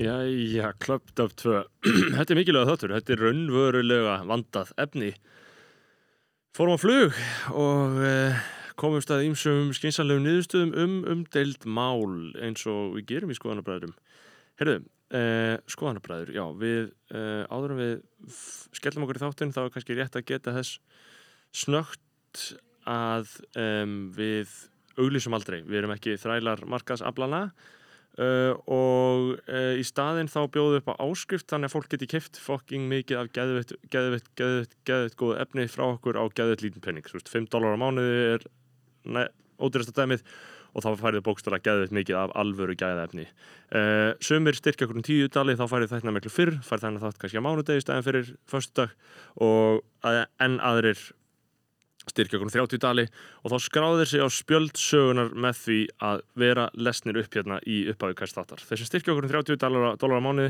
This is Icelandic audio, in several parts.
Jæja, klöpt af tvö. Þetta er mikilvæg þáttur, þetta er raunvörulega vandað efni. Fórum á flug og eh, komumst að ýmsum skynsanlegum niðurstöðum um umdeild mál eins og við gerum í skoðanabræðurum. Herðu, eh, skoðanabræður, já, við eh, áður en við f- skellum okkur í þáttinn þá er kannski rétt að geta þess snögt að um, við auglýsum aldrei. Við erum ekki þrælar markaðsablana. Uh, og uh, í staðinn þá bjóðu upp á áskrift þannig að fólk geti keft fucking mikið af geðveitt, geðveitt, geðveitt, geðveitt góðu efni frá okkur á geðveitt lítinn penning Þú veist, 5 dólar á mánuði er ne, ódýrasta dæmið og þá færið bókstara geðveitt mikið af alvöru gæðaefni uh, Sumir styrkja okkur um 10 dali þá færið þetta miklu fyrr, færið þannig þátt kannski á mánudegi í staðinn fyrir föstudag og að, enn aðrir styrkja okkur um 30 dali og þá skráðir sig á spjöld sögunar með því að vera lesnir upp hérna í upphafi hvers þáttar. Þeir sem styrkja okkur um 30 dólar, dólar á mánuði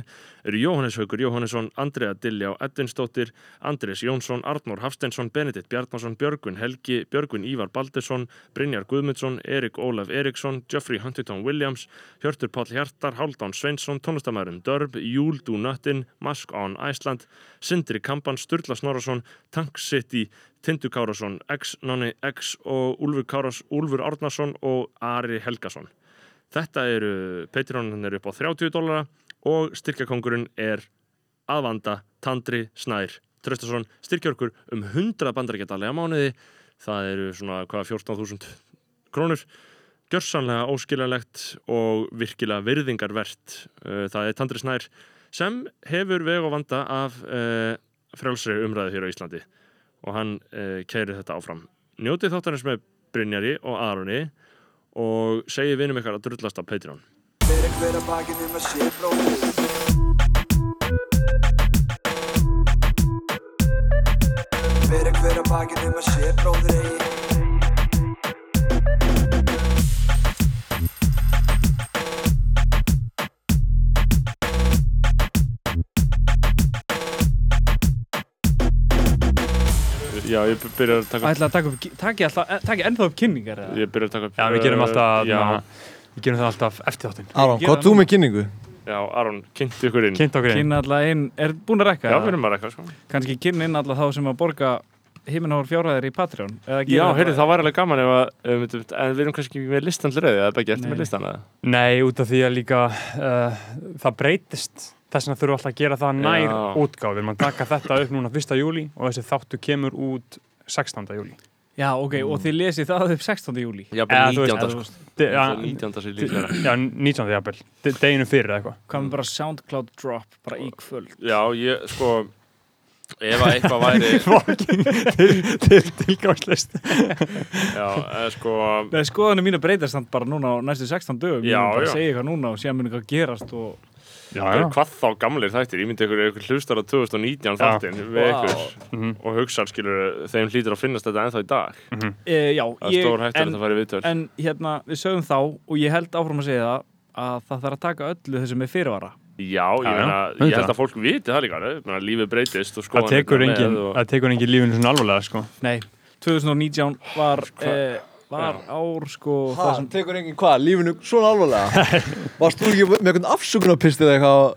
eru Jóhannes Haugur Jóhannesson, Andrea Dilljá Edvinsdóttir, Andrés Jónsson, Arnór Hafstensson, Benedikt Bjarnason, Björgun Helgi, Björgun Ívar Baldesson, Brynjar Guðmundsson, Erik Ólaf Eriksson, Geoffrey Huntington Williams, Hjörtur Páll Hjartar, Hálfdán Sveinsson, tónlistamæðurinn Dörb, Júl Dúnöttin, Mask on Iceland, Sindri Kampan, Sturla Snorarsson, Tank City, Tindu Kárasson, X, Nonni X og Úlfur, Káras, Úlfur Árnason og Ari Helgason. Þetta eru, Patreonin er upp á 30 dólara og styrkjakongurinn er aðvanda, tandri, snær, tröstason, styrkjörkur um 100 bandarækjadalega mánuði. Það eru svona hvaða 14.000 krónur. Gjörsanlega óskiljanlegt og virkilega virðingarvert. Eh, Það er Tandri Snær sem hefur veg og vanda af uh, frjálsri umræðu hér á Íslandi og hann uh, kærir þetta áfram. Njótið þáttarins með Brynjari og Aroni og segi vinum ykkar að drullast á Patreon. Fyrir hver að bakinn um að sé bróðið Fyrir hver að bakinn um að sé bróðir eigi Já, ég byrjar að taka ætla að taka upp, taki, alltaf, eh, taki ennþá upp kynningar eða? Ég byrjar að taka eh, Já, við gerum alltaf, Já, við gerum það alltaf eftir þáttinn. Aron, Gera hvað það þú nú. með kynningu? já Aron, kynnti ykkur inn Kynnt okkur inn. Kynna alla inn, er búin Já, að rekka? við erum að rekka sko. Kanski kynna inn alla þá sem að borga himinhór fjárhæðir í Patreon? eða gera Já, það heyrðu, bara- það var alveg gaman ef að, um, en við erum kannski ekki með listan til rauði, það er ekki eftir Nei. með listan eða? Nei, út af því að líka uh, það breytist. Þess vegna þurfum við alltaf að gera það nær Já. Já. útgáð. Við erum að taka þetta upp núna 1. júli og þessi þáttu kemur út 16. júli. Já, ok, og Mm. þið lesið það upp 16. júli. Já, bara Eða, þú veist, 19. 19. sko. De, ja, Það er 19. sér líklega. já, 19. jafnvel. De, deginu fyrir eða eitthvað. Hvað með bara SoundCloud drop, bara í kvöld? Já, ég, sko, ef að eitthvað væri, til tilgangslist. já, eh, sko, Nei, skoðanum mín breytast þannig bara núna á næstu 16 dögum. Já, ég mun bara já. segja eitthvað núna og séðan muni hvað gerast og... Já, það já. er hvað þá gamlir þættir, ég myndi ykkur, ykkur hlustar á 2019 Já. þáttin við Vá. ykkur Mhm. og hugsar, skilur, þeim hlýtur að finnast þetta ennþá í dag. E, já, Það er ég... stór hættur að en- það færi viðtöl. En hérna, við sögum þá og ég held áfram að segja það að það þarf að taka öllu þessu með fyrirvara. Já, ég Já, já, meina, ég held auðvitað. að fólk viti það líka, alveg, ég meina, lífið breytist og skoðan. Það tekur engin, það tekur engin lífinu svona alvarlega, sko. Nei, 2019 var, Hva- e, var ár sko... Ha, það sem- tekur enginn hvað, lífinu svona alvarlega? Varst þú ekki með eitthvað afsökunarpist eða eitthvað á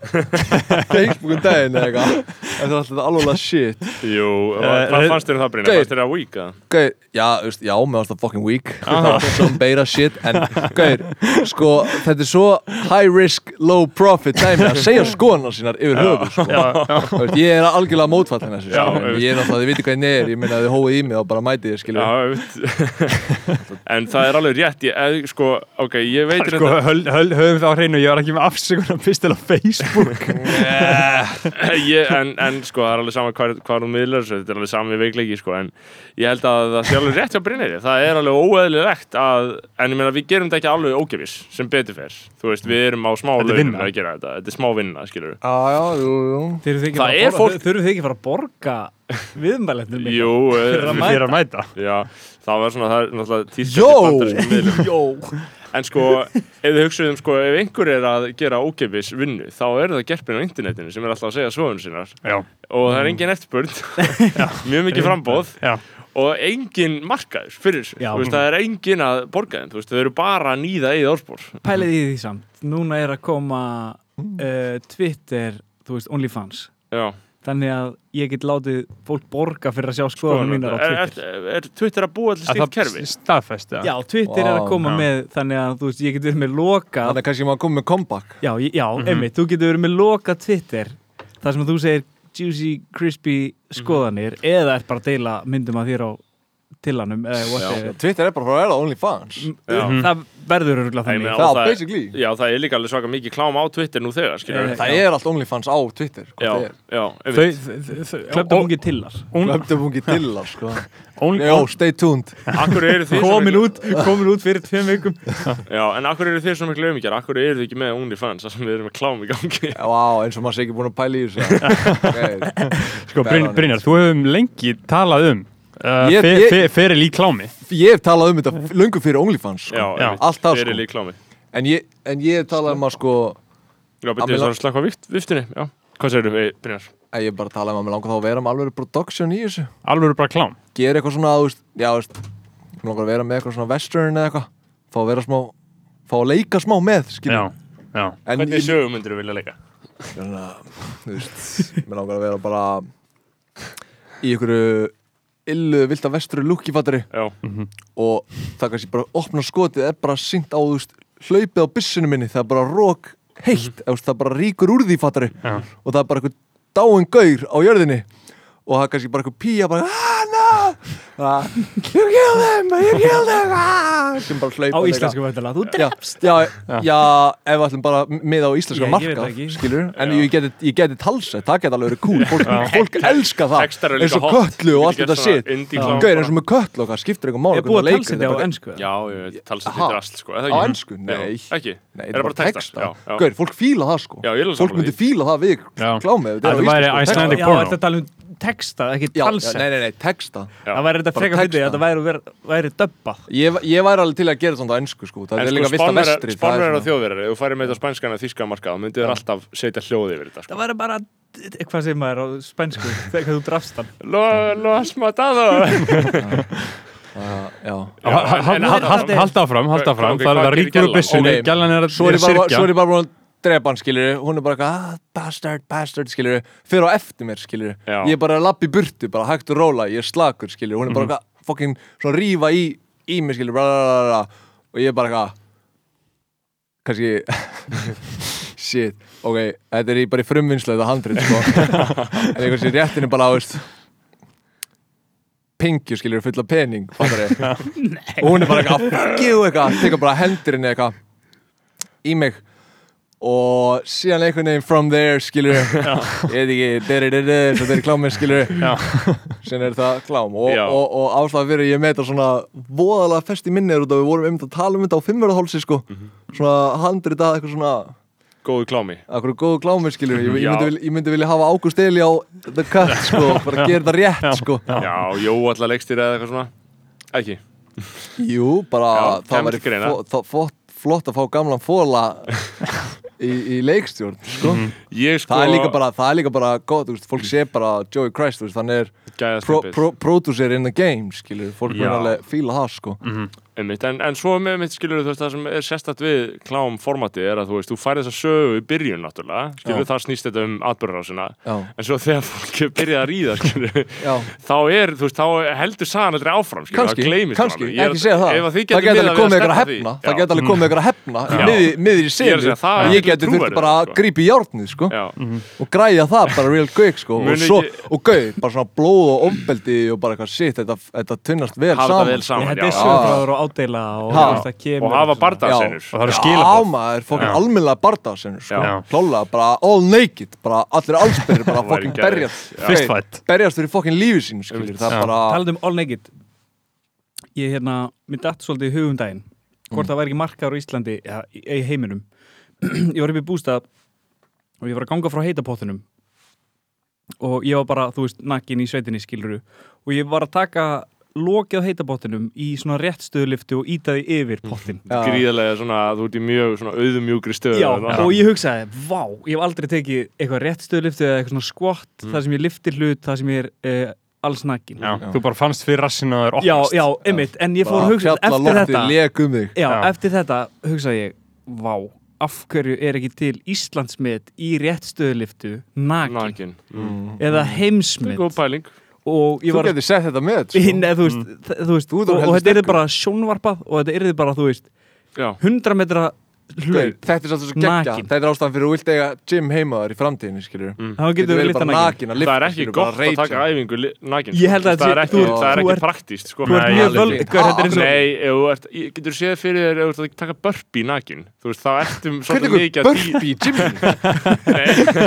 Facebookum daginn eða eitthvað? Þetta er alltaf þetta alvarlega shit. Jú, Eh, hvað eh, fannst þér um það Brynja? Gaur. Fannst þér það weak að? Gauð, já, þú veist, já, mér varst það fucking weak. Það var svona beira shit, en gauð, sko, þetta er svo high risk, low profit dæmi að segja skoðanar sínar yfir höfuð, sko. Þú veist, Ég er algjörlega mótfall hennar, Já, sko. Ég er náttúrulega, þið viti hvað henni er, ég meina þið hóið í mig og bara mætið þið, skiljum. Já, auðvitað. en það er alveg rétt, ég, eh, sko, ok, ég veit Sko, höl, höl, höfum það á hreinu, ég var ekki með afsökunar á Facebook. Eh, ég, en, en sko, það er alveg sama hvað, hvað þú miðlar þessu, þetta er alveg sami veikleiki sko, en ég held að það sé alveg rétt hjá Brynjari það er alveg óeðlilegt að en ég meina, við gerum þetta ekki alveg ógefis sem betur fer, þú veist, við erum á smá Þetta launum er vinna. að gera þetta, þetta er smá vinna, skilur Já, já, jú, jú. Þurfum þið Það ekki, fara er að borga- fólk- þurfum þið ekki fara að borga viðmælendum jú, að eh, mæta. Fyrir að mæta. já, það var svona það er náttúrulega tíðkast Jó! í bandarískum miðlum. Jó En sko, ef þið hugsaðum sko, ef einhver er að gera ókeppis vinnu, þá er það gerpin á internetinu sem er alltaf að segja svoðum sinnar Já. og Mm. það er engin eftirspurn, mjög mikið frambóð Já. og engin markaður fyrir þessu, Já. þú veist, það er engin að borga þeim, þú veist, þau eru bara að nýða eigið orðspor. Pælið í því samt Núna er að koma uh, Twitter, þú veist, OnlyFans Já, þannig að ég get látið fólk borga fyrir að sjá skoðanum skoðanir. mínar á er, Twitter er, er Twitter að búa allir Að stíkt það kerfi? staðfest, já. Já, Twitter er að Vá, koma já. með þannig að þú veist, ég get verið með lokað Þannig að kannski maður komið með comeback Já, ég- já einmitt, þú getur verið með lokað Twitter þar sem þú segir juicy, crispy skoðanir eða er bara að deila myndum að þér á tillanum eða whatever Twitter er bara frá að vera OnlyFans Já. Mm. Það verður örgulega Ég þannig meina, Já, og það- basically. Já, það er líka alveg svaka mikið klám á Twitter nú þegar, skilur Eh, við. Það Já. er allt OnlyFans á Twitter Já, já, Þau, einmitt. þau, þau, Klöptum ungi tillar Löfndum hún ekki til það sko only, Já, stay tuned Akkur eru þið svo Komin miklu- út, komin út fyrir tveim vikum Já, en akkur eru þið svo miklu umíkjar, akkur eru þið ekki með OnlyFans, þar sem við erum með klám í gangi. Já, vá, eins og maður sé ekki búin að pæla í þessu okay. Sko, Bryn, Brynjar, þú hefum lengi talað um uh, Ég- fe, ég- fe, feril í klámi Ég hef talað um þetta löngu fyrir OnlyFans sko. Já, Já. einmitt. Alltaf, Fyrir sko. lík klámi. en, ég, en ég hef talað um að sko Já, Að betur mig þess lang- að slaka á vift, viftunni, já. Hvað segir þú, Brynjar? að Ég hef bara talað um að mér langar þá að vera með alveg production í þessu Alveg bara klám Gera eitthvað svona, þú veist Já, þú veist Mér langar að vera með eitthvað svona western eða eitthvað Fá að vera smá Fá að leika smá með, skiljum Já, já En Hvernig ég, sögum myndir þú vilja leika? svona, þú veist, mér langar að vera bara í einhverju illu vilt að vestru lukki fattari Já, og það kannski bara opna skotið er bara sínt á, þú veist, hlaupið á byssinu minni, það er bara rók heitt, mm veist, það bara ríkur úr því fattari Já. og það er bara eitthvað dáin gaur á jörðinni og það er kannski bara eitthvað pía bara, ah, no ah, you killed him, you killed him ah, sem bara hlaupa á eitthvað. íslensku veitala Þú Já, já, já, ef við ætlum bara með á íslenska Ég- ég veit marka, það ekki. skilur en Já. ég geti, ég geti talsett, það geti alveg verið cool fólk, fólk elska textar það eru líka eins og hot. köllu og Við allt getum þetta gert svona shit indie klám gauðir bara. eins og með köllu og það skiptir eitthvað mál er búið að talsindi á ennsku Já, ég veit, talsið Ha? þetta er allt, sko. er það Á ekki? ensku? Nei. Já, Ekki? Nei, Er það bara textar? Já, já. Gauðir, fólk fíla það sko Já, ég er alveg Fólk sammála myndi því. fíla það við Já. klámið ef Þetta þetta væri væri á Icelandic íslensku texta. Já, porno. þetta tala um texta, ekki Já, talsett já, Nei, nei, nei, texta Það væri þetta Bara freka fyrir því texta. að þetta væri, væri, væri döbbað Ég, ég væri alveg til að gera þetta á ennsku sko Það En er sko, líka vist að spánverjar- vestri það er Spánverjar og svona- þjóðverjar, ef þú færir með þetta á spænskana þíska markað, þá myndir þér alltaf setja hljóði yfir þetta, sko. Það væri bara, hvað segir maður á spænsku þegar þú drafst hann Lo- Lo has matado. Ah, Já Já, en- en- en- Hald áfram, hald Hva- áfram ok, Það hvað er það gerir ríkur úr gellan? byssunni Ok. Gjallan er að svo er er ég bara, svo er sirkja ég bara búin að drepa hann skilur hún er bara eitthvað, ah, bastard, bastard skilur, fyrir á eftir mér skilur Já. ég er bara að lappa í burtu, bara hægt og róla ég er slakur skilur, hún er bara eitthvað fokkin svona rífa í, í mig skilur bla, bla, bla, bla, bla, og ég er bara eitthvað kannski shit, ok, þetta er í bara í frumvinnslu þetta handrit sko en ég kannski réttin er bara, þú veist pingju skilur fulla pening, fattar ég og hún er bara eitthvað fuck you eitthvað tekur bara hendurinn eitthvað í mig og síðan einhvern veginn from there skilur ég veit ekki dyririri, svo þeir klámið skilur síðan er það klám og, Já. og, og, ástæða fyrir ég með þetta svona voðalega fest í minni er út af við vorum um þetta að tala um þetta á fimmverðahálsi sko Mhm. svona handrið að eitthvað svona Góðu klámi. Akkur góðu klámið skilur, ég, ég, Já. myndi, vil- ég myndi vilja hafa Ágúst Eli á The Cut sko, bara gera þetta rétt sko Já, jó, alltaf leikstýra eða eitthvað svona. Ekki. Jú, bara Já, það kemur væri til greina. fó, það, flott, flott að fá gamlan fóla í, í leikstjórn sko. Ég sko... það, er líka bara, það er líka bara gott, þú veist, fólk sé bara Joey Christ, þú veist, hann er pro, Gæðastimpið. pro, producer in the game skilur, fólk Já. Mhm. mun alveg fíla það sko. Einmitt, en, en svo með mitt skilur þú veist það sem er sérstætt við klám formati er að þú veist, þú færi þess að sögu í byrjun náttúrulega, skilur Já. það snýst þetta um atbyrðarásina, Já. en svo þegar fólk er byrjað að ríða, skilur Já. þá er, þú veist, þá heldur sagan aldrei áfram, skilur, kannski, það gleymist kannski, honum. Ég er ekki að- segja það ef að þið það getur geta miðað við að alveg komið ykkur að stefna því. hefna Já. það geta alveg komið ykkur að hefna í Já. miðj- miðri segja, senu það er og ég heldur geti þurft trúverðugt, bara að sko. grípa í járnið sko. Já. og græja það bara real quick sko. og, Muni svo, ekki- og gauð, bara svona blóð og ofbeldi og bara eitthvað shit, þetta, þetta tunnast vel hafa saman það vel saman, Þetta er já. sögfráður og ádeila og Ha. þú veist, það kemur og hafa svona- bardagsennur Og það eru Já, skilabóð maður, fokkin Já. almennlega bardaðsennur sko. Já. Klálega, bara all naked bara allir allsbyrðir, bara væri fokkin geðveikt. berjast Já. Fist fight. Berjast fyrir fokkin lífi sín, skilur Já. Það er bara, Talandi um all naked Ég hérna, mér datt svolítið í hugum daginn Hvort það væri ekki markaður á Íslandi ja, í, í heiminum Ég var upp í bústað og ég var að ganga frá heitapottunum og ég var bara, þú veist, nakkin í sveitinni skiluru og ég var að taka lokið á heitapottunum í svona réttstöðliftu og ítaði yfir pottin um gríðarlega svona, þú ert í mjög svona auðumjúkri stöðu Já, þarna. og ég hugsaði, vá, ég hef aldrei tekið eitthvað réttstöðliftu eða eitthvað svona skvott þar sem ég liftir hlut, þar sem ég er eh, alls nakin. Já, þú bara fannst fyrir rassin að það er já, opnast já, einmitt, en ég fór að hugsa fjalla eftir loftið þetta, lék um þig já, Já. eftir þetta hugsaði ég, vá, af hverju er ekki til Íslandsmet í réttstöðuliftu nakin, nakin mm. eða það heimsmet er góð pæling og ég Þú var getur sett þetta með sko. Nei, þú veist, mm. þú veist Þú ert og, orðinn og þetta heldur er bara sjónvarpað og þetta er bara, þú veist, já, 100 metra Gaur, hlaup Þetta er svolítið svo geggja Nakin. Þetta er ástæðan fyrir að þú vilt eiga gym heima þar í framtíðinu skilur þá getur Getur við verið litað bara nakin nakin að Mm. það lyfta, er ekki skilur, bara gott að rage. um. taka æfingu li- nakin Ég held sko. að það er sé- ekki, þú- það er þú ekki ert- praktíst sko. Þú ert Nei, mjög alveg völd, ekki. gaur, þetta er eins og Nei, ef þú ert, ég- getur séð fyrir þér ef þú ert að taka burpee nakin þú veist, þá ertum Hvernig svolítið ykkur mikið að dý- burpee í gyminu? Nei,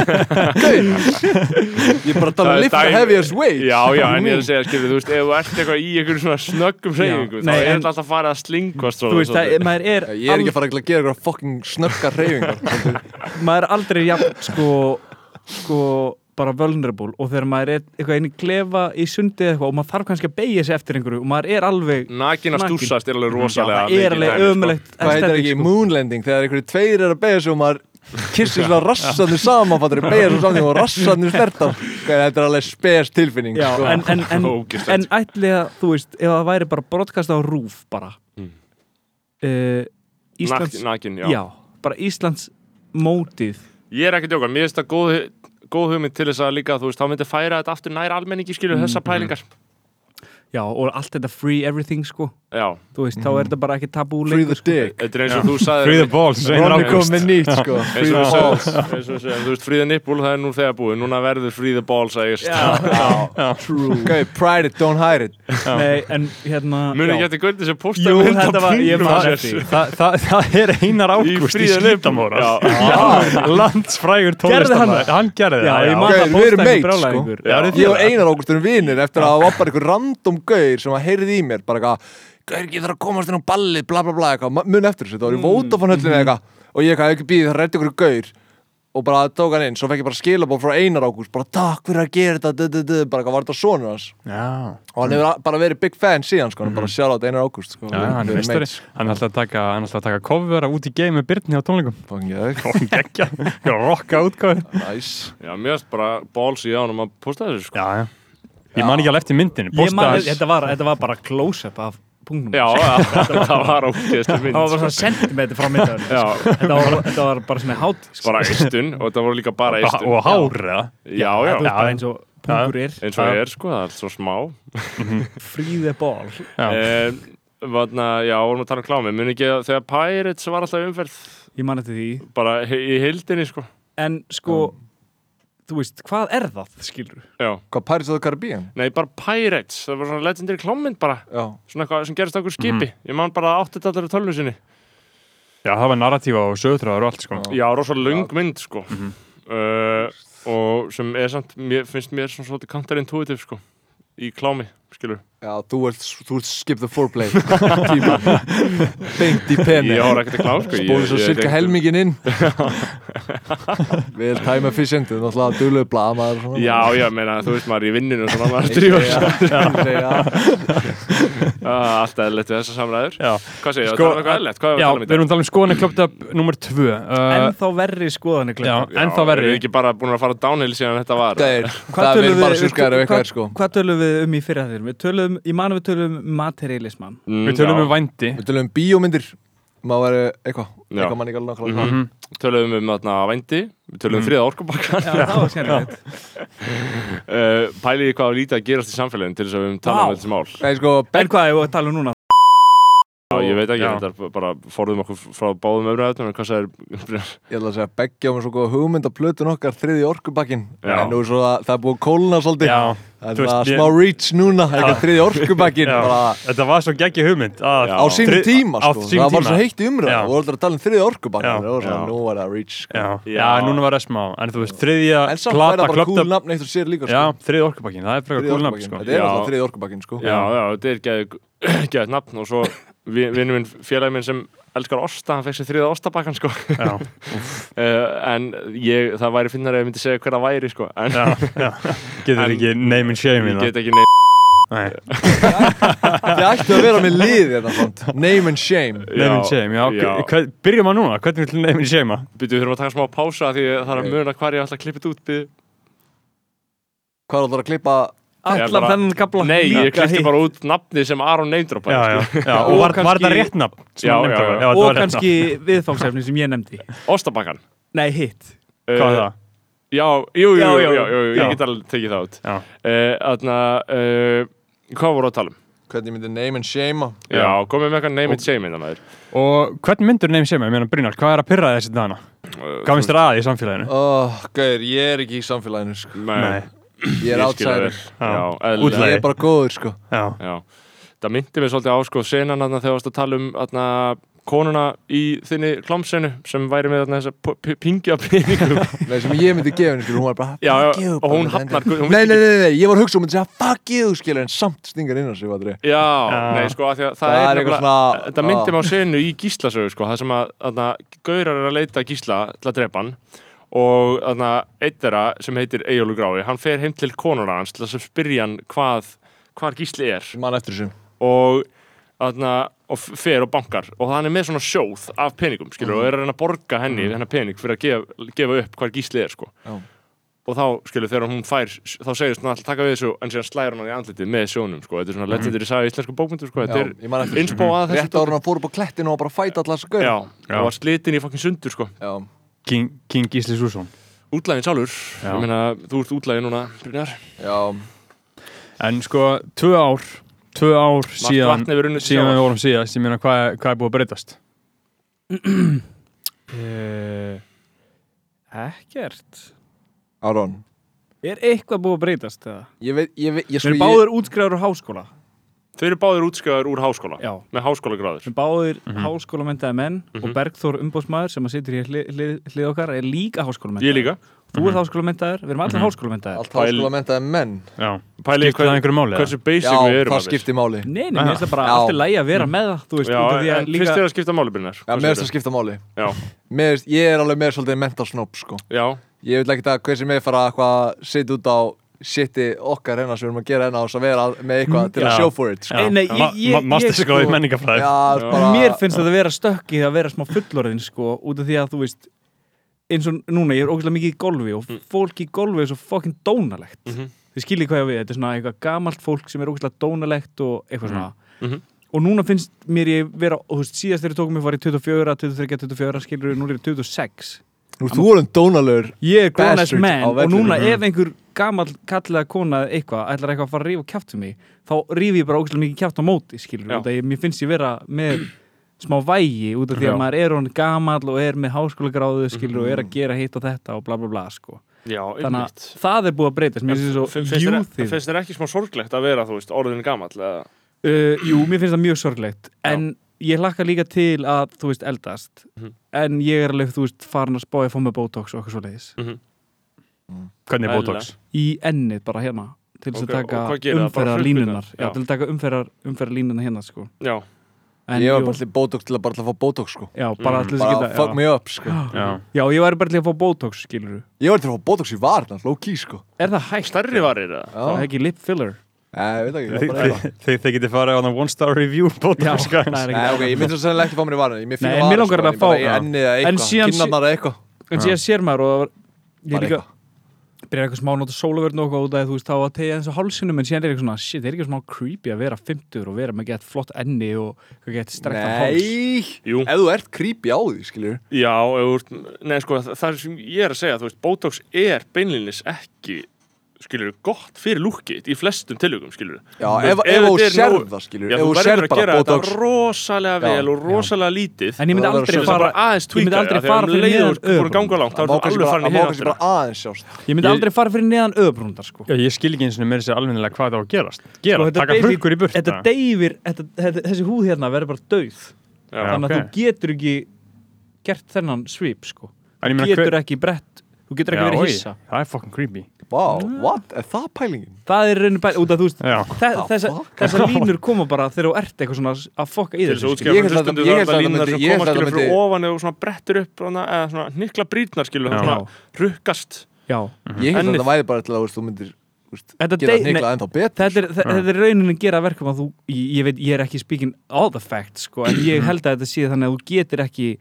Ég er bara að Það tala um er lifta dæmi. heaviest weight Já, já, en ég er að segja, skilur, þú veist, ef þú ert eitthvað í einhverjum svona snöggum reyfingum þá nei, er en- þetta alltaf að fara að slingast þú veist, það, maður, er Ég er ekki að fara að gera eitthvað fucking snöggar reyfingar al, maður er aldrei jafn, sko, sko bara vulnerable og þegar maður er eitthvað inn í klefa í sundi eða eitthvað og maður þarf kannski að beigja sig eftir einhverju og maður er alveg Nakin að Nakin. stúsast er alveg rosalega sko. það er alveg sko. ömulegt sko. Hvað heitir ekki moonlanding þegar einhverju tveir er að beigja sig og maður kissir svona rassanir saman fattur, beigja sig saman og rassanir snertar Hvað, Þetta er alveg spes tilfinning Já, sko. en, en, en, Ógeðslegt. en ætli að, þú veist, ef það væri bara brotkast á rúf bara Hmm. Mm. uh, Íslands Íslands Nakin, já. já, bara Íslands mótið Ég er ekki að djóka, mér finnst það góð, góð hugmynd til þess að líka, þú veist, þá myndi færa þetta aftur nær almenningi skilur Mm, þessa pælingar já, og allt þetta free everything sko Já, þú veist, þá er þetta bara ekki Hmm. sko, Free the tabúleik dick þetta er eins og þú sagðir Free the balls, Einar Ronny Ágúst. kom með nýtt sko eins Free og the þú balls sagðir, eins og þú sagðir, þú veist, fríða nippul, það er nú þegar búið, núna verður fríða balls að ég Okay, pride it, don't hide it Nei, en hérna Muni já. ekki eftir gauðin sem posta Jú, þetta var, ég var eftir eftir Þa, það, það er Einar Ágúst í fríða nippul skítamóra Landsfrægur Gerði hann tónlistamæður það? Hann gerði Já, það ég já. man Gaur, það við erum postaði mates, brjálæði sko. ykkur Já. Ég og Einar ágústunum vinnir eftir að það var bara einhver random gaur sem að heyrði í mér bara eitthvað, gaur ég þarf að komast inn á ballið bla bla bla eitthvað, mun eftir þessu, það var í Mm. Vodafone höllinu Mhm. eða eitthvað og ég eitthvað "Ef ekki býði það rætti ykkur gaur og bara tók hann inn, svo fekk ég bara skilabóð frá Einar ágúst, bara takk fyrir að gera þetta duh, duh, duh," bara eitthvað var þetta sonur hans Já, og hann hefur bara verið big fan síðan sko, hann bara sjálf á þetta Einar ágúst sko, Mm. já, hann er meistari Hann er alltaf að taka, hann er alltaf að taka cover af út í geimi Byrni á tónleikum meistari Hann geggja, hann rocka útgáður nice. Já, mér finnst bara balls í ánum að posta þessu sko Já, já Ég man ekki alveg eftir myndinu Ég man, postaði- þetta var, þetta var bara close-up af punktum Já, það var ógeðstu mynd Það var bara sko. svona sentimetri frá myndaður Já, þetta, var- þetta var bara svona hát sko. bara eistun og það voru líka bara Og- eistun Og hára Já, já, Þetta var já. bara eins og pungur er eins og það er sko, það er svo smá Free the ball Eh, Vatna, já, vorum að tala um klámi Muni ekki að þegar Pirates var alltaf í umferð Ég man eftir því bara he- í hildinni sko En sko, þú veist, hvað er það, skilur? Já, Hvað Pirates of the Caribbean? nei, bara Pirates það var svona legendary klámynd bara Já, svona eitthvað sem gerist á okkur skipi Mhm. Ég man bara átti þetta allir á tölvu sinni Já, það var narratífa og sögutráður og allt sko Já, rosa löng mynd sko Mhm. uh, og sem er samt mér, finnst mér svona svolítið counterintuitive sko í klámi, skilur já þú, ert, þú ert skip the foreplay Tíma. beint í penni Ég var ekkert að klám sko ég- Bóðu svo ég- cirka ég- helmingin inn Vel time efficient Þú náttúrulega duglegur blamaður og svona. Já, já, meina, þú veist maður í vinninu og svona maður drífur sig. Já. Ah, Allt eðlilegt við þessar samræður Já. Hvað segir ég, Sko, það er eitthvað eðlilegt, hvað er Já, að tala um í við dag? erum að tala um skoðan Club Up nummer 2 uh, Ennþá verri skoðanir Já, klart Já, en þá Erum verri við ekki bara búin að fara downhill síðan þetta var? Gæir, Það er bara surkaður ef eitthvað er sko Hvað tölum við um í fyrra þeirrum? Við tölum, ég man að við tölum um materialisman Mm, Við tölum já, um vændi Við tölum um bíómyndir Má vera eitthvað Já. Eitthvað mann ekki alveg nákvæmlega Mhm. hvað. Tölum um þarna vændi, við Mhm. tölum um þriða orkubakkan Já, það var skemmtilegt uh, Pæliði hvað að lítið að gerast í samfélagin til þess að við höfum talað Vá. um þessi mál Nei sko En hvað er það að tala um núna? Já, ég veit ekki, Já. þetta er bara forðum okkur frá báðum öfnum en hvað segir Ég ætla að segja Beggi á mér svo góða hugmynd að plötu nokkar Þriði orkubakkin Já. En nú er svo að það er búið að kólna svolítið Já, Það þú er veist, það ég- smá reach núna Eitthvað þriði orkubakkin Já. Þetta var svo geggi hugmynd Ah, að- Já. Á sínum Þrið- tíma á sko sínum Það var tíma. svo heitt í umræða Já. Og alltaf að tala um þriði orkubakkin Já. Og svo Já. nú var það reach sko. Já, já. Já. núna var það smá En þú veist, þriðja En samt plata væri það bara Club cool Up nafn eitt og sér líka sko. Já, þriðja orkubakkin, það er frekar Þriði cool nafn orkubakkin. sko Þetta er Já. alltaf þriði orkubakkin sko. Já, já, þetta er geðið geð nafn og svo vinnum minn, félagin minn sem elskar osta, hann fekk sér þriða ostabakkan sko Já, uh, en ég, það væri finnar ef ég myndi segja hver það væri sko en já, já Getur En- ekki name and shame ég hérna. get ekki neitt Nei, Þið ættu að vera með lið þetta hérna, samt Name and shame Name and shame, já, já. Hver, Byrjum að núna, hvernig vil name and shame Býtu, við þurfum að taka smá Eh. pása því það er að muna hvað ég ætla að klippa þetta út býtu. Hvað er alltaf að klippa Ég allan bara- þennan kapla Nei, ég líka klisti heitt. bara út nafni sem Aron sko, neymdrópa já, já, já. sko. og Og var, var kannski- þetta rétt nafn sem Já, hann nefndi já, já. á- já, þetta og var rétt kannski viðfangsefni sem ég nefndi Óstabakkan Nei, hitt Eh, nafn. hvað er það? Já, jú, jú, Já, jú, já, jú, jú, jú, já. ég get alveg tekið það út Já. Eh, Þarna, uh, hvað voru að tala um? Hvernig myndi name and shame Já, komið með eitthvað name it shame innan maður og hvernig myndur nefn sem ég meina Brynjar, hvað er að pyrra þessi dana? hvað finnst þér aðið í samfélaginu? oh, Gauður, ég er ekki í samfélaginu sko. Nei, Ég ég skil er það outsider vel. Já, eðlilega. Útlagi. Ég er bara góður sko já, Já, það myndi mér svolítið á sko senan þarna þegar þú varst að tala um þarna konuna í þinni klámsenu sem væri með þarna þessa pingja peningum. Nei, sem ég myndi gefa henni skilur, hún var bara Já, já, fuck you og hún bara, hafnar- hún Nei, myndi nei, nei, nei, ég var að hugsa, hún myndi segja fuck you skilur en samt stingar inn á sig vatri Já, Já. nei sko, af því að það, Það er er eitthvað nefnilega, svona- þetta myndi mér á senu í gíslasögu sko, það sem að þarna gaurar er að leita að gísla til að drepa hann og þarna eitt þeirra sem heitir Eyjólu Grái, hann fer heim til konuna hans til þess að spyrja hann hvað, hvar gísli er Mann eftir þessu og þarna og f- fer og bankar og hann er með svona sjóð af peningum skilur og er að reyna að borga henni hennar pening fyrir að gefa, gefa upp hvar gísli er sko. Já. og þá skilur þegar hún fær þá segist hún alltaf taka við þessu en síðan slæður hún hann í andlitið með sjónum sko. þetta er svona lettið í saga íslensku bókmyndu sko. Já, þetta ég man er eftir innspó að þessu þessu Rétt ára hann fór upp á klettinu og var bara að fæta allar þessu dóti. gauður já, Já. og var slitin í fokkin sundur sko. já. King, King Gísli Sússon útlægin sálur Já. ég meina, þú ert útlægin núna Brynjar. já, en sko, tvö ár tvö ár síðan vatn hefur runnið til síðan sjávar. við vorum síðast, ég meina hvað, er- hvað er búið að breytast Eh, Ekkert Aron Er eitthvað búið að breytast eða? Ég veit, ég veit, ég Við sko erum báðir útskræður á háskóla þau eru báðir útskjöðar úr háskóla Já með háskólagráður Við erum báðir Mhm. háskólamentaði menn og Bergþór umbóðsmaður sem að situr hér hlið hli, hli okkar er líka háskólamentaði ég líka, Þú Mhm. ert háskólamentaður, við erum allir háskólamentaðir Allt háskóla mentaði menn já, Pæli, skiptir það einhverju máli eða? hversu basic Já, við erum það að skipti máli Nei, nei, mér finnst það bara Já. allt er lægi að vera með það Þú veist, út af því Já, en að líka fyrst er að skipta máli Brynjar Já, Hvað mér segirðu? finnst það skipta máli Já, Mér finnst, ég er alveg meir svolítið mentasnopp sko já, Ég vil ekki að hver sem er fara eitthvað að sitja út á sitti okkar hérna sem við erum að gera hérna og svo vera með eitthvað til að Já. show for it sko. Nei, nei, ég- ég- ég- Masterskráði sko- menningafræði Já, bara Mér finnst þetta að vera stökkið að vera smá fullorðin sko, út af því að þú veist eins og núna, ég er ógeðslega mikið í golfi og fólk í golfi er svo fucking dónalegt þið skiljið hvað ég á við, þetta er svona eitthvað gamalt fólk sem er ógeðslega dónalegt og eitthvað svona Mhm. og núna finnst mér ég vera og þú veist, síðast þegar ég tók mig var ég 24, 23, 24 skilur, núna er ég 26 Nú, þú erum dónalur ég er grown as Bastard man á og vellinum. núna ef einhver gamall kallega kona eða eitthvað, ætlar eitthvað að fara að rífa kjátt um mig þá rífi ég bara ógæslega mikið kjátt á móti skilur, Já. út að ég, mér finnst ég vera með smá vægi út af því að Já. Mm. maður er hann gamall og er með háskólagráðu skilur og er að gera hitt og þetta og bla bla bla sko. já, þannig að einmitt það er búið að breytast mér finnst Fin- það finnst svo þér- júþið Finnst þér ekki smá sorglegt að vera, þú veist, orðin gamall eða? uh, Jú, mér finnst það mjög sorglegt en ég hlakka líka til að þú veist eldast Mhm. en ég er alveg þú veist farin að spája að fá með botox og eitthvað svo hvernig er Eðlilega. botox? í ennið bara hérna til þess Ok, að og hvað taka gerir það? Bara umferðar línunar frumpurnar? já, Já. til að taka umferðar, umferðar línunar hérna sko. Já, en, Ég var jú, bara til botox til að bara til að fá botox sko já, bara Mm. til þess að Bara geta fuck já. me up sko já, já, ég væri bara til að fá botox skilur Ég var til að fá botox í varna, low key sko er það hægt? stærri varir eða? Já, það er ekki lip filler Eh, ég veit ekki, ég Þi- var bara eitthvað þi- þið þið getið farið á þannig one star review botox það er guys. ekki Nei, ok, ég myndi svo sennilega ekki fá mér í varna Ég mér Nei, fíla en mér varir langar að sko, ég fá- bara í Já. ennið eða En síðan- eitthvað, kinnarnar eða eitthvað en síðan sér maður og það var ég Bara líka eitthvað. byrjaði eitthvað smá að nota sólavörn og eitthvað út af því, þú veist þá að tegja eins og hálsinum en síðan er eitthvað svona shit, er ekki smá creepy að vera 50 og vera með gett flott enni og gett strektan háls Nei, Jú, ef þú ert creepy á því, skilur já, ef þú ert, nei, sko, það, það er sem ég er að segja, þú veist, Botox er beinlinis ekki, skilur, gott fyrir lúkkið í flestum tilugum, skilur. Já, ef ef þú serð það, skilur Já, Ef þú þú verður að serð gera bara þetta botox rosalega Já, vel og rosalega lítið. en ég myndi Það verður aldrei að Það er fara bara aðeins ég tvíkar, myndi aldrei af því að fara um fyrir leið og þú neðan ert búin að öfum. ganga langt, þá Það er má þú kannski alveg bara- farin í sko. það má hina kannski áttina. bara aðeins sjást ég myndi Ég- aldrei fara fyrir neðan öðbrúndar sko Já, ég skil ekki eins og mér þessi alveg hvað það á að gerast gera, Sko, þetta taka basic- hrukkur í burt þetta deyfir, þetta, þetta, þessi húð hérna verður bara dauð Já, þannig að ok. þú getur ekki gert þennan svip sko En ég meina, getur hver- ekki brett, þú getur ekki Já, verið oj, hissa það er fucking creepy Vá, Mm. what? Er það pælingin? það er rauninu bæli, út af þú veist Já. þe- þessa, fuck? þessa línur koma bara þegar þú ert eitthvað svona að fokka í til þess að þessu sko. útskjáða Ég held að hlustundu það er þetta- ég held að það þetta línunar sem myndi- ég held koma að þetta skilur frá myndi- ofan eða þú svona brettir upp svona, eða svona nikla brýtnar skilur Já. það svona rukkast Já. Mhm. Ég held að Ennið. þetta væri bara til að þú veist, þú myndir þú veist, Þetta gera dey- hnigla nei. ennþá betur þetta er, þe- þetta er rauninu að gera verkum að þú, ég, ég veit, ég er ekki speaking all the facts sko, en ég held að þetta sé þannig að þú getur ekki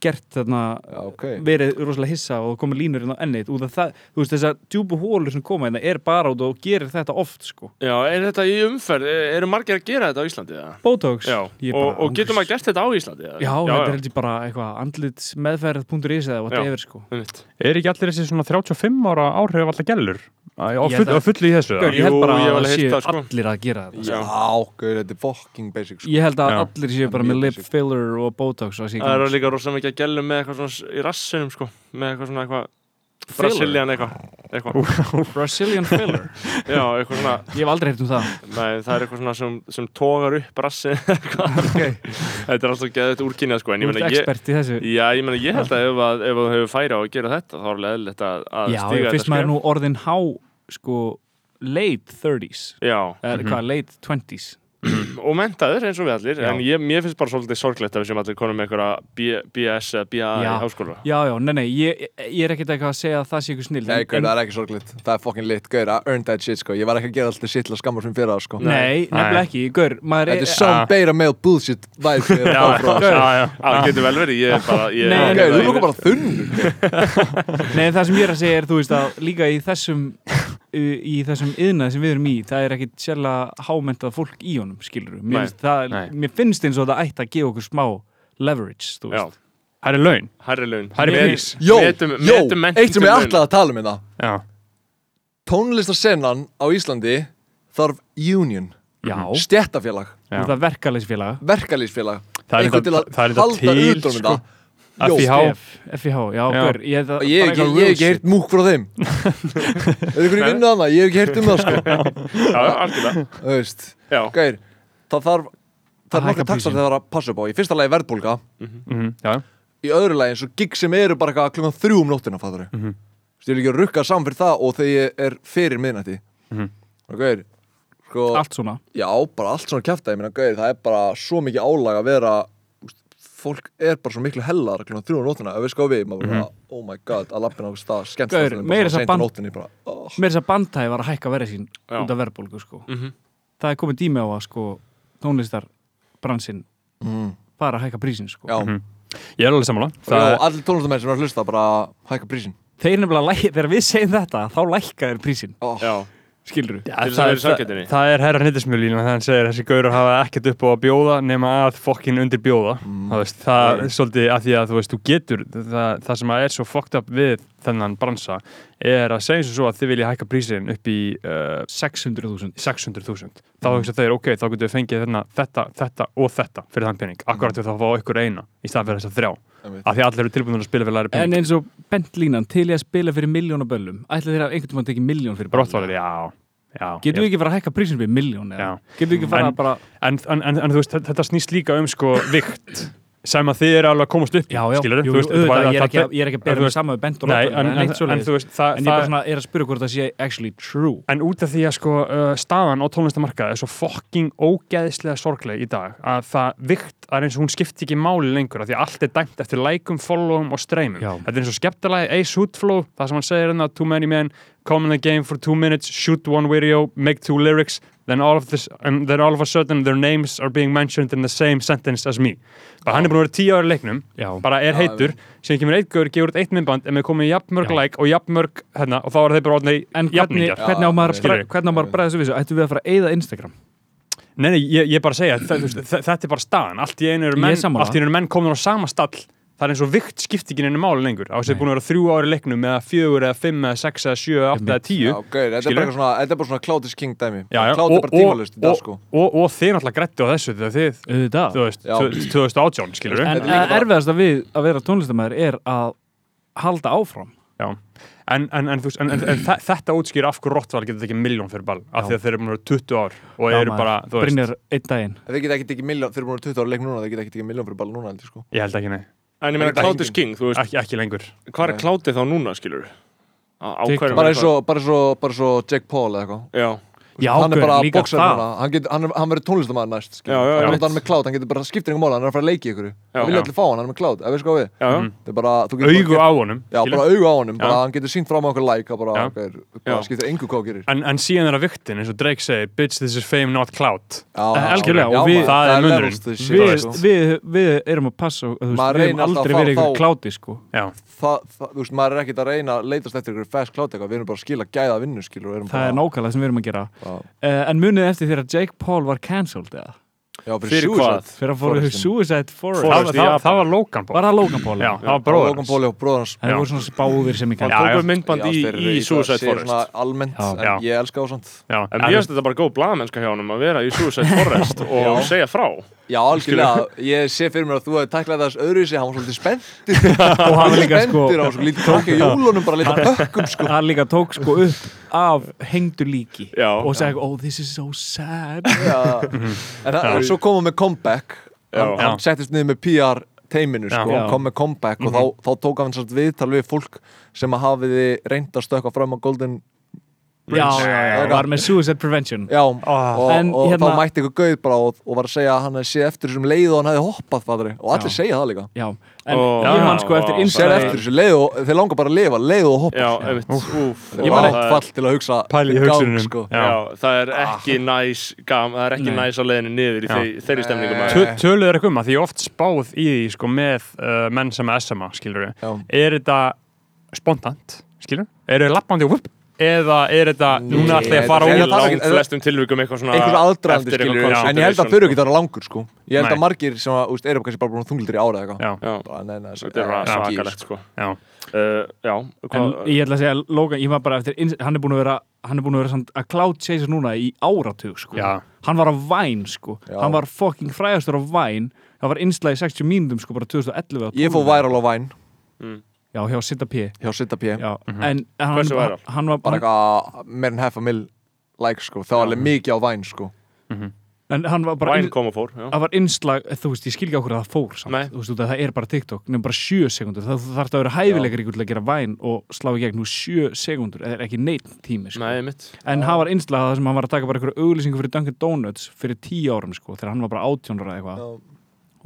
gert þarna Já, ok. verið rosalega hissa og komið línur inn á ennið út af það, þú veist þessar djúbu hólur sem koma hérna er bara út og gerir þetta oft sko Já, er þetta í umferð? Er- Eru margir að gera þetta á Íslandi? eða? Botox Já, Ég og, bara- og getur maður gert þetta á Íslandi? eða? Já, þetta er heldur bara eitthvað andlitsmeðferð.is eða whatever sko Einmitt. Er ekki allir þessi svona 35 ára áhrif alltaf gælur? Á Ég full, held að- á fullu í þessu? eða? Gaur, Ég held Jú, bara ég hef að alveg það heyrt séu það, sko. allir að gera þetta Já. gauð, þetta er fucking basic sko. Ég held að Já. allir séu bara með Mjög lip basic. filler og botox og þessi Það eru gangi. líka rosa mikið að gælu með eitthvað svona s- í rassinum sko með eitthvað svona eitthvað Filler? Brasilian eitthvað eitthvað, Brazilian filler já, eitthvað svona Ég hef aldrei heyrt um það nei, það er eitthvað svona sem, sem tógar upp rassin eitthvað okay. þetta er alltaf geðið úrkynnið sko en Þú ég ert meina ég expert í þessu já, ég meina ég held að ef, að ef þú hefur færi á að gera þetta þá er alveg eðlilegt að, að Já, stíga fyrst maður er nú orðin há sko late 30s já, eða hvað, late 20s og mentaður eins og við allir Já. en ég, mér finnst bara svolítið sorglegt að við séum allir konum með einhverja BS eða BA í Já. háskóla Já, já, nei, nei, ég, ég er ekkert eitthvað að segja að það sé ykkur snill Nei, gauð, það er ekki sorglitt Það er fucking lit, gauð, I earned that shit sko. Ég var ekki að gera alltaf shit til að skamma sem fyrir það sko. Nei, nefnilega Nei. ekki, gaur, maður Þetta er er Ah. some beta male bullshit vibe sem ég er að fá frá já, já. það Sko, getur vel verið, ég er bara ég, ég- Nei, nei, Gauð, ég- þú lukkar bara þunn Nei, það sem ég er að segja er, þú veist, að líka í þessum í þessum yðnað sem við erum í það er ekkit sérlega hámentað fólk í honum skilur við, mér, Nei, finnst það- nei. mér finnst eins og það ætti að gefa okkur smá leverage, þú já, veist Það er laun. hærri laun Hærri Met- penis. Jó, metum, jó, metum eitt sem ég mentum alltaf að tala um þetta Já. Tónlistarsennan á Íslandi þarf union, Já, Mhm. stjættafélag þú veist, það verkalýsfélag verkalýsfélag, Það er eitthvað til enda- að það er enda halda til, utan um sko. þetta Jó, FIH. FIH, já, Já. gaur, ég, það, og ég hef bara eitthvað ekki- ég hef real ekki shit. heyrt múk frá þeim Er ykkur í vinnu annað? Ég hef ekki heyrt um það sko Já, já, algjörlega Þú veist, Já, gæir, það þarf Að það er marga hækka taxar prísinn. þegar það þarf að passa upp á í fyrsta lagi verðbólga, Mhm, já. í öðru lagi eins og gig sem eru bara eitthvað klukkan þrjú um nóttina fattur mm -hmm. ég vil ekki að rukka saman fyrir það og þegar ég er fyrir miðnætti Mhm. og gæir, sko allt svona Já, bara allt svona kjæfta, ég meina, gauðir, það er bara svo mikið álag að vera úst, fólk er bara svo miklu hellar klukkan þrjú á nóttina, ef við sko við, maður bara oh my god, að lappina á stað, skemmt Gaur, Mhm. meira þess að seint á band- nóttinni, bara, oh. mér er þess að bandhæði var að hækka verið sín Já. út af verðbólgu sko Mhm. það er komið dími á að sko tónlistarbransin mm. fara að hækka prísin sko Já, Mhm. Ég er alveg sammála. og Það, allir tónlistamenn sem er að hlusta bara hækka prísin þeir nefnilega, læ- þegar við segjum þetta þá lækka þeir prísin, oh. já, skilur Já, Til þess að það, vera í samkeppninni. það, það er herra hnittismjölin að hann segir þessi gaurar hafa ekkert upp á að bjóða nema að fokkin undir bjóða það, veist, það er svolítið að því að þú veist þú getur, það, það sem að er svo fucked up við þennan bransa er að segja eins og svo að þið vilja hækka prísin upp í uh, 600.000 600.000 þá hugsa þeir, ok, þá getur við fengið þarna, þetta, þetta og þetta fyrir þann pening akkurat við þá að fá ykkur eina í staðan fyrir þess að þrjá Einmitt. af því að allir eru tilbúin að spila fyrir læri en pening eins og bent línan til ég að spila fyrir miljóna böllum ætla þeir að einhvern tímann tekið miljón fyrir brottvalið, já, já getum við ekki fara að hækka prísin fyrir miljón Já. getum við ekki fara En- að bara en, en, en, en þú veist, þetta snýst líka um sko vikt sem að þið eru alveg að komast upp í, já, já, skilurðu? jú, Þú jú, þetta er bara- auðvitað, ég er ekki að- það- ég er ekki að en bera þú mig veist- saman við bent og Nei, rottvælir, en, en en, neitt en, en þú svoleiðis. veist það, en ég bara það, svona er að spura hvort það sé actually true en út af því að sko uh, staðan á tónlistamarkaði er svo fucking ógeðslega sorgleg í dag að það vikt það er eins og hún skipti ekki máli lengur af því að allt er dæmt eftir lækum, followum og streymum Já. þetta er eins og skeptalægi Ace Hootflow það sem hann segir hérna too many men come in the game for two minutes shoot one video make two lyrics then all of this and then all of a sudden their names are being mentioned in the same sentence as me bara hann er búin að vera tíu ára í leiknum Já. bara er Já, heitur sem kemur eitt gaur gefur út eitt myndband en við komum í jafnmörg Já. like og jafnmörg hérna og þá er þeir bara orðnei en hvernig, jafningjar hvernig á maður, Já, að skilurðu. bre- hvernig á maður að bregða þessu vissu ættum við að fara að eyða Instagram Nei, nei, ég, ég bara segja, það, þú veist, þe- þetta er bara staðan Allt í einu Ég eru er menn, sammála. allt í einu eru menn komin á sama stall Það er eins og vikt skiptingin ennum máli lengur Á þess að Nei. búin að vera þrjú ári leiknum eða fjögur eða fimm eða sex eða sjö eða átta eða tíu Já, gauðir, þetta er Skilur. bara eitthvað svona, þetta er bara svona Cloudis King dæmi Já, já, Cloud er bara tímalust í dag og, sko og, og þið náttúrulega grættu á þessu þegar þið, auðvitað þú veist, Já. 2018 skilur En við líka bara- erfiðast að við að vera tónlistamæður er að halda áfram en, en, en, þú veist, en, en, en þa- þetta útskýr af hverju Rottval getur ekki miljón fyrir ball af Já. því að þeir eru búin að vera 20 ár og Já, eru maður bara, þú veist, Brynjar einn daginn Þeir geta ekki tekið miljón, þeir eru búin að 20 ára leik núna, þeir geta ekki tekið miljón fyrir balla núna heldur sko ég held ekki nei en ég meina Þetta er Cloud is engin- King, þú veist, ekki, ekki lengur hvað er Cloudið þá núna, skilur? TikTok. Ákvæður Bara eins og, bara eins og, bara eins og Jack Paul eða eitthvað Já, Já, hann er gaur, bara að líka boksa það. núna hann, getur- hann, er- hann verður tónlistamæður næst skilur. Já, já, hann er einmitt. hann með klátt, hann getur bara skiptir ykkur mála hann er að fara að leiki ykkur Já. hann vil allir fá hann, hann er með klátt, ef við sko við já, já. Mm. það er bara, þú getur augu bara, á honum gert- já, skilur. bara augu á honum, bara Já. hann getur sínt fram á okkur like hann bara, Já. okay, bara Já. skiptir engu hvað hann gerir en, en síðan er að viktin, eins og Drake segir bitch this is fame not clout Já, Eh, já, algjörlega, já, og við- maður, það er munurinn. levels to shit, við, sko. við, við erum að passa þú veist, Maður við reynir erum alltaf aldrei að verið fá- ykkur kláti sko. já, það, það, þú veist, maður er ekkert að reyna að leitast eftir ykkur fast klátt eitthvað, við erum bara að skila gæða vinnu, skilur, við erum það er bara, nákvæmlega sem við erum að gera já, uh, en munið eftir þegar Jake Paul var cancelled eða já, fyrir, Fyrir suicide. hvað? fyrir að fóru Forrestin. Suicide það, Forrest Forest í það, það, Japan. var Logan Paul var það Logan Paul já, það var Bara bróður Logan Paul og bróður hans það Já. voru svona spáðir sem ég hann kann Já, tók já. upp myndband í, Já, þeir- í þeir- Suicide segir Forest svona almennt, Já. en Já. ég elska það svona já, en mér finnst þetta bara góð blaðmennska hjá honum að vera í Suicide Forest og Já. segja frá Já, algjörlega, ég sé fyrir mér að þú hefði tæklað þess öðruvísi, hann var svolítið spenntur og hann líka sko spenntur, hann var svo lítið krakki í jólunum bara lítið pökkum sko hann líka tók sko upp af hengdu líki Já. og sagði oh this is so sad Já. En það, svo kom hann með comeback hann, Já. hann settist niður með PR teiminu sko, Já. hann kom með comeback og þá, þá tók hann svolítið viðtal við fólk sem að hafiði reynd að stökka fram á Golden já, já, já, var með Suicide Prevention Já, og, En og hérna- þá mætti ykkur gauð bara og, og var að segja að hann hefði séð eftir þessum leið og hann hefði hoppað fattari, og allir Já. segja það líka já, Ó, en ég man já, sko eftir vá, Sér Bara- innstæði eftir þessu leið og þeir langar bara að lifa, leið og hoppa já, einmitt úf, vá, Ég var það eitt er- fall til að hugsa pæli í gang, hugsunum sko. já. Já, það er ekki næs gam, það er ekki Nei. næs á leiðinu niður í Já. þeir, þeirri stemningu maður Töl- Töluðu er eitthvað um að því ég oft spáð í því sko, með uh, menn sem SMA, skilur við Já. er þetta spontant, skilur við eru þið lappandi og vup eða er þetta, núna ætla ég að fara þetta í er- út þarf ekki- langt flestum tilvikum eitthvað svona einhver aðdraðandi eftir eitthvað skilur concert en ég held að edition, þau eru ekki það langur sko ég held að Nei. margir sem að, úst, eru kannski bara búin þungildir í ára eða já, sko. Já, eitthvað þetta er svakalegt sko já, Uh, Já, en hvað ég ætla að segja Logan, ég var bara eftir inns- hann er búin að vera hann er búin að vera samt að cloud chaser núna í áratug sko Já. hann var á væn sko Já. hann var fucking frægastur á væn það var innslag í 60 mínútum sko bara 2011 eða ég 12. fór viral á væn já, hjá Sita P hjá Sitta P já, Mhm. en hann, Hversu viral? hann var Mhm. bara eitthvað meir en half a mil like sko það var alveg mikið á væn sko en hann var bara Væn kom og fór já. það var innslag, þú veist, ég skil ekki okkur að það fór samt, Nei. þú veist, út af það er bara TikTok nefnum bara 7 sekundur, það þú þarf að vera hæfileikar ykkur til að gera væn og slá í gegn úr 7 sekundur, það er ekki neitt tími sko. Nei, mitt en það var innslag það sem hann var að taka bara ykkur auglýsingu fyrir Dunkin Donuts fyrir 10 árum, sko, þegar hann var bara 18 ára eða eitthvað,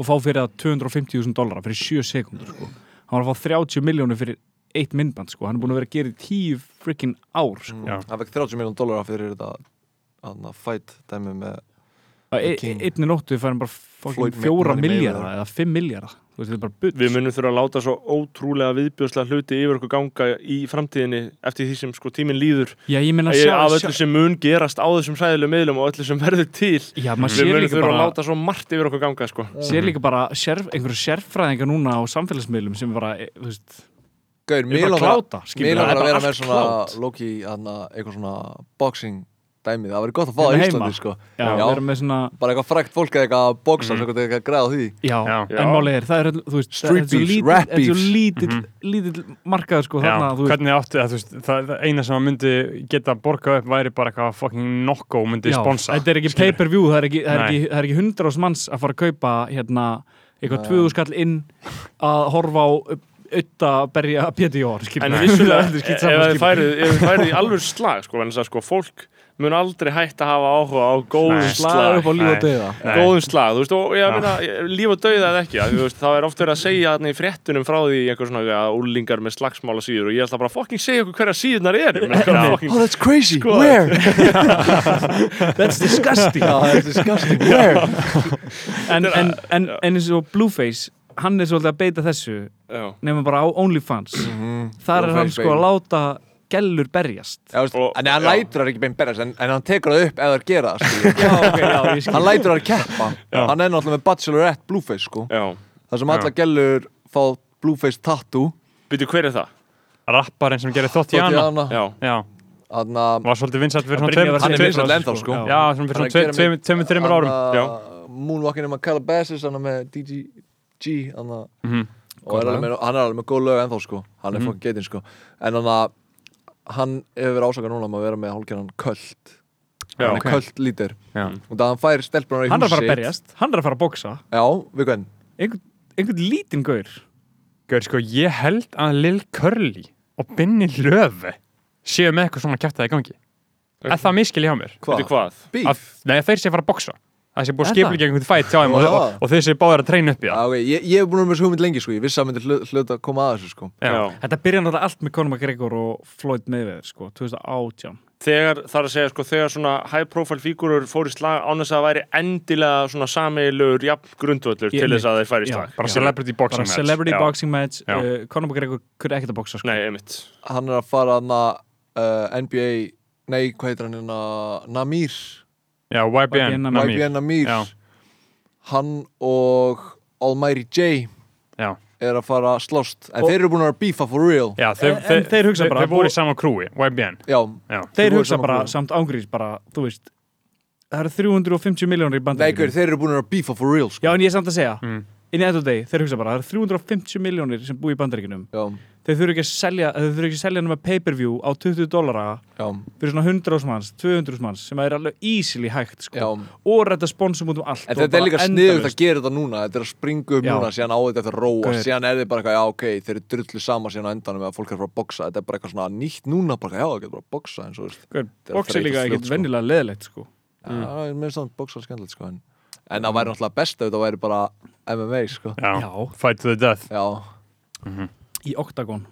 og fá fyrir það 250.000 dólara fyrir 7 sekundur sko. hann var að fá 30 miljónir fyrir eitt myndband, sko, hann er búin að vera að gera í 10 freaking ár, sko Já. hann fekk 30 miljón dólar fyrir þetta hann að fight dæmi með Á e- King. einni nóttu fær hann bara fucking Floyd fjóra Money miljardar Mayweather. eða 5 miljardar, þú veist, þetta er bara bull sko. Við munum þurfa að láta svo ótrúlega viðbjöðslega hluti yfir okkur ganga í framtíðinni eftir því sem sko tíminn líður Já, ég meina Ég- sjá, af sjá, öllu sem mun gerast á þessum sæðilegum miðlum og öllu sem verður til Já, maður Við sér munum líka þurfa að bara, láta svo margt yfir okkur ganga sko sér líka bara sérf, einhverju sérfræðingar núna á samfélagsmiðlum sem bara, e, þú veist, gaur, eru mér bara langar kláta, mér skilur langar að bara vera með allt svona klátt. Loki þarna, eitthvað svona boxing dæmi það væri gott að fá á Hérna heima. Íslandi sko Já, Já. vera með svona, bara eitthvað frækt fólk eða eitthvað að boxa mm. eitthvað eitthvað að græða á því já, Já. en Já. málið er, það er, öll- þú veist, Street þetta er svo beefs, lítill- rap þetta er svo beefs. lítill, Mhm. lítill markaður, sko, þarna, já. þú veist, hvernig áttu það, þú veist, það, það eina sem að myndi geta borgað upp væri bara eitthvað fucking nokko myndi já, sponsa þetta er ekki skilur. pay-per-view, það er ekki, það er Nei. ekki, það er ekki hundraðs manns að fara að kaupa, hérna, eitthvað tvöðu skall inn að horfa á auðta berja PTO, skilur En við. vissulega, Þetta er skýrt ef saman, þið skilur. færið, ef þið færið í alveg slag sko, en þess að sko, fólk mun aldrei hægt að hafa áhuga á góðum Nei. Slag slag upp á líf Nei. og döða. Nei. góðum slag, þú veist, og ég Já. meina líf og dauða eða ekki, að, þú veist, þá er oft verið að segja þarna í fréttunum frá því einhver svona að úlingar með slagsmála síður og ég ætla bara að fokking segja okkur hverja síðunar eru menn, hverja Oh fucking- that's crazy, where? That's disgusting. Já, that's disgusting, where? en, en, en, en eins og Blueface hann er svolítið að beita þessu Já. nema bara á OnlyFans þar er hann Blueface, sko að láta gellur berjast Já, veist, Og- en hann já. lætur það ekki bein berjast en, en hann tekur það upp eða það gera það skilur. já, ok, já, ég skil hann lætur það að keppa hann er náttúrulega með Bachelorette Blueface sko. Já, það sem alla gellur fá Blueface tattoo býtu hver er það? rapparinn sem gerir þótt í hana Tatiana, Já, já, þarna, var svolítið vinsætt fyrir Brynjar svona var tveim- hann Tveir- er tveim- vinsæll tveir- ennþá sko sko. já, svona Hann er fyrir að gera svona tveim- mig- tveimur, þreimur árum árum Moonwalking um að Calabasas hann er með DGG hann að- Mhm. og er alveg með, hann er alveg með góð lög ennþá sko hann er mm. fokkin getin sko en hann að hann hefur verið ásakað núna um að vera með hálfgerðan köld já, hann er köld lítir Já. og það hann fær stelpunar í hann er að fara að húsið berjast, hann er að fara að boksa já, við hvern einhvern, einhvern lítinn gaur Gaur, sko, ég held að Lil Curly og Binni Löfi séu með eitthvað svona kæftið í gangi Er það miskil hjá mér? Veitu hvað? Að, Bíf? nei, þeir sé að fara að boksa Það sé búið Er að skipla það? ekki einhvern fætt hjá þeim og, Já. og, og þeir sé báðir að treyna upp í Já, það ok, ég, ég hef búin að vera með svo hugmynd lengi sko, ég vissi að myndi hlut, hlut að koma að þessu sko Já. Já. Þetta byrja náttúrulega allt með Conor McGregor og Floyd Mayweather sko, 2018 Þegar, þar að segja, sko, þegar svona high profile fígurur fór í slag án þess að það væri endilega svona samilegur jafn grundvöllur Ég- til þess að þeir færi í Já. slag. Bara Já. celebrity boxing bara match celebrity Já. boxing match Já. uh, Conor McGregor kunni ekkert að boksa sko. Nei, einmitt. Hann er að fara hann að uh, NBA, nei, hvað heitir hann hérna, Namir Já, YBN, YBN, Nami. YBN Namir Já. Hann og Almighty J Já. er að fara að slást En Og- þeir eru búin að vera að bífa for real Já, þeir, En- en þeir hugsa bara- Þeir voru í sama krúi, YBN Já, Já, Þeir Þeir voru hugsa saman bara klúbbi. samt ángrís bara, þú veist Það eru 350 miljónir í nei, gaur, bandaríkjum þeir eru búin að vera að bífa for real Já, sko en ég er samt að segja Mm. In the end of the day, þeir hugsa bara, það eru 350 miljónir sem búi í bandaríkinum Já, Þeir þurfi ekki að selja, þeir þurfi ekki að selja nema pay-per-view á 20 dólara já, fyrir svona 100 ás manns, 200 manns sem er alveg easily hægt já sko. og rætta sponsum út um allt En og þetta er bara líka sniðugt að endalaust. gera þetta núna Þetta er að springa upp Já. núna, síðan á þetta eftir að róa Gaur. Síðan er þið bara eitthvað, já ok, þeir eru drullu sama síðan á endanum eða fólk er að fara að boksa Þetta er bara eitthvað svona nýtt núna, bara já, það getur bara að boksa eins og þú veist Gaur, er að Box er líka þreytast fljótt, ekkert sko. vennilega leðilegt sko. Já, Mm. það er mér samt boksa skemmtilegt sko en, en það væri náttúrulega best ef það væri bara MMA sko já. Já. Fight to the death Já, í Octagon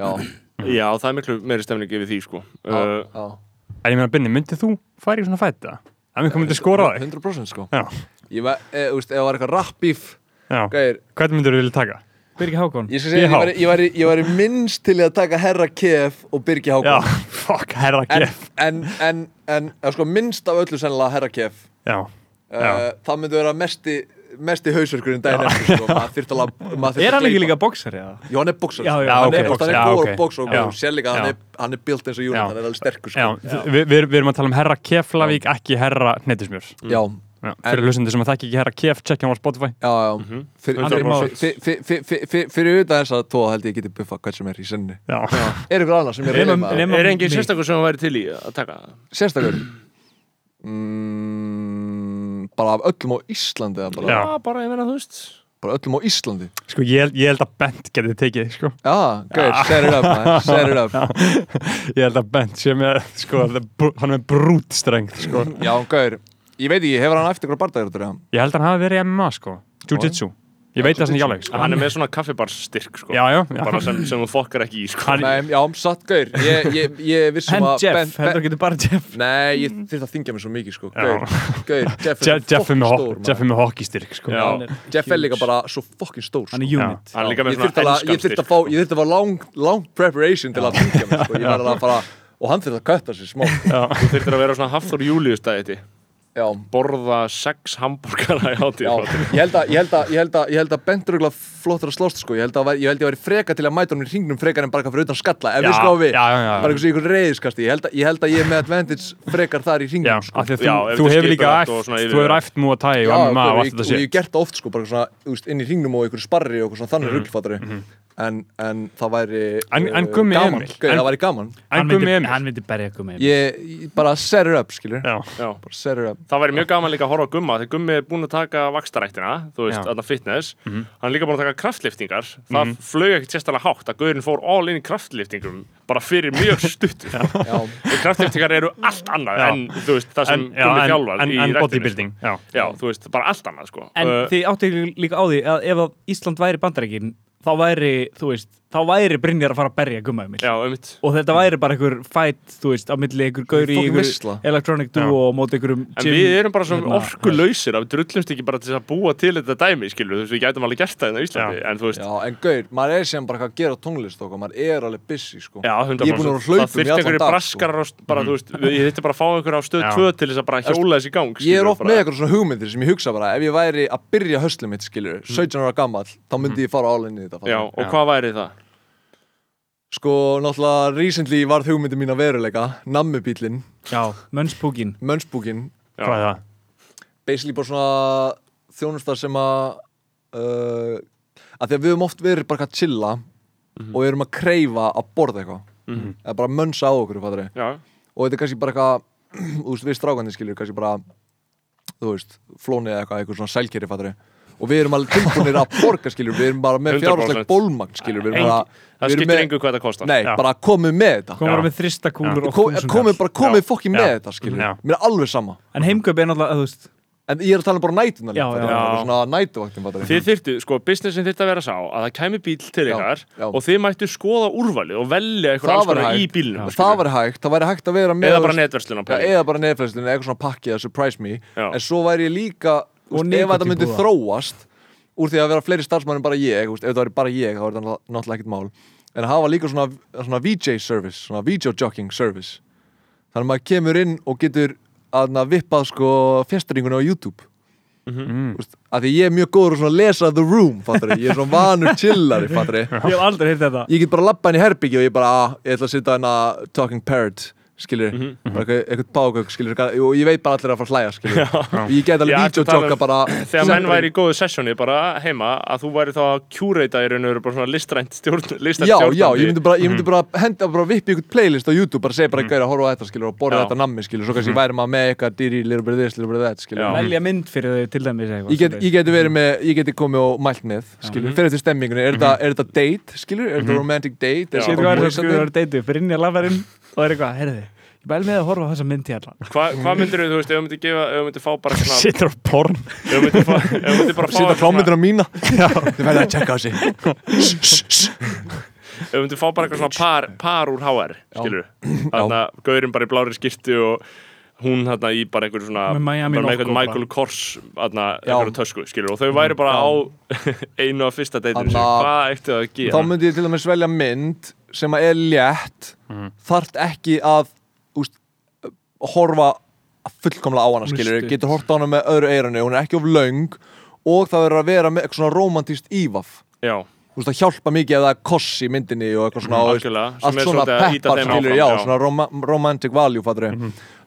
já, Mhm. Já, það er miklu meiri stemning yfir því, sko. já, Uh, já En ég meina, Binni, myndið þú færi í svona fæta? Það myndið Eh, myndið skora á þig 100% sko Já, Ég var, e, þú veist, ef það var eitthvað rappbíf já Gæir, Hvernig myndir þú vilja taka? Birgir Hákon ég skal segja, BH. þér, ég væri, ég, væri, ég væri minnst til í að taka Herra KF og Birgi Já, Hákon fuck, herra En, gef en, en, en, en sko, minnst af öllu sennilega Herra KF Já, uh, Já. Það myndi vera mesti mesti hausverkurinn daginn eftir sko, maður þyrfti alveg maður þyrfti er að hann ekki gleypa- líka boxari eða? Jú, hann er bóksar Já, já, hann ok. er, þú veist, hann Já, er góður ok. bóksar og Já. góður sér líka, hann Já. er, hann er built eins og Já. júnit, hann er alveg sterkur sko. já, já. Við vi, vi erum að tala um herra keflavík, ekki herra hnetismjör já, Já, fyrir hlustandi sem að þekki ekki herra kef, tjekkja hann á Spotify já, já. Fyrir- 100%. fyrir- fyrir- fyrir- fyrir- fyrir- fyrir utan þess að tó held ég geti buffa hvað sem er í senni Já, er ykkur annað sem er Nema- reyma nema- er engin mig. sérstakur sem hann væri til í að taka? sérstakur mm, bara af öllum á Íslandi eða bara, Já. bara, ég meina, þú veist. bara öllum á Íslandi sko, ég, held- ég held að Bent getið tekið, sko já, gæður, set it up man, set it up Ég held að Bent sem er, sko, the br- hann er brút strengt, sko já, gæður, ég veit ekki, hefur hann eftir ykkur bardagur út í það? Ég held að hann hafi verið í MMA, sko Jiu-Jitsu Ég veit það sem ekki alveg, sko Hann er með svona kaffibarsstyrk, sko. Já, já, já. Bara sem, sem þú fokkar ekki í, sko. Hann- Nei, já, um satt gauður, ég, ég, ég vissum Hend að Jeff, hendur getur bara Jeff Nei, ég þurfti að þingja mig svo mikið sko Já. Gaur, gaur, Jeff Je er Jeff svo er fokkin með, stór ho- Jeff er maður. með hockeystyrik, sko Já. Hann er Jeff er huge. líka bara svo fokkin stór hann sko. er unit Hann er líka með Ég þurfti svona alveg- enskan ég þurfti styrk. sko. að fá, ég þurfti að fá long, long preparation til að þingja mig sko Ég var að fara, og hann þurfti að kötta sér smá sko. Þú þurftir að vera svona Hafþór Júliustæði Já, borða sex hambúrgara í já, hátíð ég held að, ég held að, ég held að, ég held að Bentur er flottur að slást sko Ég held að, væri- ég held að ég væri freka til að mæta honum í ringnum frekar en bara eitthvað fyrir utan skalla Ef Já, við slá við, já, já, já. bara eitthvað sem ykkur reyðiskasti Ég held að, ég held að ég er með advantage frekar þar í Já, ringnum sko af því að Já, þú, ef þú þetta er hefur líka skipulagt æft, og svona þú hefur yfir- æft múa tæi og MMA Já, gaur, og ég- allt þetta og ég sé hef gert það oft sko, bara svona, þú veist, inn í hringnum og einhverju sparri og eitthvað svona þannig rullfattari en, en það væri Mhm. En- eh, en Gummi gaman, Emil, gaur, en- það væri gaman hann En Gummi myndi, Emil hann myndi berja gummi Emil. ég, ég bara set it up, skilur Já, Já. bara set it up Það væri mjög gaman líka að horfa á Gumma þegar Gummi er búin að taka vakstaræktina þú veist, Já. Mhm. alltaf fitness hann er líka búin að taka kraftliftingar það flög ekkert sérstæðlega hátt að Gaurin fór all in í kraftliftingum bara fyrir mjög stutt já, kraftliftingar eru allt annað Já. en þú veist, það sem en, já, Gummi en, þjálfar en, í en ræktinni, bodybuilding já. sko. Já, þú veist, bara allt annað sko. en uh, þið áttu líka á því að ef að Ísland væri bandaríkin þá væri, þú veist, þá væri Brynjar að fara að berja gumma um Emil Já, einmitt og þetta væri bara einhver fight, þú veist, á milli einhver gaur í Fucking einhver veisla. electronic duo og móti einhverjum En gym- við erum bara svona hérna, orkulöysir að við drullumst ekki bara til þess að búa til þetta dæmi, skilur, þú veist, við gætum alveg gert það inn á Íslandi, en þú veist, já, en gaur, maður er sem bara eitthvað að gera tónlist og maður er alveg busy sko Já, 100%. Ég er búinn að vera á hlaupum Það þurfti í allan einhverju dag, Mm. braskarar sko. bara, þú veist, ég þurfti bara að fá einhverju á stöð Já. 2 til þess að bara hjóla þessi í gang Ég er skilurðu, oft bara. með eitthvað svona hugmyndir sem ég hugsa bara ef ég væri að byrja höstlum mitt, skilur Mhm. 17 ára gammal, þá myndi ég fara álinni í þetta Já, fattar. og hvað væri það? Sko, náttúrulega, recently varð hugmyndin mín að veruleika Nammubílin, já, mönnspúkin Mönnsbúkin Hvað er það? basically bara svona þjónusta sem að uh, að því að við höfum oft verið bara eitthvað að chilla og við erum að kreyfa að borða eitthvað eða bara mönsa á okkur fattari. Já, og þetta er kannski bara eitthvað þú veist, við strákandi skilur kannski bara þú veist, flónið eða eitthvað, eitthvað svona sælkeri fattari og við erum alveg tilbúinir að borga skilur við erum bara með 100% fjárhagsleg bólmagn skilur við erum bara, það við erum skiptir með- engu hvað það kostar nei, Já. bara komið með þetta komum Já. bara með þristakúlur og Kom, þúsundar. komið bara, komið fokkin með Já. þetta skilur Já. mér er alveg sama en heimgöp er náttúrulega, þú veist en ég er að tala um bara nætuna Já, já. svona nætuvaktin bara Þið þyrftu, sko, businessin þyrfti að vera sá að það kæmi bíl til Já, ykkar já. og þið mættu skoða úrvalið og velja eitthvað Það alls var konar hægt. í bílnum það væri hægt, það væri hægt að vera með eða bara netverslun á Já, pæli eða bara nefnfæðslunni, eitthvað svona pakki eða surprise me Já. en svo væri ég líka, Og úst, ef þetta myndi nikótínpúða. þróast úr því að vera fleiri starfsmann en bara ég, úst, ef það væri bara ég þá er þetta náttúrulega ekkert mál en að hafa líka svona, svona VJ service svona video jogging service þannig að maður kemur inn og getur að vippað sko fjastringunni á YouTube Mm. úst, að því ég er mjög góður að svona lesa the room fattari. ég er svona vanur chillari fattari. ég hef aldrei heyrt þetta ég get bara lappa inn í herbyggi og ég bara, ah, ég ætla að sitja hérna talking parrot, skilur mm Mhm. bara eitthvað, eitthvað bágögg, skilur, og ég veit bara allir að fara að hlæja, skilur, og ég get Ég alveg ætti að tala videojogga um- bara þegar menn væri í góðu sessjóni bara heima að þú væri þá að kjúreita í raun og veru bara svona listrænt stjórn listrænt Já, stjórnandi Mhm. já, ég myndi bara, ég myndi bara henda bara vippi ykkur playlist á YouTube, bara segja bara gæra að horfa á þetta, skilur, og borða Já. Mhm. þetta nammi, skilur, svo kannski væri maður með eitthvað dýri, little bit of this, little bit of that, Já. Mhm. skilur. velja mynd fyrir þau til dæmis eitthvað Ég get, ég geti verið með, ég geti komið og mælt með, skilur, fyrir eftir stemmingunni, er þetta, er þetta date, skilur, er þetta romantic date, er Mhm. Já. Getur bara verið að moist þarna? skrifa að deytu, brinn í lafarinn og er eitthvað, heyrðu, ég bæl með að horfa á þessa mynd hérna. Hva- hvað myndir þú, veist, ef þú myndir gefa ef þú myndir fá bara svona ef Sittur á porn þú myndir fá- ef þú myndir bara fá Setja eitthvað svona- klámyndina mína, þið verða að checka á sig. ef við myndum fá bara eitthvað svona par, par úr HR skilur þarna gaurinn bara í blári skirtu og hún þarna í bara einhver svona Með Miami bara með Loco eitthvað bara. Michael Kors þarna Já. einhverju tösku skilur og þau væri bara á einu af fyrsta deitinu sinni Þarna- hvað eftir það að þá gera myndi ég til dæmis velja mynd sem að er létt Mhm. þarft ekki að úst, horfa fullkomlega á hana Hún er skilur, stutt. getur horta á hana með öðru eirunni hún er ekki of löng og það verður að vera með eitthvað svona romantíst ívaf já, Þú veist, það hjálpa mikið ef það er koss í myndinni og eitthvað svona, Mhm, þú veist, algjörlega, sem allt er svona svolítið að ýta peppar þeim skilur, áfram, já, já. Mhm. svona rom romantic value, fattur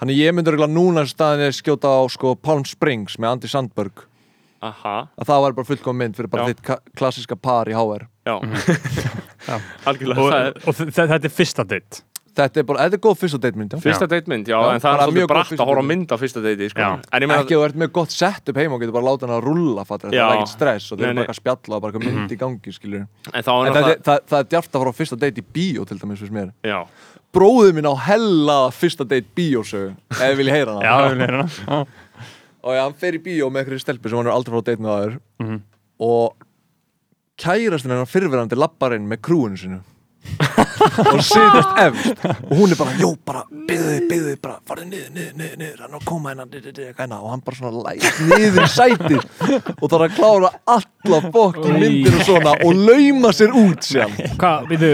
Þannig ég myndi regla núna staðinni skjóta á sko Palm Springs með Andy Sandberg aha, að það var bara fullkom mynd fyrir bara Já. þitt ka- klassiska par í HR já Já. algjörlega og, það er og þe- þetta er fyrsta date Þetta er bara, þetta er góð fyrsta date mynd, já Fyrsta deitmynd, já, Já, en það er bara svolítið mjög góð bratt fyrsta að horfa á date. mynd á fyrsta deiti, sko. Já. En ég meina, ekki að þú ert með gott setup heima og getur bara láta hann að rulla fattur það Já. er ekkert stress og þeir Nei, nei. Mhm. eru bara eitthvað að spjalla og bara eitthvað mynd í gangi skilur en en þá er það, það, náttúrulega, það, það er djart að fara á fyrsta date í bíó til dæmis fyrst mér já, bróðið minn á hella fyrsta date bíósögu ef ég vilja heyra já, hana við erum hérna. og ja, hann fer í bíó með einhverju stelpu sem hann er aldrei frá að date með aður Mhm. og kærastinn hennar fyrrverandi labbarinn með krúinu sinu og sitast efst og hún er bara, jú, bara, byggðu, byggðu bara, farðu niður, niður, niður, niður hann á að koma hennar, niður, niður, hennar og hann bara svona læst niður í sætið og það er að klára alla fokkin myndir og svona og lauma sér út sér Hvað, veitu,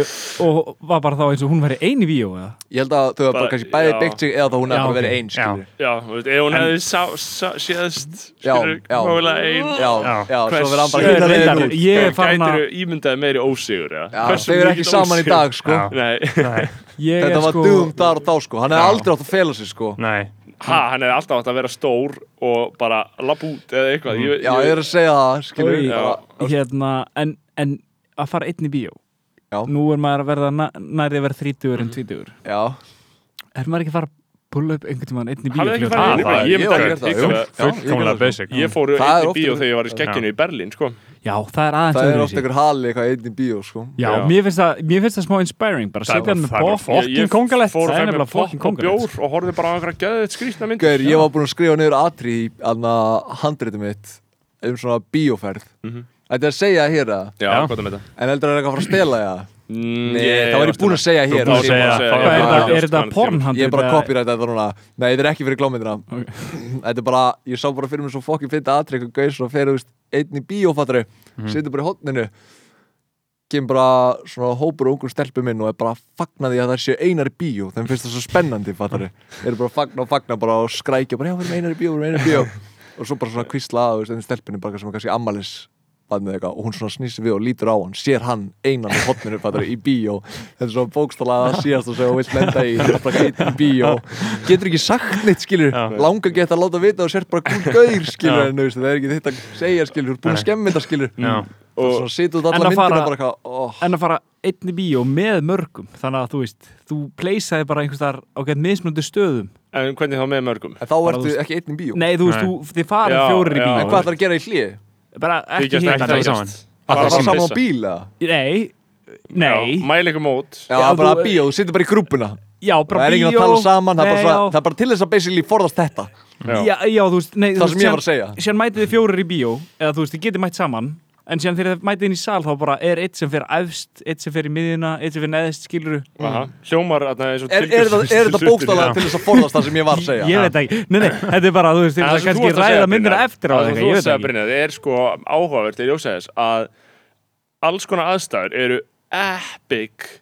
og var bara þá eins og hún væri ein í víó eða? ég held að þau hafa bara Bara- kannski bæði já. byggt sig eða þá hún Já, er bara verið ok. einn skilur já, þú veist, ef hún hefði sá, sá, séðst, Já, skilur, já. mögulega ein, já, Já. já, svo verður hann bara Hversu- hinna Reyndar, leiðin út Ég er farin að, Gætiru ímyndaði meiri ósigur eða? Já, Hversu þau eru mikill ekki saman í ósigur? dag sko Já. Nei, ég Þetta er var sko, dugum þar og þá sko Hann hefði Já. aldrei átt að fela sig sko nei, ha, hann hefði alltaf átt að vera stór og bara lapp út eða Mm. eitthvað ég, Já, ég er að segja það, skilur Oj. við bara- hérna, en, en að fara einn í víó. Já. Nú er maður að verða na- nærri að vera 30 Mhm. en 20. Já, Er maður ekki að fara að pulla upp einhvern tímann einn í Hafið bíó? þið ekki farið inn í fljótlega? Ah, bíó? Ég það- ég myndi hef að gert það, hugsa jú. það. Já, ég gerði fullkomlega það. basic Ég fór Það er einn í oft bíó verið- þegar ég var í skekkinu í Berlín sko. Já, það er aðeins Það er öðruvísi. ofta ykkur hali eitthvað einn í bíó sko Já, Já. Mér, finnst það, mér finnst það smá inspiring bara Það setja var- hann með það var pop fokkin Ég- ég kóngalegt. Fór Það er fram með nefnilega sko. fokkin popp og kóngalegt. bjór og horfði bara á einhverja geðið skrýtna mynd Gaur, ég var búinn að skrifa niður atri í anna handritum mitt um svona bíóferð Þetta er að segja það hér að Já, Já. hvað er þetta? En heldur það er eitthvað að fara að stela það Nei, Nei, það var ég búinn að segja hér sko. Þú búinn að segja- Hvað Já, Er já, þetta- já, er þetta pornhandrið? Ég er bara að eða- copyright þetta núna Nei, þetta er ekki fyrir glámyndina Þetta er bara, ég sá bara fyrir mér svo fokkin fyrir aðtrykk og gauð svo fyrir, þú veist, einn í bíófattari mm. situr bara í hotninu kemur bara svona hópur og ungur stelpum inn og er bara að fagna því að það séu einar í bíó þeim finnst það svo spennandi, fattari eru bara að fagna og fagna bara og skrækja bara, já, við erum einar í bíó, við erum einar í bíó og svo bara svona kvísla að, þú veist, einn stelpunni bara sem er kannski ammalis badnið eitthvað og hún svona snýsi við og lítur á hann sér hann einan í hotninu fattari í bíó þetta er svona bókstalaða síðast og segja og vill lenda í þú ert bara einn í bíó getur ekki sagt neitt skilur langar gett að láta vita og sér bara gúl gaur skilur Já. en þú veist, það er ekki þetta að segja skilur þú er búin að skemmi þetta skilur Já. Mm. og svona situr út En alla að myndina fara- bara eitthvað oh, en að fara einn í bíó með mörgum þannig að þú veist, þú pleysaði bara einhvers þar á gett mismunandi stöðum En hvernig þá með mörgum? Bara en þá þú ertu veist- ekki einn í bíó Nei, þú veist, Nei. þú, þið farið Já, fjórir í já. bíó en hvað ætlar að gera í hlið? bara ekki Þykjast hitt ekki það hann. saman. þekkjast. Bara Bara bara saman á pissa. bíl eða? Nei, Já, nei, Mæla ykkur mót Já, Já, bara þú- að bíó, þú sittir bara í grúpuna já, bara Það er enginn að bíó, tala saman, það er, nei, bara svona, já. það er bara til þess að basically forðast þetta Já. já, já, þú veist, nei, Það sem ég var að segja Sér mætið þið fjórir í bíó, eða þú veist, þið getið mætt saman En sér þegar þið mætið inn í sal þá bara er eitt sem fer efst, eitt sem fer í miðjuna, eitt sem fer neðist, skiluru Aha. Hljómar þarna eins og Er, er, það, er þetta bókstaflega til þess að forðast það sem ég var að segja? Ég veit ekki, nei, nei, þetta er bara, þú veist, þið Það er kannski ræða myndina eftir á það það, Þú ég veist veit að ekki Brynja, það er sko áhugavert í ljósa þess að alls konar aðstæður eru epic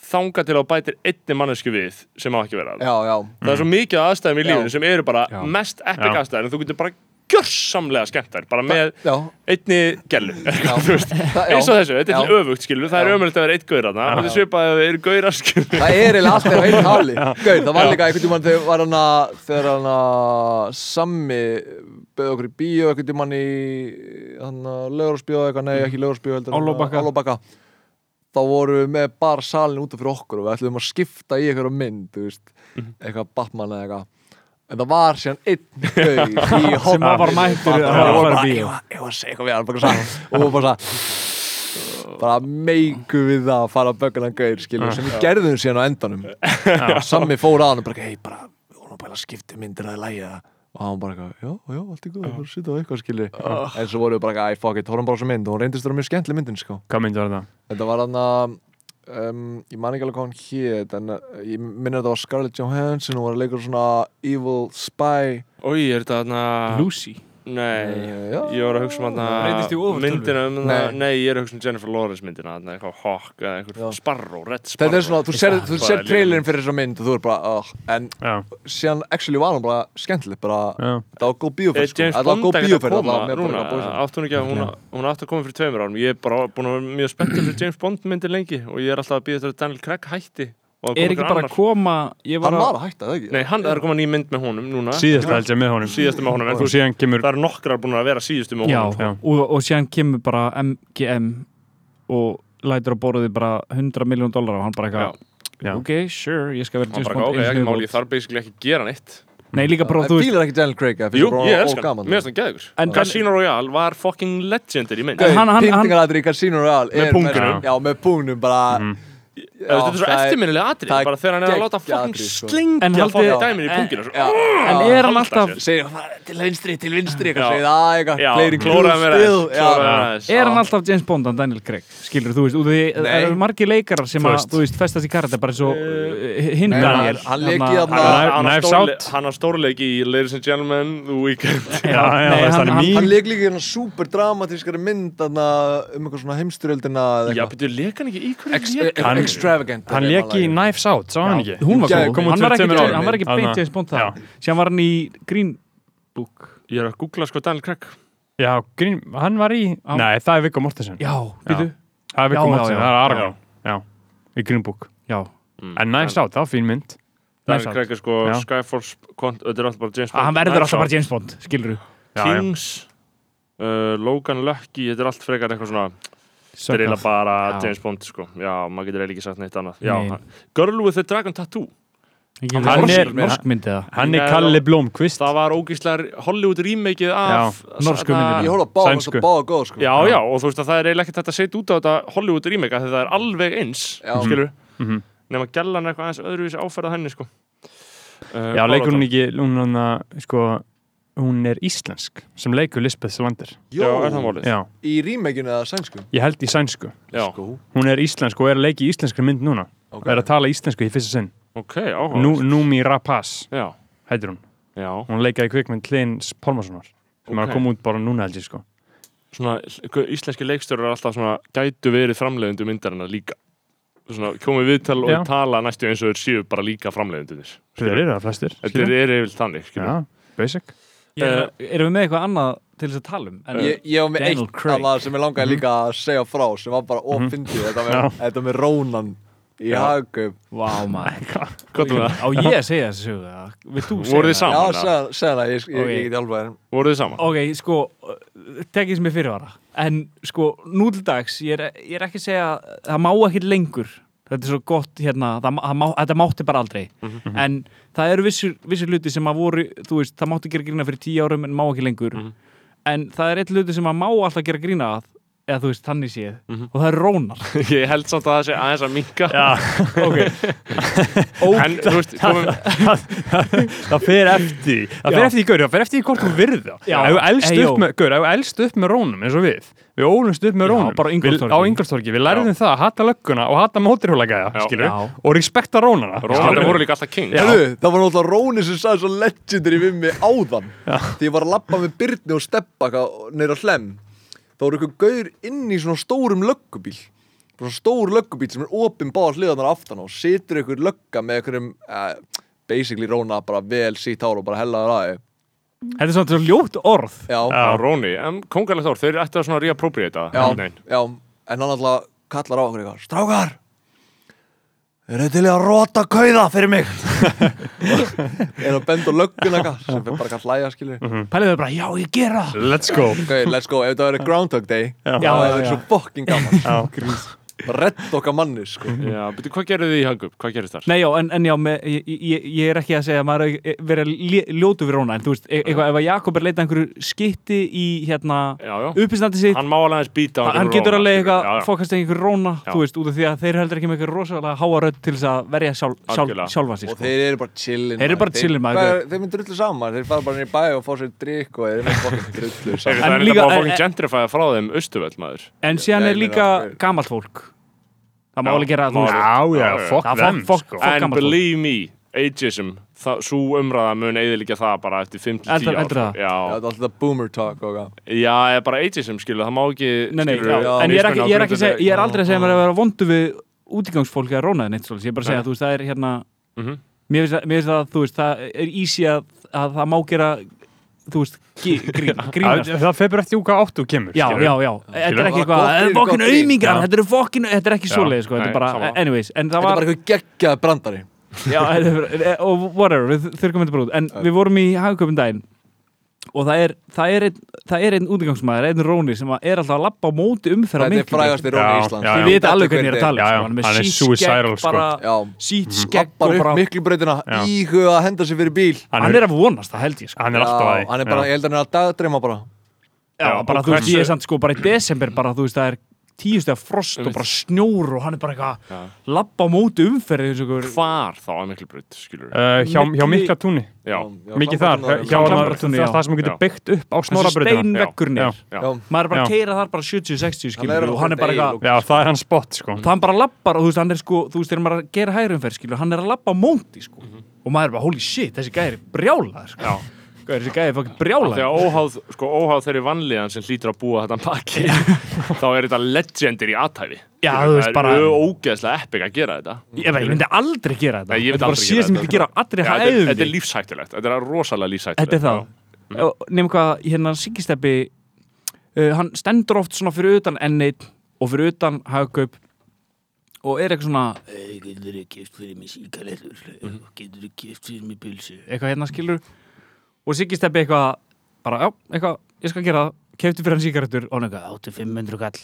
þanga til að þú bætir einni mannesku við sem á ekki að vera Já, já það er svo mikið af aðstæðum í Já. lífinu sem eru bara Mm. Já. mest epic Já. aðstæður en þú getur bara gjörsamlega skemmt þær bara með Já, einni gellu já, Þú veist, Það- já. eins og þessu, þetta er Já. til öfugt skilur það er Já. ömulegt að vera eitt gaur þarna og það svipaði að það eru gaurar skilur Það er eiginlega alltaf einn háli Gauð, það var líka einhvern tímann þegar var hann að þegar hann að Sammi bauð okkur í bíó einhvern tímann í hann að lögursbíó eitthvað, nei ekki lögursbíó heldur en, Álfabakka. uh, Álfabakka Þá vorum við með bara salin út af fyrir okkur og við ætlum að skipta í eitthvað mynd, þú veist eitthvað Batman eða eitthvað En það var síðan einn gauð í hópa var bara mættur að Það var fara í bara, bíó. ég var að segja eitthvað við hann bara svona, og var bara svona bara meiku við það að fara að böggan hann gauðir skilur sem við gerðum síðan á endanum Og Sammi fór að hann og bara hei bara, við vorum að bara skipta um myndir að lægja og hann bara eitthvað, já, já, allt í góð bara að sitja á eitthvað skilur Ah. en svo vorum við bara, eitthvað, æ, fuck it, horfum bara á þessu mynd og hún reyndist það mjög skemmtileg myndin sko Hvað myndi var þetta? þetta var hann að um, ég man ekki alveg hvað hann hét en uh, ég minna þetta var Scarlett Johansson hún var að leika svona evil spy Új, er þetta þarna Lucy Nei, já. ég var að hugsa um Breytist í þarna ofurtölvu? myndina um Nei. það, nei, ég er að hugsa um Jennifer Lawrence myndina, þarna eitthvað Hawk eða Já. eitthvað Sparrow, Red Sparrow þetta er svona, þú serð þú Bara ser líka trailerin fyrir þessa mynd og þú er bara, oh, en Já, síðan actually var hann bara skemmtileg bara, já, þetta var góð bíóferð Er sko. James þetta var Bond góð ekkert að bíóferð koma allavega, með núna, bara bóðsinn. átt hún ekki að hún, hún átt að koma fyrir tveimur árum Ég er bara búin að vera mjög spenntið fyrir James Bond myndir lengi og ég er alltaf að býða þetta Daniel Craig hætti og það kom Er ekki einhver bara að annar. koma, ég var hann að var að hætta, það ekki Nei, hann það er að koma ný mynd með honum núna síðasta held ég með honum Síðasta með honum, en Og þú veist, síðan kemur það eru nokkrar búin að vera síðustu með Já, honum já. og, og síðan kemur bara MGM og lætur að borðið bara 100 miljón dólar og hann bara eitthvað, Já. ok, sure, ég skal vera Hann James bara, Bond ok, einu ekki sinni í máli, viðbót." ég þarf basically ekki að gera neitt Nei, líka bara, það þú veist, fílar ekki Daniel Craig það Jú, finnst bara ég of elskar hann, gaman. mér finnst hann geðugur En- Casino Royale var fucking legendary mynd Gau- Gauð, hann- hann- hann- pyntingaratriði í Casino Royale Með er- pungnum. já, með pungnum Mm. bara Já, Þetta er svo eftirminnilega atrið, það er bara þegar hann er að láta geggjað fucking atriði, sko. En slengja haldið- fucking dæmin í sko. en- pungina svo- en en er hann halda alltaf, sér. segir "Fara til vinstri, til vinstri Já. eitthvað segir það eitthvað Já, fleiri klóraði mér still, aðeins, já. klóraði mér aðeins. er hann alltaf James Bond en Daniel Craig, skilur þú veist, út af því, það Nei. eru margir leikarar sem Þú að, veist. þú veist, festast í karate bara eins og uh, hinn Nei, Daniel, hann- hann lék í þarna- þarna- Hann- hann á Knives stórle- Out. Hann á stórleiki í Ladies and Gentlemen The Weekend Já, Já, já, nei, það er hann- þannig hann- mín. hann leik líka í hérna super dramatískari mynd þarna, um eitthvað svona heimstyrjöldina eða Já, eitthvað. betur leik hann ekki í hverju Ex- e- lék Hann- extravagant Hann er lék í lagið. Knives Out, sá hann ekki? hún var Gæði, góð, kom út hann var fyrir ekki, tveimur árum. hann var ekki Þarna. beint James Bond Já. það, síðan var hann í Green Book, Ég er að googla sko Daniel Craig Já, grín, hann var í Hann- Nei, það er Viggo Mortensen já, býtu, Það er Já, Viggo já, Mortensen, já. það er Aragorn Já, í Green Book já, En Knives Out, það var fín mynd Mm. Daniel Knives Out. Craig er sko Já. Skyforce Cont- Þetta er alltaf bara James Bond Ah, hann verður Knives alltaf Out, bara James Bond, skilur Já, já. Kings uh, Logan Lucky Þetta er allt frekar eitthvað svona Þetta er þú, eiginlega bara Já. James Bond sko Já, maður getur eiginlega ekki sagt neitt annað Já, Nei. hann- Girl with the Dragon Tattoo hann er- Eh, er norskmyndið það Hann Nei, er Kalle Blómkvist Það var ógíslega Hollywood remakeið af norsku þarna- myndinni. ég horfði á báða, Sænsku. mér fannst báða góð sko Já, já, og þú veist að það er eiginlega ekkert hægt að setja út á þetta Hollywood remake af því það er alveg eins, Já. skilur Mhm. nema gellan eitthvað aðeins öðruvísi áferða henni, sko uh, Já, leikur hún ekki Hún, hún, sko, hún er íslensk sem leikur Lisbeth Salander Já, er það málið? Já, í rímekinu eða sænsku ég held í sænsku Já, sko Hún er íslensk og er að leiki íslenskri mynd núna ok. Er að tala íslensku í fyrsta sinn ok, áhuga Nú, Númi Rapaz, Já, heitir hún já, Hún leikaði kvikmynd Hlins Pálmarssonar sem er Ok. að koma út bara núna held ég sko svona hva- íslenski leikstjórar er alltaf svona gætu verið framleiðundu myndarinnar líka svona komið viðtal og Já. tala næstu eins og þeir séu bara líka framleiðundunir Þeir eru það flestir Þetta skilur. er yfirleitt þannig, skilur Já, basic Ég- erum við með eitthvað annað til þess að tala um en, Eh, Ég, ég var með Daniel eitt Craig. annað sem ég Mhm. langaði líka að segja frá sem var bara ofindið, þetta, með, Já. þetta með Rónan í Hagaup Vá maður Hvað er það? Á ég að segja þessu sögu eða? Vilt þú segja Voruð þið það? saman? Já, eða? segja segja það, ég, ég, ég Ok. geti alveg en- Voruð þið saman? Ok, sko, uh, tekið sem ég fyrirvara En sko, nú til dags ég er, ég er ekki að segja, það má ekkit lengur Þetta er svo gott hérna það, ma- það má, Þetta mátti bara aldrei En það eru vissir, vissir luti sem að voru Þú veist, það mátti gera grína fyrir tíu árum En má ekki lengur en það er eitt hluti sem maður má alltaf gera grína að eða þú veist, þannig séð, Mhm. og það er rónar Ég held samt að það sé aðeins að minka En þú veist, komum það fer eftir því. það fer Já. eftir í gaur, það fer eftir í hvort þú virð þá Já. ef þú elst Ey, upp jó. með, gaur, ef þú elst upp með rónum eins og við, við ólumst upp með Já, rónum bara á Við- Ingólfstorgi. á Ingolstorki, við lærðum það að hata lögguna og hata mótirhjólaga, Já. skilur Já. og respekta rónana Rónar voru líka alltaf king Hörru, það var náttúrulega Róni sem sagði svo legendary við mig áðan Því ég var að labba með Byrni og Steppa neyra hlem Þá voru ykkur gaur inn í svona stórum löggubíl Svona stór löggubíl sem er opinn báða hliðanar aftan á Situr ykkur lögga með ykkurum uh, Basically Róna bara vel sítt hár og bara hellaður aði Þetta er svona svo ljótt orð Já, já, Já, Róni, en kongalegt ár, þeir ættu að svona reappropriata já, En hann alltaf kallar á okkur eitthvað Strákar Er þið til í að rota kauða fyrir mig? er að benda á löggun eitthvað sem fyrir bara eitthvað að hlæja skilur Pæliðu bara, já, ég gera það let's go Ok, let's go, ef þetta verið Groundhog Day Já, Já, það já, verið já. svo fucking gaman Já. Rett okkar manni, sko Já, betur, hvað gerðu þið í Hagub? Hvað gerðu þar? Nei, já, en, en já, með, ég, ég, ég er ekki að segja að maður er að vera lé- ljótur við róna en þú veist, e- eitthvað, ef að Jakob er að leita einhverju skitti í, hérna, Já, já, uppistandi sitt hann má alveg aðeins býta á hann, einhverju getur Róna, skilur. Já, alveg eitthvað, já. fokast einhverju róna Já. þú veist, út af því að þeir eru heldur ekki með eitthvað rosalega háa rödd til þess að verja sjálf, sjálf, Algjörlega. sjálfa sig Og sko. þeir eru bara chillin Þeir eru bara chillin, maður. Hvað er- Þeir myndir drullu saman, þeir fara bara niður í bæ og fá sér drikk og þeir eru með fucking drullu Þeir saman En það er líka líka- bara en- en- fokkin gentrifæða frá þeim austuvöll maður en síðan Já, er ég meina, líka það er- gamalt fólk það má Já, alveg gera má þú veist. já, já, fuck Já, them fuck- sko. fuck- Fólk And gamalt fólk. believe me, ageism það- Sú umræða mun eðilegja það bara eftir 5-10 ár Heldur- heldur það? Já, Já, þetta er alltaf boomer talk og hvað já, eða bara ageism skilur, það má ekki Nei, nei, skilur, já, en ég er, ekki, ég, er ekki, að segja- ég er Já. aldrei að segja mér að vera vondu við útigangsfólk eða rónaðin eitt svolítið, ég er bara að segja Nei. að þú veist, það er hérna Mhm. mér finnst það- mér finnst það að þú veist, það er easy að, að það má gera þú veist, gí- grín, Það- grínast það fer bara eftir úka átt og kemur Já, skilur. já, já, þetta er ekki Bara eitthvað gott Þetta er grín, fokkin gott grín. aumingar, Já. þetta er fokkin Þetta er ekki Já, svoleið, sko, þetta nei, er bara sama. Anyways, en það Þetta er var bara eitthvað geggjað brandari já, þetta er bara- eh, og whatever, við þurfum þetta bara út en við vorum í hagköpum daginn og það er, það er, einn, það er einn útgangsmaður, einn róni sem að er alltaf að labba á móti umferð Þetta er frægasti rón Já, í Ísland já, Ég já. veit Þetta alveg hvernig ég hver er að tala um, Já, já, sko, með hann er sítt suicidal, skegg sko. bara, Já, Sýtt skegg og lappar upp bara miklubreytina Já. Íhuga að henda sér fyrir bíl Hann er að vonast, það held ég sko. hann er alltaf Já, að hann er bara, ég held að hann er að dagdreima bara Já, Já, bara og þú veist, hversu- ég er samt sko bara í desember bara þú veist, það er tíustu af frost og Einmitt. bara snjór og hann er bara eitthvað Já. að labba á móti umferði eins og einhver- Hvar þá að miklu breyt, skilur Eh, Uh, hjá, hjá Milli- mikla túnni, Já, Já, mikið þar Klambratunnur. hjá Klambratunnur, það já. er það sem þú getur Já. byggt upp á þessi snorabröðina steinveggurinn er Já, maður er bara að Já. keira þar bara 70-60 Hann er skilur að og hann er bara deila eitthvað og- já, það er hans spot sko og hann bara lappar og þú veist, hann er sko, þú veist, þegar maður er að gera hægrumferð, skilur, hann er að lappa á móti, sko, og maður er bara, holy shit, þessi gæði er brjálaður, sko, Mhm. já gæði, þessi gæði er fokkin brjálaður, Þegar óháð, sko, óháð þeirri vanlíðan sem hlýtur að búa þetta pakki þá er þetta legendir í aðtæfi Já, þú veist, bara- Það er ógeðslega epic að gera þetta ég, veit, ég myndi aldrei gera þetta, Nei, ég myndi þetta er aldrei bara síðan gera sem ég þetta. myndi gera á Já, allri þetta, er, þetta er hægum, lífshættulegt, þetta er rosalega lífshættulegt þetta er það, nefnum hvað, hérna, Sigisteppi, uh, hann stendur oft svona fyrir utan N1 og fyrir utan hagkaup og er eitthvað svona, Hey, getur þú kift fyrir mig síkarellur? Mhm. Getur þú kift fyrir mig pulsu? eitthvað hérna skilur og Siggi steppi eitthvað bara, já, eitthvað, ég skal gera það kefti fyrir hann sígarettur og hann eitthvað, áttu 500 kall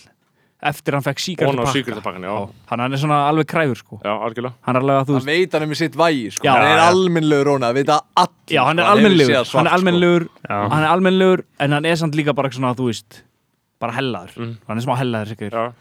eftir hann fekk Hún á sígarettur síkvöldapakkan, já, hann, hann er svona alveg kræfur sko já, algjörlega hann er alveg að þú Hann veist veit hann er með sitt vægi, sko Já, Hann er já. almennlegur róna, veit að allir já, hann er sko. hefur séð almennlegur, svart, hann er sko. almennlegur Já. hann er almennlegur, en hann er samt líka bara svona, þú veist, bara hellaður Mm. hann er smá hellaður sigur Já.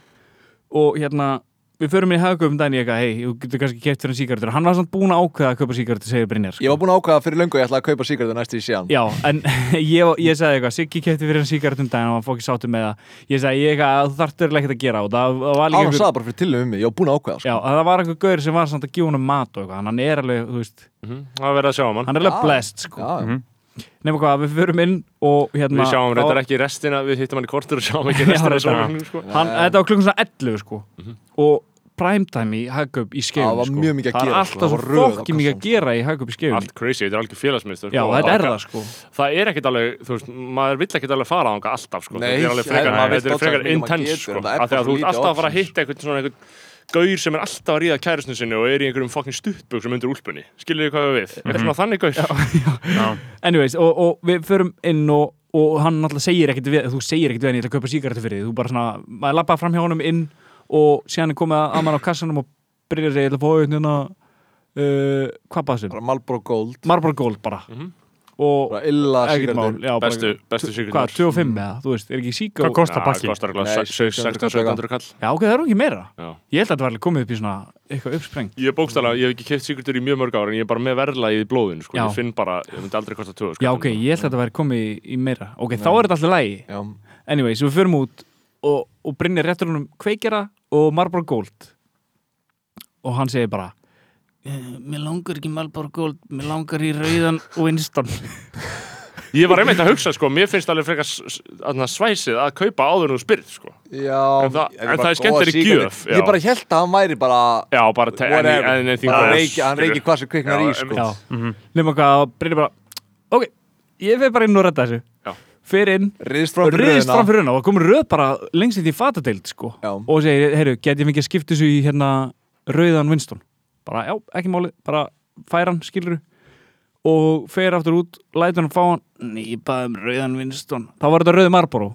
og hérna, við förum í hagkaup um daginn í eitthvað, hei, þú getur kannski keft fyrir hann sígarettur hann var samt búin að ákveða að kaupa sígarettur, segir Brynjar sko. Ég var búin að ákvaða fyrir löngu að ég ætla að kaupa síkartu næstu í síðan Já, en ég, ég sagði eitthvað, Siggi kefti fyrir hann sígarettum daginn og hann fókið sáttu með það. Ég sagði, ég eitthvað, að þú þarftur ekki að gera og það, það var Á, líka hann sagði bara fyrir tilum um mig, ég var búin að ákvaða sko. já, það var eitthvað gaur sem var samt að gefa honum mat og eitthvað, en hann er alveg, þú veist, Mhm, Það er verið að sjá um hann hann er alveg Já. blessed, sko. Já, já. Nefnum hvað, við förum inn og hérna... Við sjáum þá- reyndar ekki restina, við hittum hann í kortur og sjáum ekki Já, restina reyndar. sólarhringnum, sko. Hann, þetta var klukkan svona 11, sko, og primetime í Hagkaup í skeifum, Mhm. Það var sko. mjög mikið að Það er gera, sko. Það alltaf svo var röð á fokkið mikið kassanum, að gera í Hagkaup í skeifum. Allt crazy, þetta er algjör félagsmiðstöð Já, sko. þetta er Og það, sko. það er ekkit alveg, þú veist, maður vill ekkit alveg fara þanga alltaf, sko, Nei, þetta er alveg það er- frekar, maður vill þetta er alltaf frekar mikið maður intense, getur, sko, en af það er því bara að þú ert lítið alltaf að fara að options. hitta einhvern svona einhvern gaur sem er alltaf að ríða kærusnum sinni og er í einhverjum fokkin stuttbuksum undir úlpunni, skilur þið hvað við við, er Mhm. svona þannig gaur, Anyways, og, og við förum inn og, og hann náttúrulega segir ekkert við, þú segir ekkert við hann, ég ætla að kaupa sígarettu fyrir þig, þú bara svona, maður lappaði fram hjá honum inn og síðan er komið að- að mann á kassanum og byrjar að segja, ég ætla að fá hérna, uh, hvað baðsum? Bara Marlboro Gold Marlboro Gold bara. og Bara illa ekkert mál já, bara- Bestu, bestu sigur hvað, 25 mm. eða, þú veist, er ekki sík Hvað kostar pakki? Kostar alveg Nei, 1600 kall Já, ok, það er ekki meira Já. Ég held að þetta var alveg komið upp í svona eitthvað uppsprengt Ég bókstala, ég hef ekki keft sigurður í mjög mörg ára en ég er bara með verðlagið í blóðinu sko. Já. Ég finn bara, ég myndi aldrei kosta 2 sko. Já, ok, ég held að þetta var komið í, í meira Ok, þá er þetta alltaf lægi Já, Anyways, við förum út og, og brinnir rétturunum kveikjara og Marlboro Gold og hann segir bara Mér Eh, langar ekki Malbor Gold, mér langar í rauðan Winston. Ég var einmitt að hugsa, sko, mér finnst alveg frekar s- s- þarna svæsið að kaupa áður nú spyrð sko. já En það- Ég en bara það er góða skemmtilegri sígarettu. gjöf, já. Ég bara held að hann væri bara Já, bara te- en- whatever. en- en- Bara en- reiki- Hann reiki hvað sem kviknar Já, í em- sko já, nema hvað og brinnir bara ok, ég fer bara inn og redda þessu Já. fer inn, Riðst fram fyrir riðist fram röðina. fyrir hennar og það komur röð bara lengst í því fatadeild sko. Já. og segir, heyrðu, get ég mikið að skipta þessu í hérna rauðan Winston bara, já, ekki máli, bara fær hann, skilur og fer aftur út, lætur hann fá hann Nei, ég baði um rauðan Winston. þá var þetta rauði Marlboro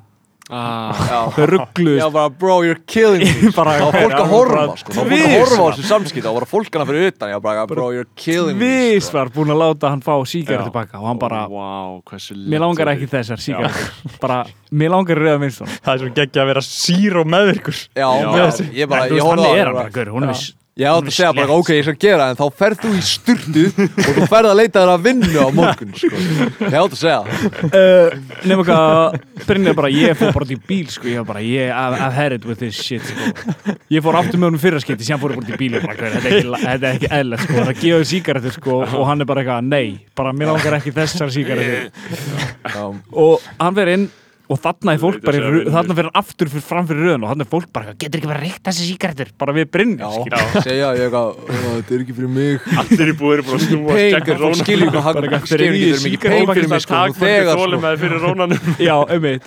Já. þau ruggluðust Já, bara bro, you're killing me Bara- Það var fólk að Bara- horfa sko Það var fólk að Tvisvar. horfa á þessu samskipt Það var fólk hana fyrir utan Já, bara bro, you're killing me Vís sko. var búin að láta hann fá síkar tilbaka og hann bara, Vá, hversu mér langar ekki þessar síkar bara, mér langar rauða Winston Það er svo geggja að vera sír og meðvirkur Já, Já. ég bara, Þú ég veist, hann horfa er hann á hann bara, bara, gaur, hún er viss Ég átti að segja bara, ok, ég skal gera það, En þá ferð þú í styrtu Og þú ferð að leita þér að vinnu á morgun sko. Ég átti að segja það. uh, nema hvað Brynja bara, ég fór bara út í bíl sko, ég var bara, ég, I've, I've had it with this shit sko. ég fór aftur með honum fyrra skipti síðan fór ég bara út í bíl og bara, "Gaur, þetta er ekki, þetta er ekki eðla sko, það gefur sígarettu sko og hann er bara eitthvað, nei, bara mér langar ekki þessar sígarettu Já. og hann verið inn og þarna er fólk Veit bara, í þessi að rö- vinur. þarna fyrir aftur fyrir fram fyrir röðun og þarna er fólk bara, eitthvað, getur ekki bara reykt þessi sígarettur bara við Brynja, skilur. Já, segja, ég eitthvað, "Ó, þetta er ekki fyrir mig Allir í búið eru búin að snúa Pain, gegn þú rónan skilur ekki hvað Bara hann eitthvað, skilur ekki, þriðji þetta er mikið pain sígarettu- fyrir mig sko, nú þegar þólum sko með fyrir rónanum já, einmitt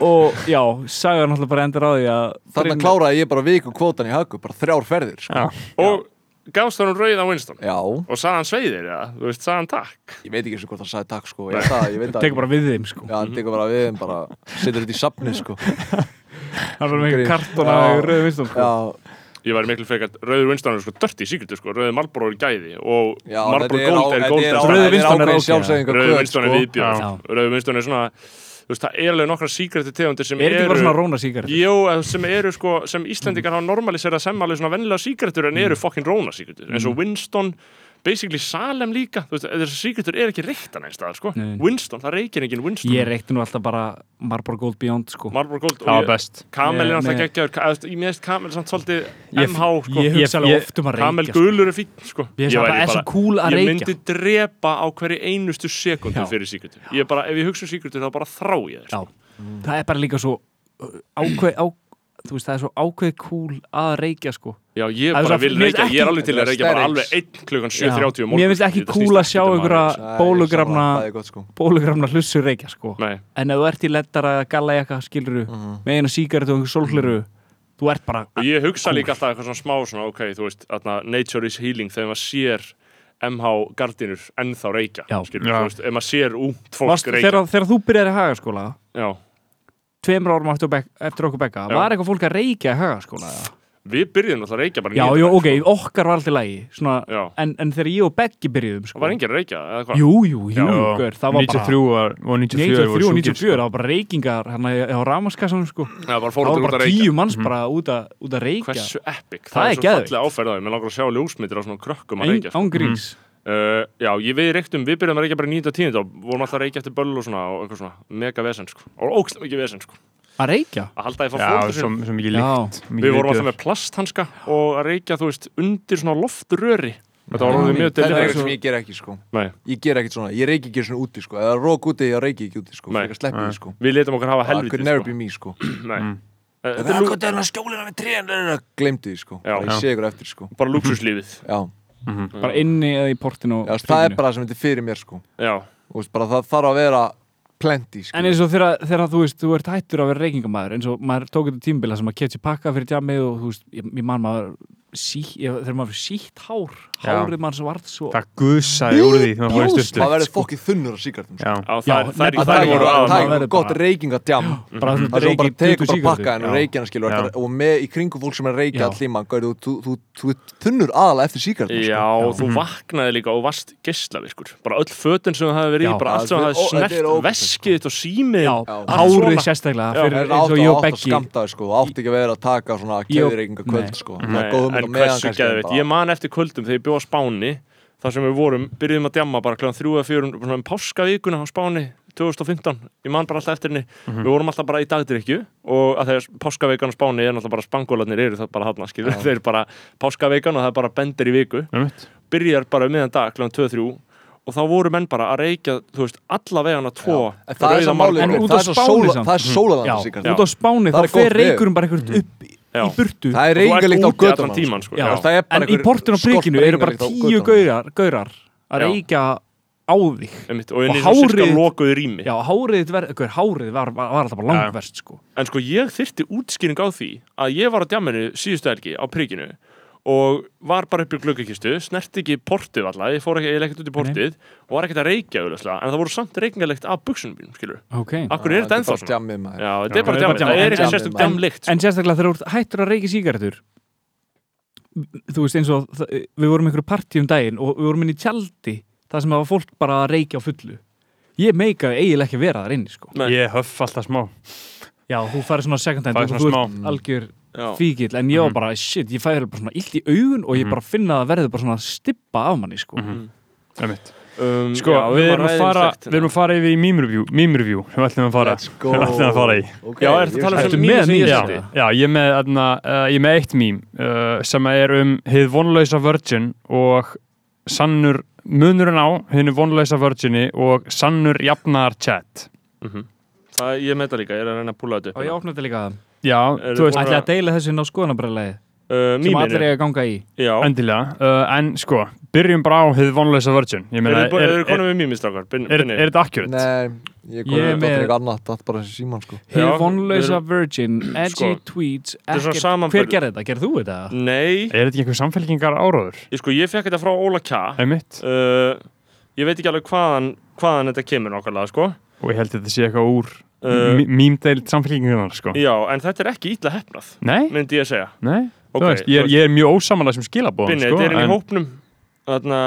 og já, sagan náttúrulega bara endur á því að Þannig Brynjar- kláraði ég bara viku kvótan í hagu, bara þrjár ferðir sko. Og gafst hann rauðan Winston Já, Og sagði hann sveiðir, ja, þú veist, sagði hann takk ég veit ekki eins og hvort hann sagði takk sko, ég, það, ég veit það tekur bara við þeim sko Já, hann tekur bara við þeim, bara setur þetta í safni sko hann var með Grín. kartona Já. rauðum vinstum sko. Já, Ég var miklu frekar, rauður Winston er sko dörti síkultu sko Rauður Marlboro er gæði og já Marlboro þetta er á- Gold er þetta golden á- sko. Rauði þetta Winston er ok, ákveðin já. sjálfsæðingar Rauður kvöt, Winston er sko. viðbjörn Já. Rauður Winston er svona, þú veist, það er alveg nokkra síkultu tegundir sem er þetta ekki bara svona eru róna síkar Jó, eða sem eru sko, sem Íslendingar hafa normaliserað sem alveg svona vennilega síkretur en eru Mm. fokkin róna síkretur, eins og Winston basically Salem líka, þú veist, þessar síkretur er ekki reyktan einn stað, sko, Nei. Winston, það reykir enginn Winston, ég reykti nú alltaf bara Marlboro Gold Beyond sko Marlboro Gold Það var og ég, best Kamel er Nei, alltaf nei. geggjör, ég meðist Kamel samt svolítið Ég- MH, sko, ég hugsa alveg ég- oft um að reykja Kamel sko. gulur er fín, sko, ég veist að það væri er svo cool að ég reykja myndi drepa á hverju einustu sekundu Já. fyrir síkretur, ég bara, ef ég hugsa um síkretur þá bara þrá ég þér, sko. Já. það er bara líka svo uh, ákveð á, þú veist það er svo ákveð cool að reykja sko já, ég Það er bara svo- vil mér finnst reykja, ég er ekki- alveg til að reykja bara Stærrings. alveg 1 klukkan Já. 7.30 um morgun, mér finnst ekki Þetta cool snýst að sjá ekkert um einhverja aðeins. Já, ég bólugramna sammála, það er gott, sko. bólugramna hlussur reykja sko Nei, en ef þú ert í lettara galla jakka skiluru Mhm. með eina síkaret og einhver sólhleru þú ert bara og ég hugsa líka alltaf eitthvað svona smá svona, ok, þú veist, atna, nature is healing þegar maður sér MH gardinur ennþá reykja Já. skilur, Já. þú veist, ef maður sér ungt fólk Varst, reykja þegar, þegar þú byrjar í hagaskóla Já. tveimur árum eftir, bek, eftir okkur bekka Já. var eitthvað fólk að reykja í hagaskóla eða? Við byrjum alltaf að reykja bara Já, nýja já, dag, ok, okkar var alltaf lægi svona, Já. en, en þegar ég og Beggi byrjuðum sko. sko, Það var enginn að reykja, eða hvað? Jú, jú, jú, gör, það var 93 var, og 94 bara 93 og voru sjúkir, sko. sko. 94, það var bara reykingar hérna í- á ramaskassanum sko Það bara það fórum til út var að bara reykja Mhm. tíu manns bara út að, út að reykja Hversu epic, það, Það er er svo geðveikt. fallega áferðaði Mér langar að sjá ljósmyndir á svona krökkum að Ein- reykja sko. án gríns uh, Já, ég, við reyktum, við byrjum að reykja bara 9.10 og vorum alltaf að reykja eftir böll og svona og eitthvað svona, mega vesen sko og ógst ekki vesen sko að reykja að halda því að fá Já, fólk svo, svo mikið Já. líkt Við vorum alltaf með plasthanska og að reykja, þú veist, undir svona loftröri. Þetta var orðið mjög Þetta er eitthvað deliberate. sem ég ger ekki sko Nei, Ég ger ekkert svona, ég reyki ekki svona úti sko Eða rók úti, ég reyki ekki úti sko Nei. Fyrir að sleppi því sko við letum okkar hafa Það could helviti, never sko. be me sko Nei. Mm. Eh, Þetta er Það lú- er hann að skjólina við trén Glemdi því sko, Já. Bara ég sé ykkur eftir sko bara lúksuslífið. Já, Mhm. bara inni eða í portinu Já, það er bara það sem þetta er fyrir mér sko Já, Þú veist, bara það þarf að vera plenty sko. En eins og þegar, þegar þú veist, þú ert hættur að vera reykingamæður eins og maður tók þetta tímbil þar sem maður kefti pakka fyrir tjamið og þú veist, ég, ég man maður sí, ég, þegar maður fyrir sítt hár Já. hárið maður sem varð svo það gusaði úr því þegar maður fór í Það sturtu verður fokkið þunnur á síkartum Já. Á, þær, þær, Það þær voru er aðan maður það verður gott bara- reykingadjam bara Mhm. þú Það er svo bara tegur bara sígarettu. pakka en Já. reykjana skilur Já. þetta- og með í kringu fólk sem er að reykja Já. allir mann Gauður, þú- þú þú ert þunnur aðalega eftir sko. síkartum Já, þú Mm-hmm. vaknaði líka og varst geislavirkur bara öll fötin sem það hefði verið í Já. bara allt sem Já, það hefði þetta er snert ógeðslegt, sko. veskið þitt og símið já, Já. hárið Svona. sérstaklega Já. fyrir Það er eins átt og ég og og átt Beggi skamtaði sko, átt ekki að vera að taka svona Ég og- kæðreikinga kvöld Nei. sko Nei, Það er góðum en hversu geðveitt, ég ég man eftir kvöldum þegar ég bjóð á Spáni þar sem við vorum, byrjuðum að djamma bara kláðan þrjú eða fjörun, svona um páskavíkuna á Spáni 2015, ég man bara alltaf eftir henni við vorum alltaf bara í dagdrykju og að þegar páskaveikan á Spáni er náttúrulega bara spangólarnir eru það bara hann að skilja, þeir eru bara páskaveikan og það er bara bender í viku Einmitt. byrjar bara um miðan dag kláðan 2-3 og þá voru menn bara að reykja, þú veist, alla vegana tvo Það er rauða svo málið, Marlboro. En út það á er svo Spáni sóla- samt. það er já, sólaðan síkartum út á Spáni Mhm. Það þá er gott fer veður. Mhm. reykurinn bara eitthvað upp í, Já. í burtu Það er Þú ert reykingalykt á úti allan götunum, tímann, sko. Já. Já. það er bara en í einhver portinu og prikinu eru bara skorpa reykingalykt á tíu götunum. gaurar, gaurar að Já. reykja á þig Einmitt, og inn í Og svona cirka hárið- lokuðu rými já, hárið, þitt verð- gaur, hárið var, var, var alltaf bara Já. langverst sko. En sko ég þyrti útskýring á því að ég var á djamminu síðustu helgi á prikinu og var bara upp í gluggakistu, snerti ekki portið alltaf, ég fór ekki, ég lekkit út í portið og var ekkert að reykja auðvitað, en það voru samt reykingalegt af buksunum mínum, skilur. okay. Akkur er þetta ennþá bara svona? djammið, maður. Já, þetta er bara Já, djammið, þetta er bara það er ekki djammið, sérstum maður. djamlikt. sko. En sérstaklega þegar þú ert hættur að reykja sígarettur Þú veist eins og það- við vorum í einhverju partí um daginn og við vorum inn í tjaldi það sem það var fólk bara að reykja á fullu Ég meika eiginlega ekki að vera þar inni sko. Nei. ég höf alltaf smá Já, þú færi svona second hand Fæ og svona Mm. þú smá. algjör Já. fíkil en Mm. ég var bara, shit, ég færi bara svona illt í augun og ég bara finna að það verður bara svona stippa af manni sko. Mm. einmitt. Um, sko, já, við var erum að ræðið fara slakt. við erum að fara yfir í meme review, meme review sem við ætlum að fara Let's go sem við ætlum að fara í Ok, Já, er þetta ég talað vissi Ertu um með mýðis nýja Já, Íslandi? nýjastandi? já ég, er með, aðna, uh, ég er með eitt mím uh, sem er um hið vonlausa virgin og sannur munurinn á hinu vonlausa virginni og sannur jafnar chat Það, ég með það líka, ég er að reyna að púla þetta Og ég upp. hérna. opnaði líka það Já, Eru þú veist, búin Ætli að deila þessu inn á skoðanabræðlega Uh, sem allir Mýminu, eiga að ganga í já. endilega uh, en sko, byrjum bara á hið vonlausa virgin Ég meina, Eru er, þið er, konum við mýmistrákar? er, er þetta akkurat? Nei, ég kom Ég er með með- eitthvað annað, það er bara þessi síman sko Hið Já, vonlausa við virgin, edgy sko, tweets er svona ekkert- samanburður. Hver gerði þetta? Gerði þú þetta? Nei, Er þetta ekki einhver samfélkingar áróður? ég sko, ég fekk þetta frá Óla Kja. Einmitt, uh, ég veit ekki alveg hvaðan, hvaðan þetta kemur nákvæmlega sko. og ég held að þetta sé eitthvað úr uh, mýmdeild samfélkingunar sko. já, en þetta er ekki ítla hefnað Nei, myndi ég að segja nei, Ok, þú veist, ég er, þú ég er mjög ósamanlega sem skilabóðum Binni, sko, þetta er inn í en- hópnum þarna,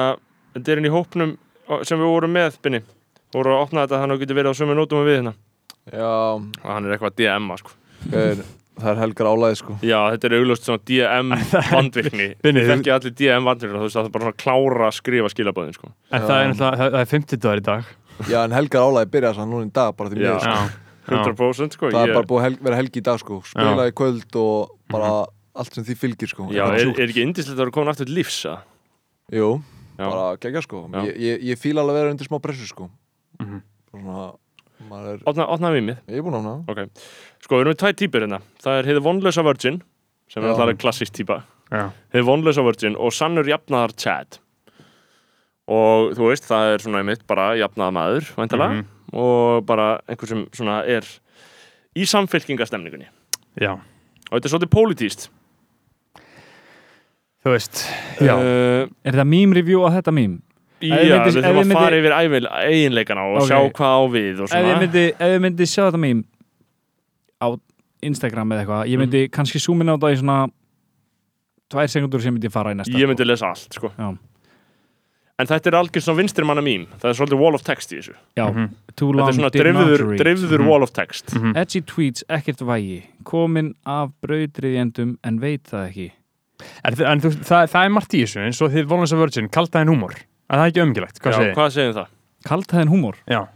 þetta er inn í hópnum ó, sem við vorum með Binni voru að opna þetta þannig að þú getur verið á sömu nótum og við hérna Já, og hann er eitthvað að DM-a sko gaur, það er helgar álæði sko já, þetta er augljóst svona DM vandvirkni Binni, það er ekki allir DM vandvirkni þú veist það er bara svona klára að skrifa skilabóðin sko En það er náttúrulega, það- það er 50 dagar í dag Já, en helgar álæði byrja þess að núna í dag bara því Já. mjög sko. 100% sko Það er ég- bara búið að hel, vera helgi í dag sko Spila í kvöld og bara allt sem því fylgir sko Mhm. já, Bara er, svo- er ekki indislegt að vera komin aftur til lífs að Jú, Já. bara gegja sko Já. Ég, ég, ég fíla alveg að vera undir smá pressu sko Svona, maður er opna, opna mýmið Ég er búin að hana Ok, sko við erum með tvær típur hérna Það er hefði vonlösa virgin sem er Já. alltaf klassíkt típa Já. hefði vonlösa virgin og sannur jafnaðar Chad og þú veist það er svona einmitt bara jafnaða maður Mhm. væntalega Mhm. og bara einhver sem svona er í samfylkingastemningunni Já, og þetta er svolítið pólitíst þú veist Já, uh, Er það meme review á þetta meme? Já, Ef ég myndi- við ef þurfum ég að fara myndi- yfir ævil, eiginleikana og Ok. sjá hvað á við og Ef ég svona myndi, ef ég myndi sjá þetta meme á Instagram eða eitthvað ég Mhm. myndi kannski zoomin á þetta í svona tvær sekundur sem myndi ég fara í næsta Ég myndi lesa allt, sko Já. En þetta er algjör svona vinstri manna mím Það er svolítið wall of text í þessu Já, Mhm. too Mhm. Þetta long er svona did not dreifður, read. dreifður wall of text Edgy tweets, ekkert vægi komin af brautriðjendum en veit það ekki en, þi- en þú, það, það er margt í þessu eins og þið Volnus of Virgin, kaldaðin húmor En það er ekki ömgilegt, Já, hvað segir þið? hvað segir það? Kaldhæðin húmor Já,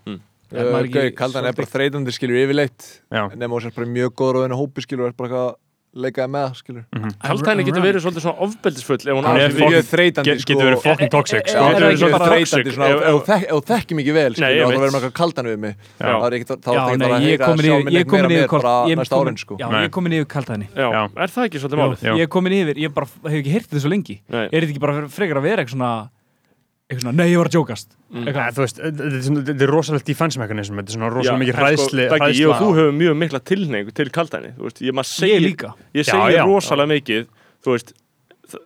Er maður Uh, ekki Gau, kaldan er svolítið- bara þreytandi skilur yfirleitt já, Nefnum þess að bara mjög góður og einu hópi skilur og er bara eitthvað að leikaði með skilur Kaldhæðin getur verið svolítið svona ofbeldisfull ef hún á Hann er ekki fokk- við Mjög þreytandi Get, sko getur verið fucking toxic Já, sko. það er ekki bara eh, bara toxic, þreytandi svona, ef- ef- ef þú þekk- ef þú þekkir mikið vel skilur, Nei, ég þá verður veit. maður kaldan við mig Já. þá er ekki þá Já, er ekki nei, að ég heyra komin sjá yfir, mig ég neitt meira komin mér yfir bara ég er næsta komin- árin sko Já, Nei. ég er komin yfir kaldhæðinni Já, Já. er það ekki svolítið málið? Já. Ég er komin yfir, ég bara hef ekki heyrt þetta svo lengi Nei. Er þetta ekki bara frekar að vera eitthvað svona eitthvað svona, nei ég var að jókast Æ, eitthvað, Þú veist, eh, þetta er svona- þetta er rosalegt defense mechanism Þetta er svona rosalega en mikið hræðsli sko, Beggi, ég og hræðsla- þú hefur mjög mikla tilneingu til kaldhæðinni Þú veist, ég maður ég segir líka Ég Já, segir já. rosalega mikið Þú veist,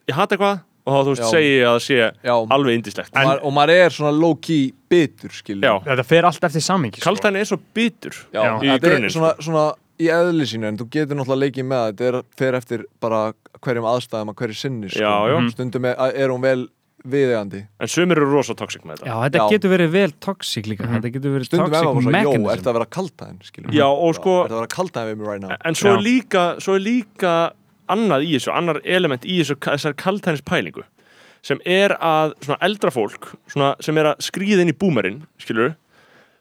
ég hata eitthvað og þá þú veist Já. segi ég að það sé Já, og alveg indislegt En- maður- og maður er svona low-key bitur, skilur Já. Þetta fer allt eftir sko. samingi Kaldæni er svo bitur Já, Já. Í þetta grunninn, sko. er svona, svona í eðli sínu en þú getur náttúrulega leikið með það þetta er fer eftir bara hverjum aðstæðum að hverju sinni sko. Já, já. Mhm. stundum er, er hún vel viðegandi en sumir eru rosa toxic með þetta Já, þetta Já. getur verið vel toxic líka Þetta getur verið stundum er maður toxic svona, jó, mechanism ertu að vera kaldæðin skilur Já, og sko- ertu að vera kaldæðin við mig right now En svo er Já. líka, svo er líka annað í þessu, annar element í þessu, þessar kaldhænis pælingu sem er að svona eldra fólk svona, sem er að skríða inn í búmerinn skilur,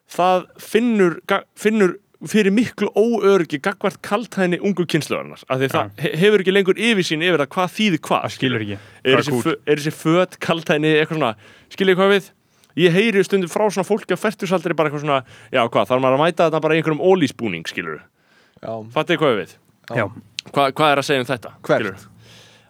það finnur, ga- finnur fyrir miklu óöryggi gagvart kaldhæni ungu kynsluðarnar af því það he- hefur ekki lengur yfirsýn yfir það hvað þýði hvað Það skilur ekki er Hvað þessi, kúl? fö, er þessi föt, kaldhæni, eitthvað svona skilja hvað við? Ég heyri stundum frá svona fólki á færtusaldri bara eitthvað svona já hvað, þarf maður að mæta þetta bara í einhverjum ólísbúning skilur, já, fattið hvað við? já. Já. Hva, hvað er að segja um þetta? Hvert? skilurðu?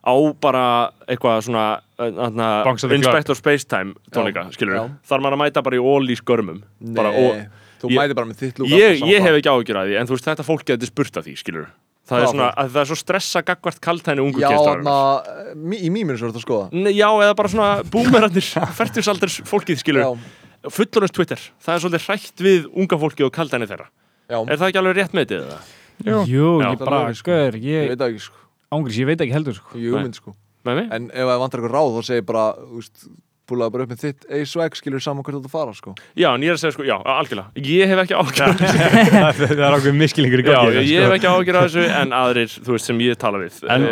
Á bara eitthvað svona uh, þarna, Banks of the Inspector Spacetime tónleika, Já, skilur já. Þar maður að mæta bara í ólí skörmum bara, og, Nei, þú ég- mætir bara með þitt lúk ég, ég hef ekki áhyggjur að því En þú veist þetta fólk getur spurt að því, skilur Það Hvaða er svona, fólk? að það er svo stressa gagvart kaltæni ungu já, na, kynslóðarinnar. í mýminu svo ertu að skoða Nei, já, eða bara svona búmerarnir Fertisaldur fólkið, skilur já, Fullorins Twitter, það er svolítið hrætt við unga fólki og kaltæni þeirra já, Er það ekki alveg rétt með þetta? Jú, Já. ég bara, skoður, ég ég veit það ekki sko ángriðs, ég veit ekki heldur sko. ég ummynd sko Með mig? en ef það vantar eitthvað ráð þá segir bara úst, búlaði bara upp með þitt eis og ekk skilur saman hvert þú ert að fara sko Já, en ég er að segja sko, já, algjörlega Ég hef ekki áhyggjur af þessu. Það það er ákveð miskilingur í Já, gangi ég, hérna, ég sko. hef ekki ágjör af þessu en aðrir, þú veist, sem ég tala við En-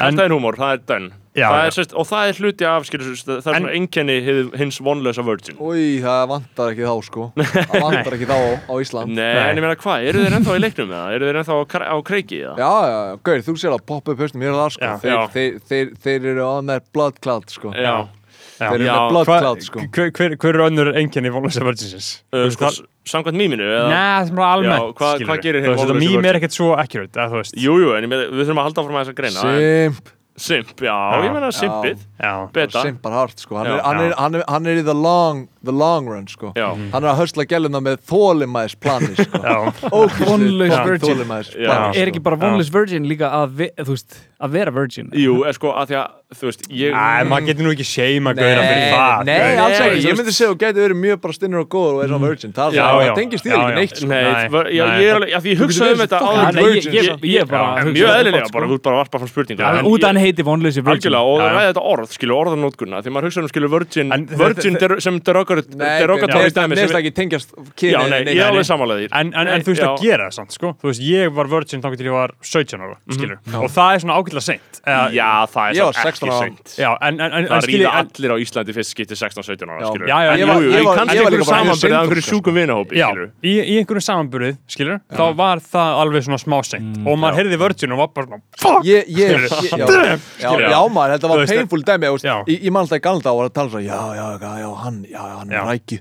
Eh, Þetta er húmór, það er dönn Já, Það er já. sérst- Og það er hluti af, skilur, sérst, það er En- svona einkenni hið- hins vonlösa virgin Új, það vantar ekki þá sko Það vantar ekki þá á Ísland Nei, Nei. en ég meina hvað, eru þeir ennþá í leiknum eða? Eru þeir ennþá á, kre- á kreiki eða? Já, já, já, gauð, þú sér að poppa upp höstum hér og það sko Já. þeir, Já. Þeir, þeir, þeir eru á með blood cloud sko já. Þeir eru Já. með blood Hvað- cloud sko hver, hver, hver er önnur enginni vonlösa verðsinsins? Uh, sko, s- samkvæmt míminu eða? Nei, það er bara Já, almennt hvað- hvað gerir hinn Þú veist, vonlausa þetta mím virgin? er ekkert svo accurate eða þú veist Jú, jú, en ég meina, við þurfum að halda áfram að þess að greina en- Simp, Simp, já, Já. ég meina simpið Já, Beta, simpar hart sko Hann, Já. er, hann, er, hann, er, hann er í the long, the long run sko já Mhm. Hann er að höstla gæluna með þólimæðis plani sko já, Vonlaus virgin. Þólimæðis Já. plani Er ekki bara vonless virgin líka að, vi, þú veist, að vera virgin? Jú, er sko, að því að, þú veist, ég Æ, maður getur nú ekki seima gauðra fyrir það nei, gaur. alls Nei, ekki, þú ég myndi veist- segja að þú gæti verið mjög bara stinnur og góður og er svona virgin, það Já, er það, já. það tengist þér Já, ekki já. neitt sko Nei, Nei. nei, já, ég er alveg, já, því ég hugsaði um verið þetta svo áður fucking en- Nei, ég, virgin, ég, sko. ég bara Já, hugsa- um sko. Mjög eðlilega, bara, þú ert bara að varpa fram spurningu sko. Já, En Út að ég- hann heiti vonless virgin Algjörlega, og Já, það já. ræði þetta orð, skilur orðanótkuna Því maður hugsa um, skilur, virgin En þetta- Virgin der, sem derogatory Nei, mér derogatory dæmi sem finnst við- ekki tengjast Já, kynið nei, ég er alveg samanlega því En, en, en þú veist að gera það samt, sko Þú veist, ég var virgin þangur til ég var 17 ára, Mhm. skilur Og það er svona ágætlega seint Eða- Já, það er Ég var samt 16 ára. seint Já, en, en, en, en Það skilji ríða en, allir á Íslandi fyrst skipti 16-17 ára, Já. skilur Já, já, en, ég jú, var- jú, ég en var- kannski ég var einhverju líka bara mjög sko. samanbyrðið af einhverju seindómskur, sjúkum vinahópi, Já, skilur í, í einhverju samanburði, skilur Þá var það alveg svona smá seint Mm, Og maður heyrði virgin og var bara svona Fuck! ég, ég, ég, Skilurðu? já, já, Skilurðu? já maður, þetta Þú var veist, painful dæmi þú veist, Já. ég, ég man alltaf í galda á að tala svo já, já, já, já, hann, já, já, hann er Já. með rækju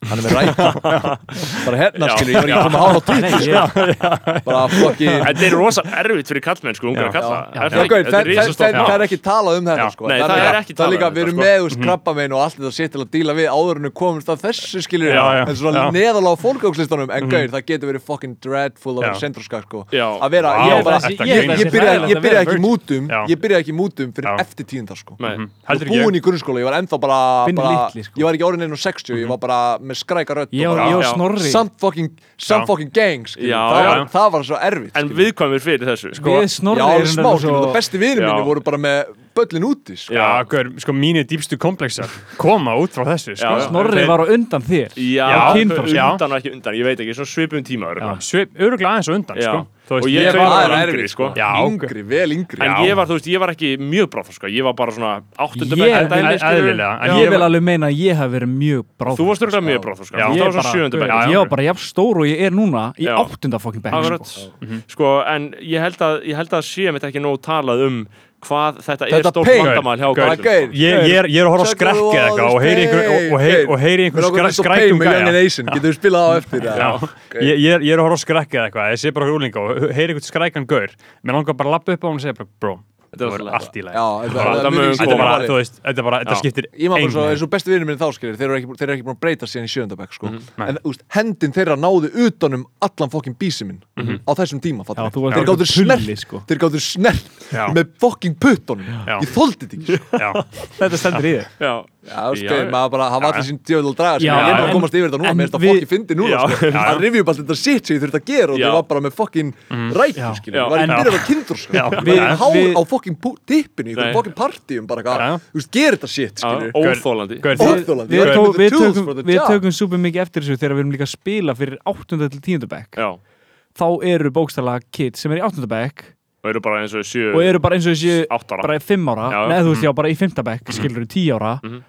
hann er með rækju bara hérna Já. skilur, ég var ekki komið að hára á Nei, tvíð ég, bara fokki Þetta er rosa erfitt fyrir kallmenn, sko, ungar Já. að kalla Já, Er það ekki? gaur, Þetta það er risastórt það- það er mál. ekki talað um þetta Já. sko. Nei, það það er líka- ekki það er talað líka um þetta, við erum sko. með úr skrabbamein og allt þetta sétt til að díla við áður en við komumst að þessu skilur Já, já, en svona já. neðalega á fólkjókslistanum en gaur, það getur verið fucking dreadful að vera Já. sendroska sko. Mhm. Já. að vera, Vá, ég, bara, þetta ég, grínast. ég, byrjaði- ég byrja ekki í mútum Já. ég byrja ekki í mútum fyrir Já. eftir tíundar sko. Nei. Ég var Heldur búinn ekki í grunnskóla, ég var ennþá bara, Pínu bara litli, sko. ég var ekki orðin enn og 60 ég var bara með skræka rödd ég, var- og bara- ég var Já. snorri samt fucking, Já. samt fucking gang skilur. Já, það, já. var, það var svo erfitt En skilur. viðkvæmir fyrir þessu, sko Við snorri Já, erum alveg smá, þetta skilur, það besti vinir Já. minni voru bara með böllin úti, sko. Já, gaur, sko, mínir dýpstu komplexar Koma út frá þessu, sko Já, já. Snorri Þeir- var á undan þér Já, kynþroska. undan og ekki undan, ég veit ekki, svona svipum tíma örugglega. Svip, öruglega aðeins á undan, Já. sko Þú Og ég veist, ég, var- það er yngri, erfið, sko. sko. Já, Yngri, vel yngri. En ég var, þú veist, ég var ekki mjög bráþroska Ég var bara svona áttundum Ég- eðlilega, en Ég ég vil var- alveg meina að ég haf verið mjög bráð Þú varst örgulega mjög bráþroska Já. Þú Ég varst bara, svona sjöundum gaur, ég var bara jafn stór og ég er núna í Já. áttunda fokkin bekk Akkurat, Mhm. sko, en ég held að, ég held að sé mitt ekki nóg talað um hvað þetta, er Þetta stórt pain. vandamál hjá Bara körlum, gaur. sko. ég, ég, er, ég er að horfa á skrekk eða eitthvað Og heyri einhver, og, og, heyri, og heyri einhver skræ, skrækum gæja. Young gæja and Asian, getur við spilað á eftir það? Já, ég, ég, er, ég er að horfa á skrækka eða eitthvað, ég sé bara húlinga og heyri eitthvað skrækan gaur, mér langar bara að lappa upp á hún og segja bara, bro, Þetta það var var alltaf- allt í lagi Já, Bara, þetta þetta þetta mun mjög þetta skiptir er bara, máli. þú veist, þetta, er bara, þetta Já. skiptir Ég maður bara svo, engu. eins og bestu vinnir minn þá skilur, þeir eru ekki, þeir eru ekki búin að breyta síðan í sjöndabæk sko. Nei. en úst, hendin þeirra náðu utanum allan fokkin bísi minn á þessum tíma, Já, fattar þú varst þeir alveg gáttu snert, pulli, sko. þeir gáttu snert Já. með fokkin puttunum, Já. ég þóldi þetta ekki sko. Já. Þetta stendur í þér Já, Já, þú veist, Já, þeir já. maður bara hafa allir sín djöðl að draga, sko, Já, ég er en- bara að komast yfir þetta núna, en mér er þetta við- fokkin fyndi núna, Já, sko, já. að rifja upp allt þetta shit sem ég þurfti að gera og Já. það var bara með fokkin Já. rækju, skilur, ég var En- ekki byrjað að kindur, sko, Já. ég var Við- hár við- á fokkin tippinu, Nei. í fokkin partíum, bara Já. eitthvað, þú veist, gera þetta shit, já, skilur, óþólandi Gaur, þið- óþjólandi, Við, tó, við, tökum, við tökum tökum super mikið eftir þessu þegar við erum líka að spila fyrir 8. til 10. bekk Já, þá eru bókstala kids sem er í 8. bekk og eru bara eins og sjö og eru bara eins og þessi áttara bara í 5 ára, Já, já. neða þú veist já, bara í 5. bekk skilur þú 10 ára Mhm.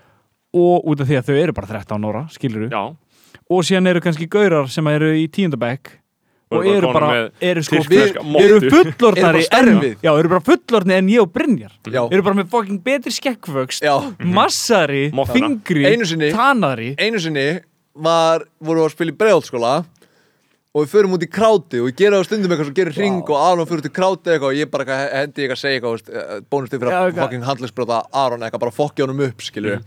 og út af því að þau eru bara 13 ára skilur Já, og síðan eru kannski gaurar sem eru í 10. bekk Og og eru eru bara bara, komnir eru sko við- tyrkneska eru móttu Eru fullorðnari bara stærri en- við. já, eru bara fullorðni en ég og Brynjar Já. eru bara með fucking betri skekkvöxt Já, massari, Mhm. Mottana. þingri Einu sinni. tanari einu sinni var, voru að spila í bregðalskóla og við förum út í kráti og við gerum á stundum eitthvað sem gerir hring og Aron fyrir út í kráti eitthvað og ég bara eitthvað hendi eitthvað eh, að segja eitthvað bónust Já, fyrir að eitthvað. fucking handlagsbrota Aron eitthvað bara fokki honum upp skilju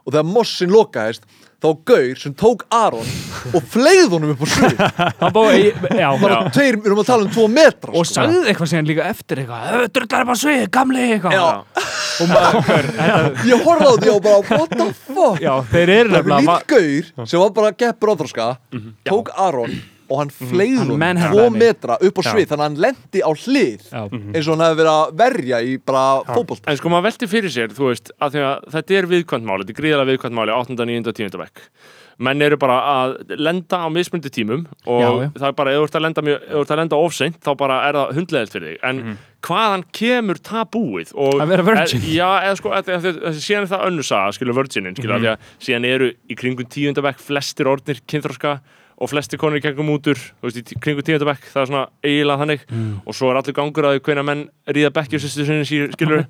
og þegar mossin lokaðist þá var gaur sem tók Aron og fleið honum upp á svið Hann bá, ég, já, bara tveir, við erum að tala um tvo metra og sagði eitthvað síðan líka eftir eitthvað drullar upp á svið, gamli eitthvað Já. og maður ég horfði á því og bara what the fuck já, þeir eru nefnilega Það er Mhm. lítið gaur sem var bara geppur áþróska tók Aron og hann fleið Hann honum manhandlaði tvo mig. metra upp á svið þannig að hann lendi á hlið Já. Mhm. eins og hann hefði verið að verja í bara fótbolt En sko maður velti fyrir sér, þú veist, að því að þetta er viðkvæmt máli, þetta er gríðarlega viðkvæmt máli 8. 9. og 10. bekk. Menn eru bara að lenda á mismundi tímum og Já, já. það er bara, ef þú ert að lenda, mjög- ef þú ert að lenda ofseint, þá bara er það hundlegelt fyrir þig. En hvaðan kemur tabúið? Og, Mhm. Að vera virgin. Er, já, eða sko, eða, eða, eða, síðan er það önnusaga, skilur virginin, skilur, mm Mhm. -hmm. því að síðan eru í kringum 10. bekk flestir orðnir kynþroska og flesti konur í kengum útur, þú veist, í tí- kringum 10. bekk, það er svona eiginlega þannig Mm. og svo er allir gangur að hvena menn ríða bekkjur sýstu sinni sír, skilur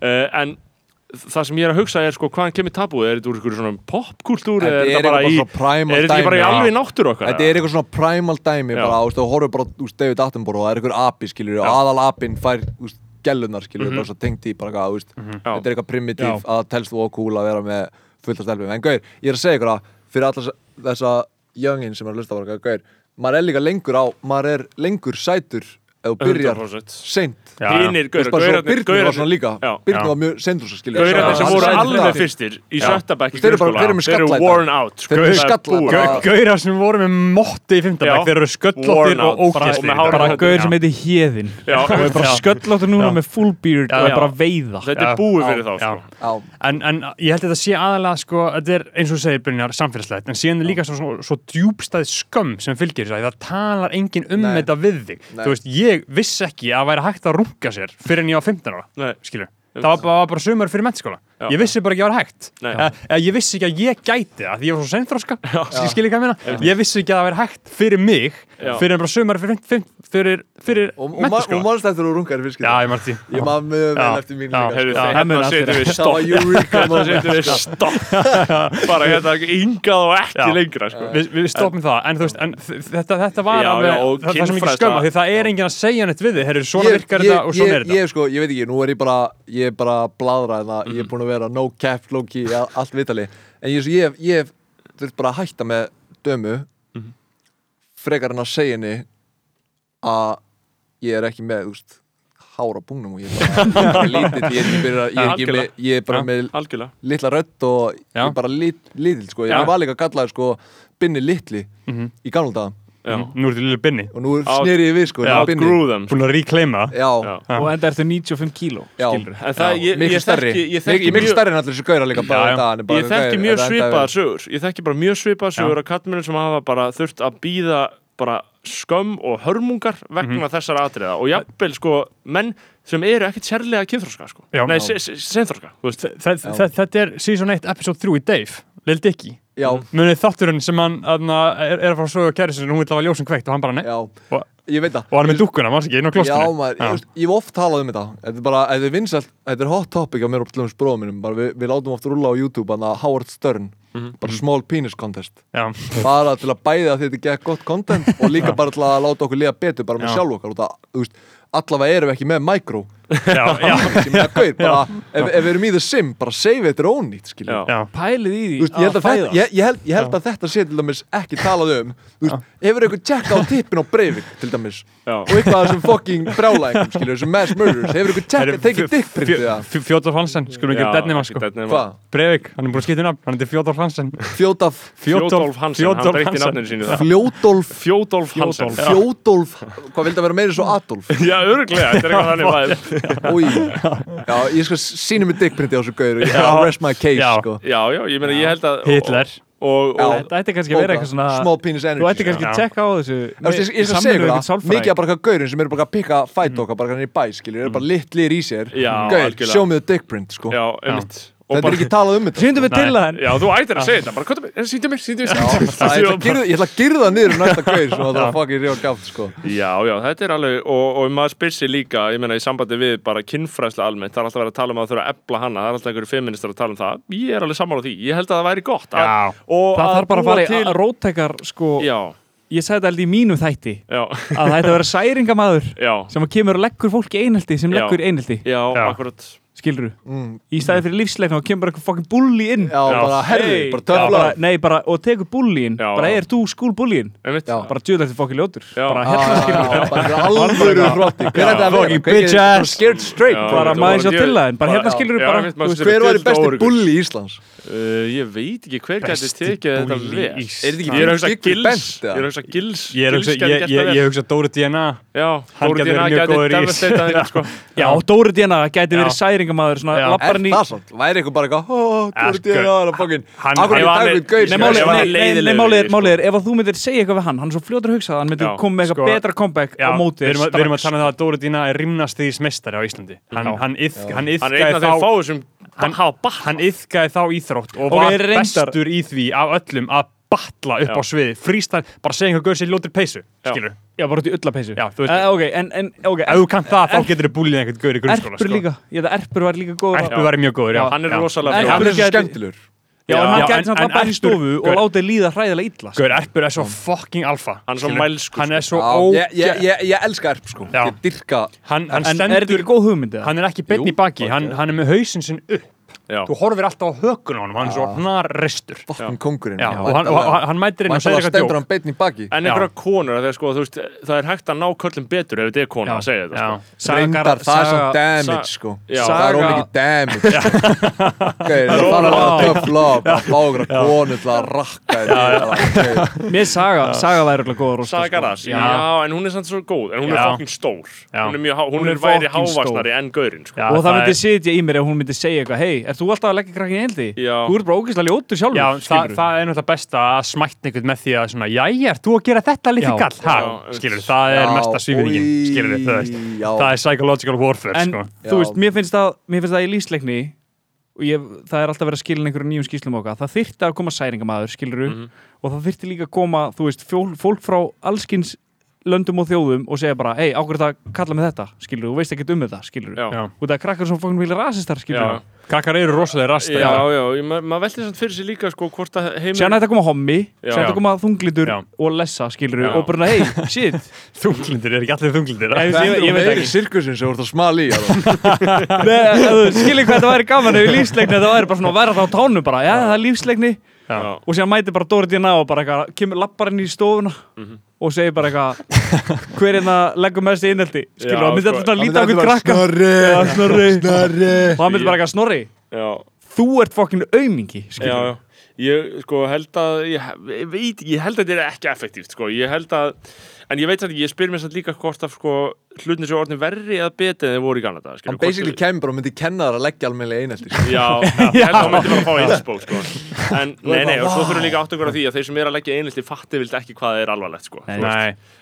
uh, en það sem ég er að hugsa er sko hvaðan kemur tabúið, er þetta úr ykkur svona popkultúr eða er þetta bara í, svona primal er þetta ekki bara í dæmi. alveg náttúr okkar Þetta er eitthvað svona primal dæmi Já. bara, þú veist, þú horfir bara úr David Attenborough og það er eitthvað api skilur og aðal apin fær úst, gellunar skilur Mhm. bara svo tengt í bara hvað, úst, þetta er eitthvað primitív Já. að það telst þú og cool að vera með fullt af stelpum en gaur, ég er að segja ykkur að fyrir alla þessa youngin sem er að lusta bara gaur, maður er líka lengur á maður er lengur sætur ef þú byrjar 100% seint Já, já. Hinnir, Þú veist bara svo Byrnu var svona líka Já. Byrnu Já. var mjög sendur svo skilur Gaurarnir sem Hann voru sætur alveg það. fyrstir í sko, sjötta bekk í Þeir eru bara- grunnskóla, þeir eru með skalla í dag. worn out sko. Þeir eru Það með er skalla í búið. dag. Gau- Gaurar sem voru með mótti í Já. fymtabæk, þeir eru Worn sköllóttir out. og Og með ógæstir hárið á bara höfðinu. gaur sem heiti Hjeðin Já. og er bara Já. sköllóttur núna Já. með full beard og Já. er bara að veiða Þetta Já. er búið fyrir þá Já. sko. Já, En, en ég held að þetta sé aðalega sko, þetta er eins og þú segir Brynjar samfélagslegt, en síðan er líka svo, svo, svo djúbstæð skömm sem fylgir þess að það talar enginn um Nei. þetta við þig. Nei. Þú veist, ég viss ekki að væri hægt að runga sér fyrir en ég var 15 ára, Nei. skilur. Það var bara, var bara sömur fyrir mennskóla. Já. Ég vissi bara ekki að það var hægt. Nei. Eða eða ég vissi ekki að ég gæti það, því ég var svo sennþróska, skilur hvað ég meina. Ég vissi ekki að það væri hægt fyrir mig, Já. fyrir en bara sömur fyrir, fyrir, fyrir, fyrir og, sko. og, ma- og mennskóla. mannst eftir að runga er fyrst Já, ég margir því. Ég maður Já. mjög vel eftir mín Já. líka Heyrðu, Já. þeir- Það mun Hérna allir setjum við Það var stopp Eureka Þetta moment setjum við stopp Bara hérna yngað og ekki Já. lengra sko. við, við stoppum það, en þú veist en þ- þetta, þetta var Já, alveg, já, og það, það er svo mikið kynfræðsla- skömma því það er enginn að segja neitt við þið, herru, svona virkar þetta og svona er ég, þetta ég, sko, ég veit ekki, nú er ég bara Ég er bara að bladra en Mhm. það Ég er búin að vera no cap, low key, a- allt vitali En ég, ég, ég þurft bara að hætta með dömu Mhm. Frekar en að segja henni Að ég er ekki með, þú veist Hára búnum og ég er bara Lítill, ég er ekki byrja Ég er, ekki með, ég er bara Já. með Algjörlega litla rödd og Já. ég er bara lit, lítill sko. Ég Já. Mhm. var líka gallaði sko Binni litli í gamla daga Já. nú ertu lilla binni, og nú er Out- snerið við sko já, Binni. Outgrew them sko. búin að reclaima það já, Já. og enda ertu 95 kíló já, skilurðu. En það, ég, ég, miklu stærri þekki, ég Mik- þekki miklu mjög stærri en allir þessu gauðra líka Já, bara já. þetta, hann er bara Ég þekki gaur, mjög þetta er- svipaðar sögur Ég þekki bara mjög svipaðar sögur að kallmennir sem hafa bara þurft að býða bara skömm og hörmungar vegna þessara atriða og jafnvel sko menn sem eru ekkit sérlega kynþróska sko. Já. Nei, Já. se- se- seinþroska þú veist. Þa- þa- þa- þetta er season 1 episode 3 í Dave, Lil Dicky já, sko. munið þátturinn sem hann aðna, er, er að fara að sögja kæri sinni, hún vil hafa ljósum kveikt og hann bara nei, já, og, ég veit það og hann er með dúkkuna, maður ekki, inn á já, klostinu maður, ég, veist, ég hef oft talað um þetta þetta er bara, þetta er vinsalt, þetta er hot topic á mér og til dæmis bróðum minnum, bara við, við látum oft rúla á YouTube, hann að Howard Stern Mhm. bara small penis contest já, bara til að bæða að þetta gekk gott content og líka bara til að láta okkur liða betur bara með Já. sjálf okkar út að, þú veist, allavega erum við ekki með micro já, já, sem er gauð, bara, ef, ef við erum í the sim bara save þetta er ónýtt, skilju Já. já, Pælið í Þú veist, ég held, að þetta, ég, ég, held, ég held að þetta sé til dæmis ekki talað um Þú veist, hefur eitthvað tjekka á tippin á breyfing til dæmis Já. og eitthvað sem fucking brjála einhvern skilur, sem mass murders, hefur eitthvað tjekka, tekið dickprintið það, Fjóðar Hansen, skulum ekki Já, denni maður ekki sko Deadnema. hvað, Breivik, hann er búin að skipta um nafn, hann heitir Fjóðar Hansen Fjótaf Fjodolf Hansen, hann breytti nafninu sínu það Fljótolf, Fjódolf Hansen Fjótolf hvað vildi að vera meira svo Adolf Já, örglega, þetta er eitthvað þannig vibe. Új, já, ég skal sína mig dickprintið á þessu gauður, já, rest my case Já. sko. Já, já, ég meina, ég held að Hitler og, og, Já. og, Þetta ætti kannski að vera eitthvað svona small penis energy Þú ætti kannski Já. að tjekka á þessu Þú veist, Ég, ég skal segja ykkur það, mikið af bara eitthvað gaurin sem eru bara að pikka fæt okkar bara hann í bæ, skilur, eru bara litlir í sér Já, Gaur, algjörlega. show me the dick print, sko Já, einmitt Og Þetta er bara, ekki talað um þetta Sýndum við til að henn já, þú ættir að segja þetta bara, hvað er það, síndi mér, síndi mér sýndu mér. Það er að girða, ég ætla að girða niður um næsta gaur sem það er að fucking ríða gafn, sko Já, já, þetta er alveg og, og maður spyr sér líka, ég meina, í sambandi við bara kynfræðsla almennt, það er alltaf verið að tala um að það þurfa að ebla hana, það er alltaf einhverju feministar að tala um það Ég er alveg sammála því, ég held að það væri gott að, Já. og Það að þarf bara að búa fara í til- að róttekar sko Já, Ég sagði þetta aldrei í mínum þætti já, að það ætti að vera særingamæður já, sem að kemur og leggur fólki einhelti sem Já. leggur einhelti, já, Já. akkurat skilur Í staði fyrir lífsleikna og kemur bara eitthvað fucking bulli inn Mm. Já, bara herði, Hey. bara Já, töfla bara- Nei, bara, og tekur bullin Já. Bara, er þú skúl bullin? Einmitt, Já. Bara djöðlega til fokki ljótur Já. Bara, Já, hérna já, skilur já, bara einhver alvöru hrotti Hver er þetta að vera? fucking Hver bitch er bara ass. scared straight, Já. bara Bara, maður sjá Ég- til það Bara, hérna Já. skilur Já, bara einmitt, maður þú veist, sér- Hver var í Djöfullt besti óöruggur. bulli í Íslands? Uh, ég veit ekki hver gæti Besti tekið þetta búli vel í Ég Ísland. er að hugsa Gylfi gils Bent, Ég eða? er að hugsa gils Ég er að hugsa, ég, ég, ég hugsa Dóri DNA Já, Hann Dóri gæti Dina verið mjög gæti góður í því. devastata þetta sko Já, Dóri Dina gæti Já. verið særingamæður Svona, Já. lappar Er hann í það samt? Væri eitthvað bara eitthvað, ó, Dóri Sko, Dina, það er fucking hann- Akkur ef er hann dagur er- við gaur Nei, sem- mál- Ef málið er, hann er nei, nei, nei, leiðilegur málið er, í því, málið er Ef að þú myndir segja eitthvað við hann Hann er svo fljótur að hugsa Hann myndir Já, koma með eitthvað sko, betra comeback á móti við erum, að, strax. við erum að tala um það að Dóri Dína er rimnastýðismestari á Íslandi Hann, hann, iðk, hann, Hann er einn af þeim iðkaði þá, fáu sem Hann hafa bakt hann iðkaði þá íþrótt og Ok, var reyndar- bestur í því af öllum að batla upp á sviði frístar, bara segja einhver gaur sér ljótir peysu skilur, Já, bara út í ullapeysu Já, þú veist- Eh, Ok, en, en, ok ef þú kannt það Er- þá getur þú búlið einhvern gaur í grunnskóla sko. Erpur líka Ég held að Erpur var líka góð Erpur væri mjög góður, já Hann er Já. rosalega Nei, fljótur. Hann er svo gæti- skemmtilegur Já, en Já, hann en- gæti samt en lappar hann í Erpur- stofu Gaur- Og látið líða hræðilega illa sko. Gaur, Erpur er svo fucking alfa Hann er svo skilur. mælskur, Hann er svo Já, ó... ég- ég- Ég ég elska erp, sko Já. Ég dyrka Hann, En hann er þetta ekki stendur góð hugmynd? eða? hann er ekki beinn Jú, í baki, hann, hann er með hausinn sinn upp Já. þú horfir alltaf á hökun á hann hann er svo hnar restur já, fucking kongurinn og hann, og hann- hann mætir inn og segir eitthvað Mæntalega stendur djók hann beinn í baki En Já. einhverja konur af því að sko, þú veist, það er hægt að ná köllum betur ef þetta er kona Já. að segja þetta Já. sko. Reyndar, það er svo damage sko Já. Það er Saga- ólega damage okay, Það er alveg að töfla og bara fá okkur að konu til að rakka þér Mér saga, saga væri alveg góð sko. rosta Saga Rass, já. en hún er samt svo góð en hún er Já. fucking stór Já. hún er, mjög, há- hún Hún hún er er væri fucking stór. hávaksnari enn gaurinn sko. Og það myndi er- sitja í mér ef hún myndi segja eitthvað Hei, ert þú alltaf að leggja krakkin eldi? Já. Þú ert bara ógeðslega ljótur sjálfur Já, það, skilurðu. það er náttúrulega best að smætna einhvern með því að svona, jæja, ert þú að gera þetta litli Já. kall? Ha, Já. skilur, það er mesta svífingin, skilur, það veist. Já. Það er psychological warfare, En sko. Já. þú veist, mér finnst það, mér finnst það í lífsleikni og ég, það er alltaf verið að skilja einhverjum nýjum skýslum okkar það þyrfti að koma særingamæður, skiluru og það þyrfti líka að koma, þú veist, fjól, fólk frá allskins löndum og þjóðum og segja bara, hei, ákveður það kalla með þetta skiluru, þú veist ekkert um þetta, skiluru Já. Já. og það er krakkar sem fóknum vilja rasistar, skiluru Kakkar eru rosalega já, rastar. já, ég- ma- maður veldi samt fyrir sér líka sko, hvort að heimur Sér nætti að koma hommi, Já. sér nætti að koma þunglitur Já. og lessa, skiluru, Já. og bara, hei, shit Þunglindir, er ekki allir þunglindir? Ég- Þetta ég veit er meiri ekki. sirkusin sem þú ert að smala í alveg. skiljið hvað þetta væri gaman ef í lífsleikni það væri bara svona að vera það á tánum bara, já, það er lífsleikni Já. og sér mæti bara Dóri Dína og bara eitthvað, kemur lappar inn í stofuna og segir bara eitthvað hver er það leggur mest í inneldi skilur, Já, hann myndi sko. alltaf svona Hann líta á myndi einhvern bara, krakka Já, Snorri, snorri snorri og hann myndi bara eitthvað snorri já, þú ert fokkin aumingi já, skilur, já. Ég sko held að ég, ég veit, ekki, ég held að þetta er ekki effektíft sko. ég held að, en ég veit samt ekki, ég spyr mér samt líka hvort að sko, hlutin sem orðin verri eða beti en þeir voru í Kanada skilur, Hann hvort- basically kemur bara og myndi kenna þar að leggja almennilega einhelti sko. Já, ég held að hún myndi bara fá einspó sko. En, nei, nei, og svo þurfum við líka átt okkur á því að þeir sem eru að leggja einhelti fatti vilt ekki hvað það er alvarlegt sko. Þú veist, Nei, eh,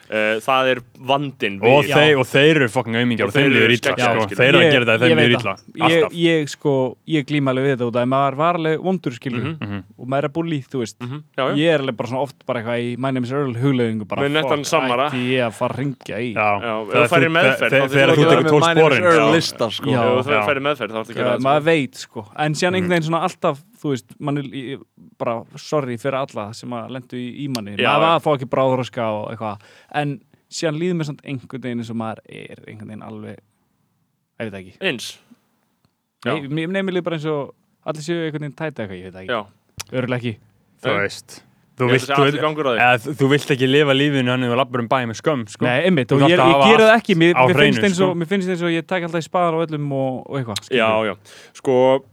Það er vandin og þeir, og þeir eru fucking aumingjar og þeim Þeir liður eru illa, skeggjaðir, sko. skilur. Þeir eru að Ég- gera þetta, ég þeim veit liður illa. það. ég, Alltaf. ég sko, ég glýma alveg við þetta út af því maður var alveg vondur skilur og maður er að búið líð, þú veist Mhm. já, já. ég er alveg bara svona oft bara eitthvað í My Name is Earl hugleðingu bara, Með nettan fuck, samara. ætti ég að fara að ringja í Já, Já, ef þegar þú færir þú- meðferð, þegar- þá þyrftir þú þegar þú að gera tekur tól með minus spórin Earl já. lista sko. Já. Ef Já. Eh, það færi meðferð þá ertu ekki Já, að maður veit sko en síðan Mhm. einhvern veginn svona alltaf þú veist, mann er í- bara sorry fyrir alla sem að lendu í ímanni, Já, maður já. var að fá ekki bráðröska og eitthvað, en síðan líður mér samt einhvern veginn sem maður er einhvern veginn alveg ég veit það ekki eins, Já. Nei, mér nefnir líður bara eins og allir séu einhvern veginn tæta eitthvað, ég veit það já ekki Örugglega ekki, þú Nei. veist þú Ég vilt, held að sé þú, vilt, allir gangur á því eða, þú vilt ekki lifa lífinu hann og lappur um bæ með skömm sko. nei, einmitt, Þú og þarft ég, að ég hafa gera það ekki mér, á mér, hreinu, finnst eins og, sko. mér finnst eins og ég tæk alltaf í spaðar á öllum og, og eitthvað skilurðu. já, já, sko,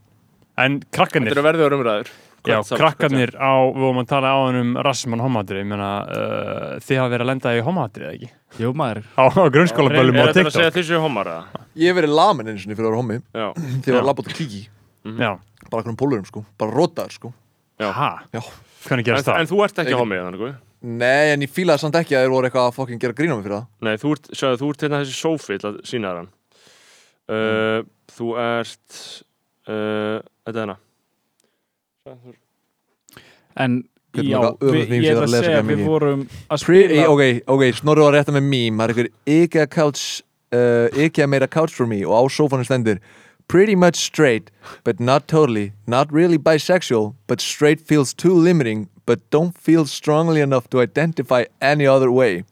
en krakkanir þetta er verður umræður Já, Hvert saman, krakkarnir á, við vorum að tala á hann um rassmann homadri, ég meina uh, þið hafa verið að lenda í homadri, eða ekki? Jú maður, Á, á grunnskólaböllum Er og þetta að segja TikTok. að þið séu homar eða? Ég hef verið lamin eins og fyrir að vera hommi Já, Þegar ég var að labba út að kíki Já, Bara okkur um pólurum sko Bara rótaður sko Já. ha? Já. Hvernig en, gerast það? en þú ert ekki Ekki- homið þannig guð. Nei, en ég fílaði samt ekki að þeir voru eitthvað að fucking gera grína mig fyrir það Nei, þú ert, sjáðu, þú ert hérna þessi sófi til að sína þér hann uh, Mm. Þú ert uh, Þetta er hérna en Hvernig já, var það við, öfugt meme sem ég ég ætla var að að lesa segja hérna við mikið? vorum að Pre eh, spila Ok, ok, snorri var rétt að með mím Það er einhver IKEA couch uh, IKEA made a couch for me og á sófanum stendur Pretty much straight, but not totally Not really bisexual, but straight feels too limiting But don't feel strongly enough to identify any other way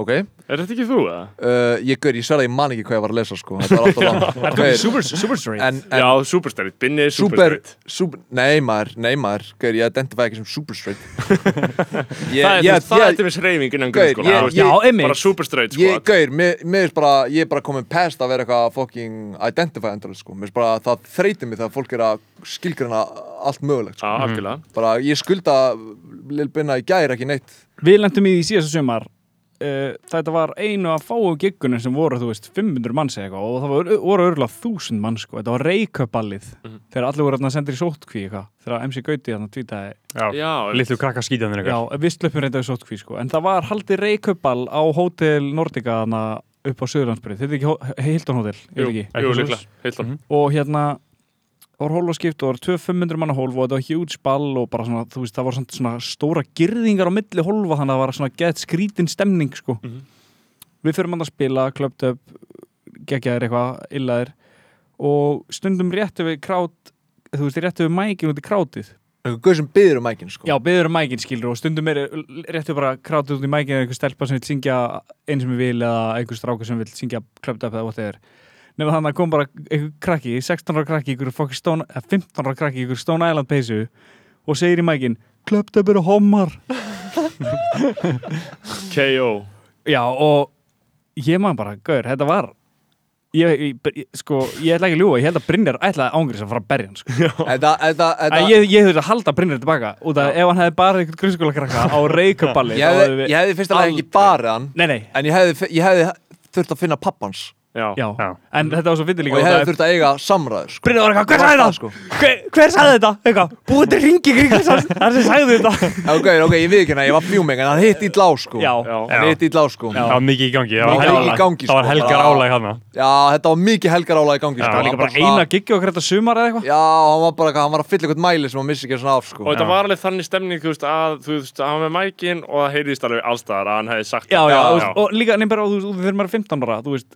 Ok Er þetta ekki þú eða? uh, Ég gaur, ég sverða, ég man ekki hvað ég var að lesa sko Þetta var alltaf langt Gaur, Super, super straight En, en Já, superstærið, Binni er super, superstærið super, nei maður, nei maður Gaur, ég identify ekki sem super straight ég, Það er ég, til- það er ég, til við sreyfing innan Gaur, grunnskóla ég- þú veist, Já, Bara einmitt superstærið sko ég, gaur, mér mér finnst bara ég er bara komin past að vera eitthvað fucking identify endalist, sko, mér finnst bara að það þreytir mig þegar fólk er að skilgrana allt mögulegt, Já, Mhm. sko, algjörlega bara ég skulda Lil Binna í gær ekki neitt Við lendum í því síðasta sumar uh, Þetta var einu af fáu giggunum sem voru, þú veist, 500 manns eða eitthvað og það var, voru örgulega 1000 manns sko. Þetta var reykjöpallið þegar allir voru þarna sendir í sótkví eitthvað þegar MC Gauti þarna tvítið Já, Já, litlu Já, krakkarskítjanir eitthvað. við slöpum reynda í sótkví sko. en það var haldið reykjöpall á hótel Nordica þarna upp á Suðurlandsbyrð Þetta er ekki hó- Hilton Hotel, Jú, er þetta ekki? jú, Ekki líklega, heillan og hérna það var hól og skipt og það var 2500 manna hólf og þetta var huge ball og bara svona, þú veist, það var svona, svona stóra girðingar á milli hólfa þannig að það var svona gett skrítin stemning sko. Mhm. við fyrir mann að spila, klöpt upp geggjaðir eitthvað, illaðir og stundum réttu við krát þú veist, réttu við mækin út í krátið eitthvað gauð sem byður um mækin, sko já, byður um mækin skilur og stundum er réttu bara krátið út í mækin eða einhver stelpa sem vil syngja einn sem vil eða einhver stráka sem vil syngja klöpt upp eða whatever nema þannig að kom bara einhver krakki 16 ára krakki, ykkur fokki stón eh, 15 ára krakki, ykkur stón Island peysu og segir í mækin, klöptöp eru homar K.O. já og ég maður bara, gaur, þetta var ég, ég, ég sko, ég ætla ekki að ljúga ég held að Brynjar ætlaði ángriðs að fara að berja hann sko. þetta, þetta, þetta en ég, ég þurfti að halda Brynjar tilbaka út af ef hann hefði bara einhvern grunnskóla krakka á reykjöballi ég hefði, ég hefði fyrst alveg ekki barið hann nei, nei, en ég hefði, ég hefði þurft að finna pappans Já, já, Já. en þetta var svo fyndið og líka ég út hefði af- þurft að eiga samræður, sko Brynjar var eitthvað, hver Það sagði var það? sko. Hver, hver sagði þetta? Eitthvað, búið til ringi kring þess að sagði þetta ok, ok, ég við ekki hérna, ég var fjúmeng en hann hitt í lá, sko Já. já, hann hitt í lá, sko já. Það var mikið í gangi. Það Mikið var í helgar- gangi, Það var sko, helgar bara- álæg hann. þetta var mikið helgar ála í gangi, Það sko var líka Hann bara svona- eina giggi okkur þetta sumar eða eitthvað Já, hann var bara, hann var að fylla eitthvað mæli sem hann missi ekki svona af, sko. Og þetta var alveg þannig stemning, þú veist, að þú veist, að hann var með mækin og það heyrðist alveg allstaðar að hann hefði sagt Já, já, Já, og, já. og líka nefnir bara, þú veist, þegar maður er 15 ára þú veist,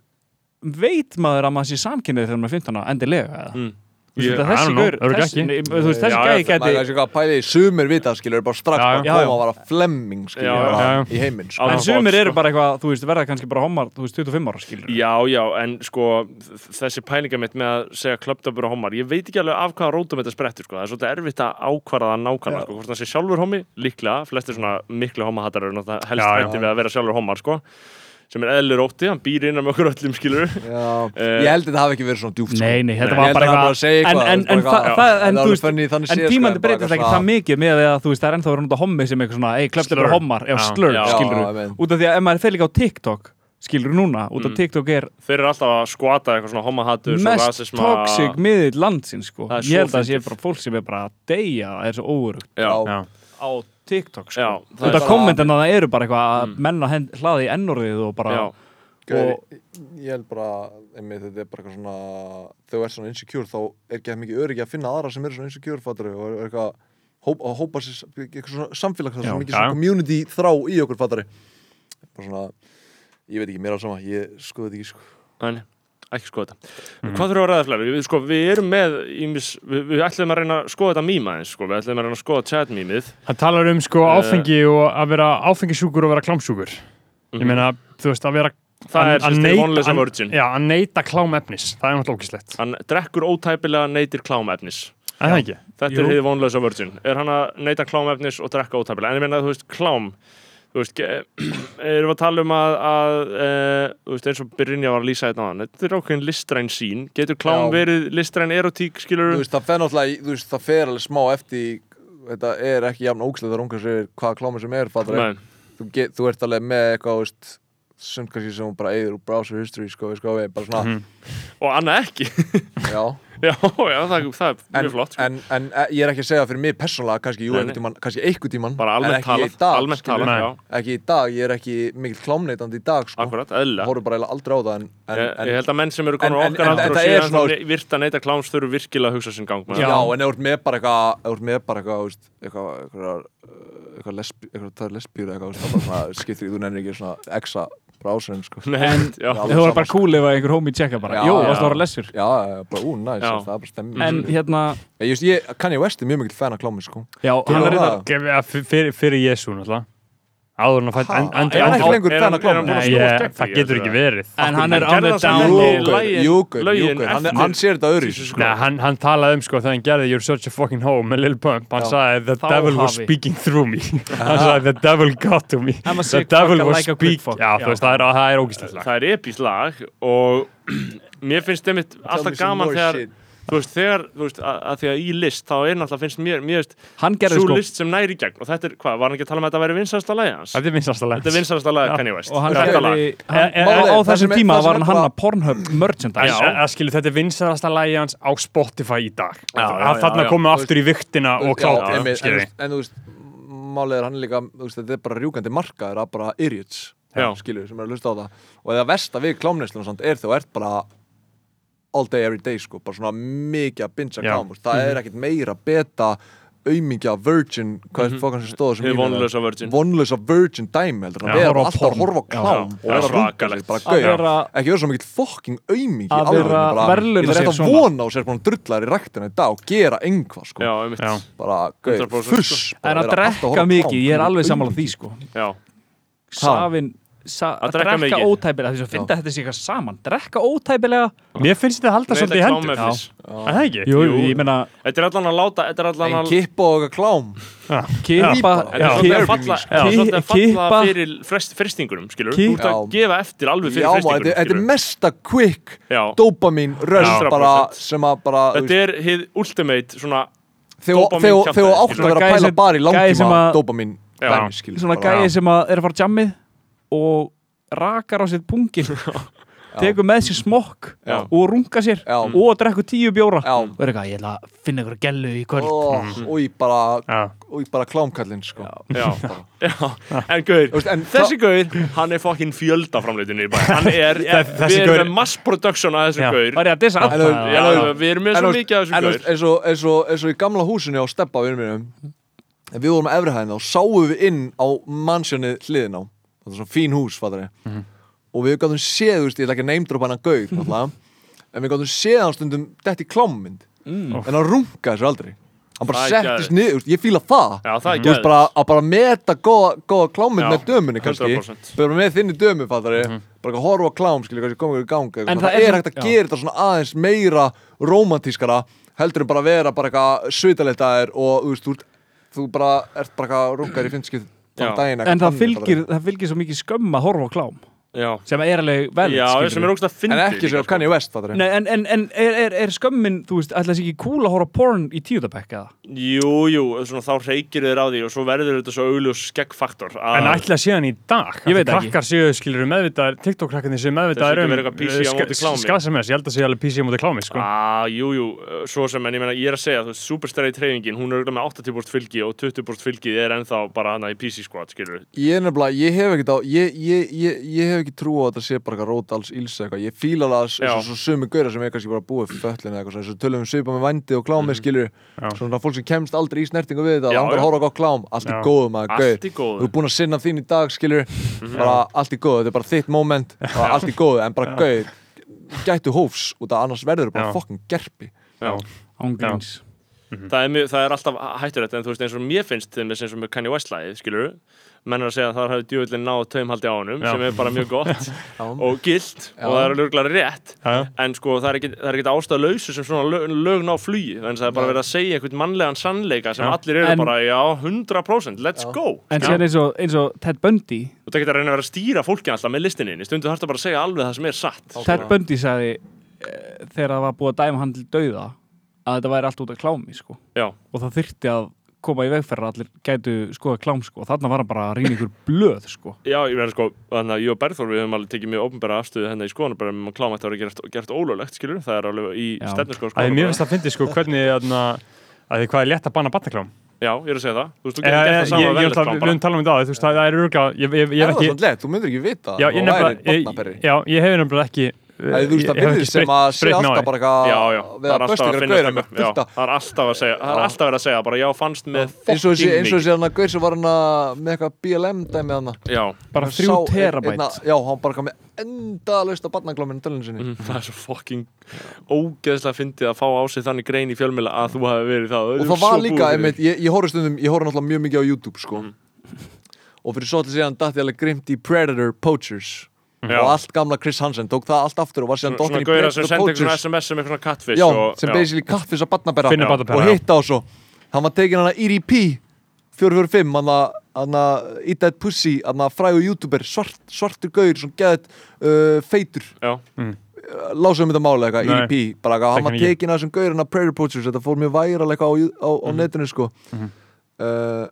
veit maður að maður sé samkynnið þegar maður er 15 ára, endilega eða? Hmm. Mm. Þú veist, Ég- að I þessi don't know, gaur, örugglega þessi- ekki. nei, þú veist, Já, þessi gæði já, Maður er gæti kannski hvað pæli í sumir vita, skilur, bara strax Já, bara já, koma að vara flemming, skilur, Já, já. bara Já, já. í heiminn, sko. Já. en sumir eru bara eitthvað, þú veist, verða kannski bara homar, þú veist, 25 ára skilur Já, já, en sko þ- þessi pælinga mitt með að segja klöptöpur og homar, ég veit ekki alveg af hvaða rótum þetta sprettur sko, það er svolítið erfitt að ákvarða það nákvæmlega sko, hvort það sé sjálfur homi, líklega flestir svona miklu homahattar eru náttúrulega helst Já, já. hætti við að vera sjálfur homar sko sem er eðlir ótti, hann býr innan með okkur öllum skilur Já, ég held að þetta hafi ekki verið svona djúpt, sko. Nei, nei, þetta Ég var held bara að hann var að segja eitthvað en, eitthvað, en, þetta en, var það, eitthvað- það, en, þetta var þú alveg veist, funny þannig en séð, sko, tímandi bara breytist eitthvað ekki það svona- mikið með að þú veist, það er ennþá verið að hommi sem eitthvað svona, ei, klöpt Slur. eru homar, já, Já. slur, Já, skilur já, ég veit. út af því að ef maður fer líka á TikTok skilur núna, út Mm. af TikTok er þeir eru alltaf að skvata eitthvað svona homahattur og mest rasisma toxic miðið landsins sko. Það er svo ég held að það sé fyndið. bara fólk sem er bara að deyja það er svo óurugt Já, Já. Já. á TikTok sko. Já, það þetta er Mm. bara- kommentin að það eru bara eitthvað að menna hend, hlaði í ennorðið og bara já, Gaur, og- Ég held bara, einmitt, þetta er bara eitthvað svona, þegar þú ert svona insecure, þá er ekki jafn mikið öryggi að finna aðra sem eru svona insecure, fattur og er eitthvað, hóp, að hópa sér, eitthvað svona samfélags, það er Já. svona mikið Já. svona community þrá í okkur, fattur bara svona, ég veit ekki, mér er á sama, ég skoði þetta ekki, sko. Nei, ekki skoða þetta. Mm. Hvað þurfum við að ræða fleiri? Við, sko, við erum með, ímis, við, við ætlum að reyna að skoða þetta mýma eins, sko. við ætlum að reyna að skoða chat mýmið. Það talar um sko Eh. áfengi og að vera áfengisjúkur og vera klámsjúkur. ég meina, þú veist, að vera Mhm. Það að- er sem að sagt neita- vonleysa að- virgin. já, að neita klámefnis, það er náttúrulega ógislegt Hann drekkur ótæpilega neytir klámefnis. er það ekki? Þetta Jú. er hið vonlösa virgin. Er hann að neyta klámefnis og drekka ótæpilega? En ég meina, þú veist, klám, þú veist, ge- erum við að tala um að, að e, þú veist, eins og Brynja var að lýsa þetta á hann, þetta er ákveðin listræn sín. Getur klám Já. verið listræn erotík, skilur Mm. Þú veist, það fer náttúrulega, í- þú veist, það fer alveg smá eftir í- Þetta er ekki jafn ógslið að runga sér hvað kláma sem er, fattar Nei, þú, get, þú ert alveg með eitthvað, þú veist sem kannski sem hún bara eigður úr browser history sko, við sko, við bara svona, og annað ekki Mhm. já já, já, það, það er en, mjög flott sko. en, en e, ég er ekki að segja fyrir mig persónulega, kannski, jú, Nei, einhvern nei. tímann kannski einhvern tímann, bara en almennt ekki í talað dag, almennt skilur. talað, Nei. já, ekki í dag, ég er ekki mikill klámneitandi í dag, sko, akkurat, eðlilega horfum bara eiginlega aldrei á það en, en, ég, en ég held að menn sem eru konar en- en- okkar en aldur og þetta er síðan svona- svona... virt að neyta kláms þau eru virkilega að hugsa sinn gang með já, það. en ef þú ert með bara eitthvað ef þú ert með bara eitthvað, þú veist, eitthvað eitthvað, eh, eitthvað, lesbí, eitthvað það er lesbíur eitthvað, þú veist, það bara svona, skiptir ekki, þú nefnir ekki svona exa browserinn, sko Nei, já, Alveg Það var sama, bara sko. cool ef að einhver homie tjekka bara Já, Jó, já. Mm. varstu að voru lessur já, já, bara, ú, næs, Já. það er bara stemming En hérna, Ég, ég, ég, Kanye West er mjög mikill fan af klámi, sko. já, hann Já, er það. þetta Gef- ja, fyr- fyrir, fyrir Jésu náttúrulega áður en að fætt Ha? en- en- Ég er en- ekki en- lengur er fan hann- af klámi. er hann búinn að Nei, snúa ég- stekk það í getur þessu, ekki eða? verið En hann er Hann gerði on the það down samt low ekki. lögin- Júkur, lögin Júkur, hann, eftir- hann sér þetta öðru Jesus sko. Nei, Christ. hann, hann talaði um sko þegar hann gerði You're such a fucking hoe með Lil Pump hann Já. sagði The Þá devil was hafi. speaking through me hann sagði The devil got to me I'm a The sick devil fucker was like a quick speaking fuck. Já, þú veist, það er, það er ógæslega það er epís lag og mér finnst einmitt alltaf gaman þegar þú veist, þegar, þú veist, að, að því að í list þá er náttúrulega finnst mér, mér veist Hann gerði svo sko list sem næri gegn og þetta er, hvað, var hann ekki að tala um að þetta væri vinsælsta lagi hans? Þetta er vinsast að Þetta er vinsælsta lagi Kanye West Og hann Þetta lag. gerði, hann, En- en- á, á það sem þessum er- tíma var það sem er hann hann bara- að Pornhub merchandise En að skilu, þetta er vinsalasta lægi hans á Spotify í dag. Já, já, já, Þannig já. að koma aftur í viktina Hérna og já, kláta, einmitt, en, skilji. en, en þú veist, málið er hann er líka þú veist, þetta er bara rjúkandi markaður að bara idiots Já. skilur, sem er að lusta á það og það versta við klámneslunum samt er þú ert bara all day every day sko, bara svona mikið að binja Já. klám þú veist, það Mhm. er ekkit meira beta aumingja virgin, hvað er fokkan sem stóða sem Mhm. Hið lífið er? vonlausa virgin. vonlausa virgin dæmi heldur, Já, hann er horfa á alltaf að porn. horfa á klám Já, og það er er að runga svakalegt. sig, bara Að gauð vera- ekki vera svo mikill fokking aumingi í Að vera alvörunni, bara- verðlauna ég er sig þetta svona. vona og sér búin að drullar í ræktina í dag og gera einhvað sko Já, einmitt Já. bara gauð, 100% fuss bara En að vera alltaf drekka horfa á mikið, klám. ég er alveg sammála því sko Já, Safin, sa, að drekka drekka mikið. ótæpilega Þess að finna þetta sér eitthvað saman Drekka ótæpilega Mér finnst þetta halda svolítið í Neyta hendur. klámefnis. Er það ekki? Jú, Jú. ég meina Þetta er allan að láta, þetta er allan en að kippa og eitthvað klám Kippa Þetta er já, svolítið að Therapy, falla, sko. þetta er svolítið að falla Kippa. fyrir frest, fristingunum, skilur Þú ert að Já. gefa eftir alveg já, fyrir maður, þetta fristingunum, þetta er skilur mesta quick Já, dopamin rush Já. bara 100%. sem að bara þú þetta er hið ultimate svona veist, þegar dopamine þegar- þegar kjaftaði, átt að skilur. Svona vera að gæi pæla sem- bara í gæi sem langtíma að- dopamin Já. dæmi, skilur, Svona bara- gæi sem að er að fara á jammið Og rakar á sér pungin Tekur með sér smokk Já. Og runga sér Já. Og drekkur tíu bjóra Já. Og er eitthvað, ég ætla að finna ykkur gellu í kvöld Ó, Mhm. og ég bara Já. og ég bara klámkallinn sko Já, já, en gauður, veist, en þessi gauður, hann er fokkin fjöldaframleitinu í bæ Hann er, er þessi við gaur- erum með mass production að þessu Já. gauður Var ég að dissa En þú- Já, við erum með En svo þú veist- mikið að en þú þessu veist, gauður eins og, eins, og, eins og í gamla húsinu á steppa við mínum en við vorum að efrihæðin þá sáum við inn á mansjónið hliðin á það er svona fín hús fattari Mhm. og við gáttum séð, þú veist, ég ætla ekki að neymdropa hann að gaug náttúrulega, en við gáttum séð hann stundum þetta í klámmynd en hann rungaði sér aldrei hann bara Mm. Það er settist geðveikt. niður, þú veist, ég fíla Já, það það er Þú veist gæður bara að bara meta góða, góða klámynd Já, með dömunni kannski 100%. bara með þinni dömu fattari bara að horfa á klám skilja kannski koma ykkur í gang eitthvað. Mhm. En það, það er er samt- hægt að já. gera þetta svona aðeins meira romantískara heldur en bara að vera bara eitthvað svitaleitt að þér og þú veist þú, ert- þú bara ert bara eitthvað rungar í finnskið Já. þann daginn eitthvað En það þannig, fylgir, fattaru. það fylgir svo mikið skömm að horfa á klám Já, sem er alveg vel já, sem er sko. ógst að fyndi en ekki sem Kanye West fattari Nei, en, en, en er, er, er skömmin, þú veist, ætlaðs ekki cool að horfa á porn í tíuðabekk eða? Jú, jú, svona, þá reykir þér á því og svo verður þetta svo augljós skeggfaktor að- En ætla að sé hann í dag. Ég veit Að ekki. Krakkar séu, skilur, meðvitaðir, TikTok-krakkarnir séu Þeir meðvitaðir um séu ekki verið eitthvað PC á móti klámi. skadsamess. Ég held að séu alveg PC á móti klámi, sko. Ah, jú, jú, uh, svo sem, en ég meina, ég er að segja, þú veist, superstræði treyfingin, hún er auðvitað með 80% fylgi og 20% fylgið er ennþá bara hana í PC squad, skilur ég er nefnilega, ég hef ekkert á ég, ég, ég, ég hef ekki trú á að þetta sé bara eitthvað rót alls íls eitthvað, ég fíla alveg að Já. það svo sömu gauðra sem er kannski bara búið fyrir föllin eða eitthvað, svona, eins og tölum við svipa með vændi og klámi mm skilur, svona fólk sem kemst aldrei í snertingu við þetta, Já, langar já. að horfa á gott klám allt í Já. góðu maður, gauð, Allt í þú góðu. ert búin að sinna þín í dag skilur, bara allt í góðu þetta er bara þitt moment, bara allt í góðu en bara gauð, gættu hófs út að annars verður Já. bara fokkin gerpi Já, Ángríns. það, er mjög, það er alltaf hætturætt en þú veist eins og mér finnst þeim eins og með Kanye West lagið, skilur menn er að segja að það hafi djúvillin náð taumhaldi á honum Já. sem er bara mjög gott og gilt og það er lögulega rétt já, en sko það er ekkit, það er ekkit ástæða lausu sem svona lög, lögn á flugi þannig að það er bara verið að segja einhvern mannlegan sannleika sem Já. allir eru En- bara, já, 100% let's go En síðan eins og, eins og Ted Bundy þú tekir að reyna að vera að stýra fólki alltaf með listinni í stundu þarfst að bara að segja alveg það sem er satt Ted Bundy sagði eh, þegar það var búið að dæma hann til dauða að þetta væri allt út af klámi sko. Já. og það þyrfti að koma í vegferð að allir gætu skoða klám sko. og þarna var hann bara að rýna ykkur blöð sko. já, ég verður sko, þannig að ég og Bergþór við höfum alveg tekið mjög ofnbæra afstöðu hérna í skoðanum bara með klámætt að vera gert, gert ólöglegt, skilur það er alveg í Já. stefnuskóð að því mér finnst það fyndi sko hvernig þarna, að því hvað er létt að banna bannaklám já, ég er að segja það, þú veist, þú ég, getur gert ég, ég, það sama ég, að ég, velja ætla- við höfum talað um þetta áður, þú veist, það það er örgá ég, ég, ég Er hef það ekki svolítið lett, þú myndir ekki vita já, ég nefnilega, ég, já, ég hef nefnilega ekki eh, Það er þú veist ég- það ég hef ekki byrðir sem spreitt- að sé spreitt mig á alltaf því. bara eitthvað Já, já, það er Við að alltaf bösta að ykkur að finna gauðra með já, fullta það er alltaf að segja, það er Já. alltaf að vera að segja bara já, fannst með Eins og þessi- fucking eins og þessi hann að gauð sem var hann að- með eitthvað BLM dæmi hann mikið. Já, bara Hann þrjú sá ein- terabæt einna- Já, hann bara kom með endalaust að barnagláminu tölun sinni Mm, það er svo fucking ógeðslega fyndið að fá á sig þannig grein í fjölmjöla að þú hafi verið það og Ég er það svo var búinn líka, fyrir Mhm. einmitt, ég, ég horfði stundum ég horfði náttúrulega mjög mikið á YouTube sko. og fyrir svo til síðan datt ég alveg grimt í Predator Poachers Já. og allt gamla Chris Hansen tók það allt aftur og var síðan Svona dottin í gauðra sem sendi Predator eitthvað svona Poachers SMS sem eitthvað svona catfish já, og, sem basically kattfis að barnabera Finnur barnabera, og já. hitta á svo hann var E tekin hann að EDP 445, hann að hann að Eat That Pussy, hann að frægu YouTuber svart, svartur gaur, svona geðið uh, feitur Já, lásum um þetta máli eitthvað, Nei. EDP bara eitthvað, hann Þekki hann var ekki. tekin að þessum gaurinn að Prairie Poachers, þetta fór mjög væral eitthvað á, á, á Mhm. netinu sko uh,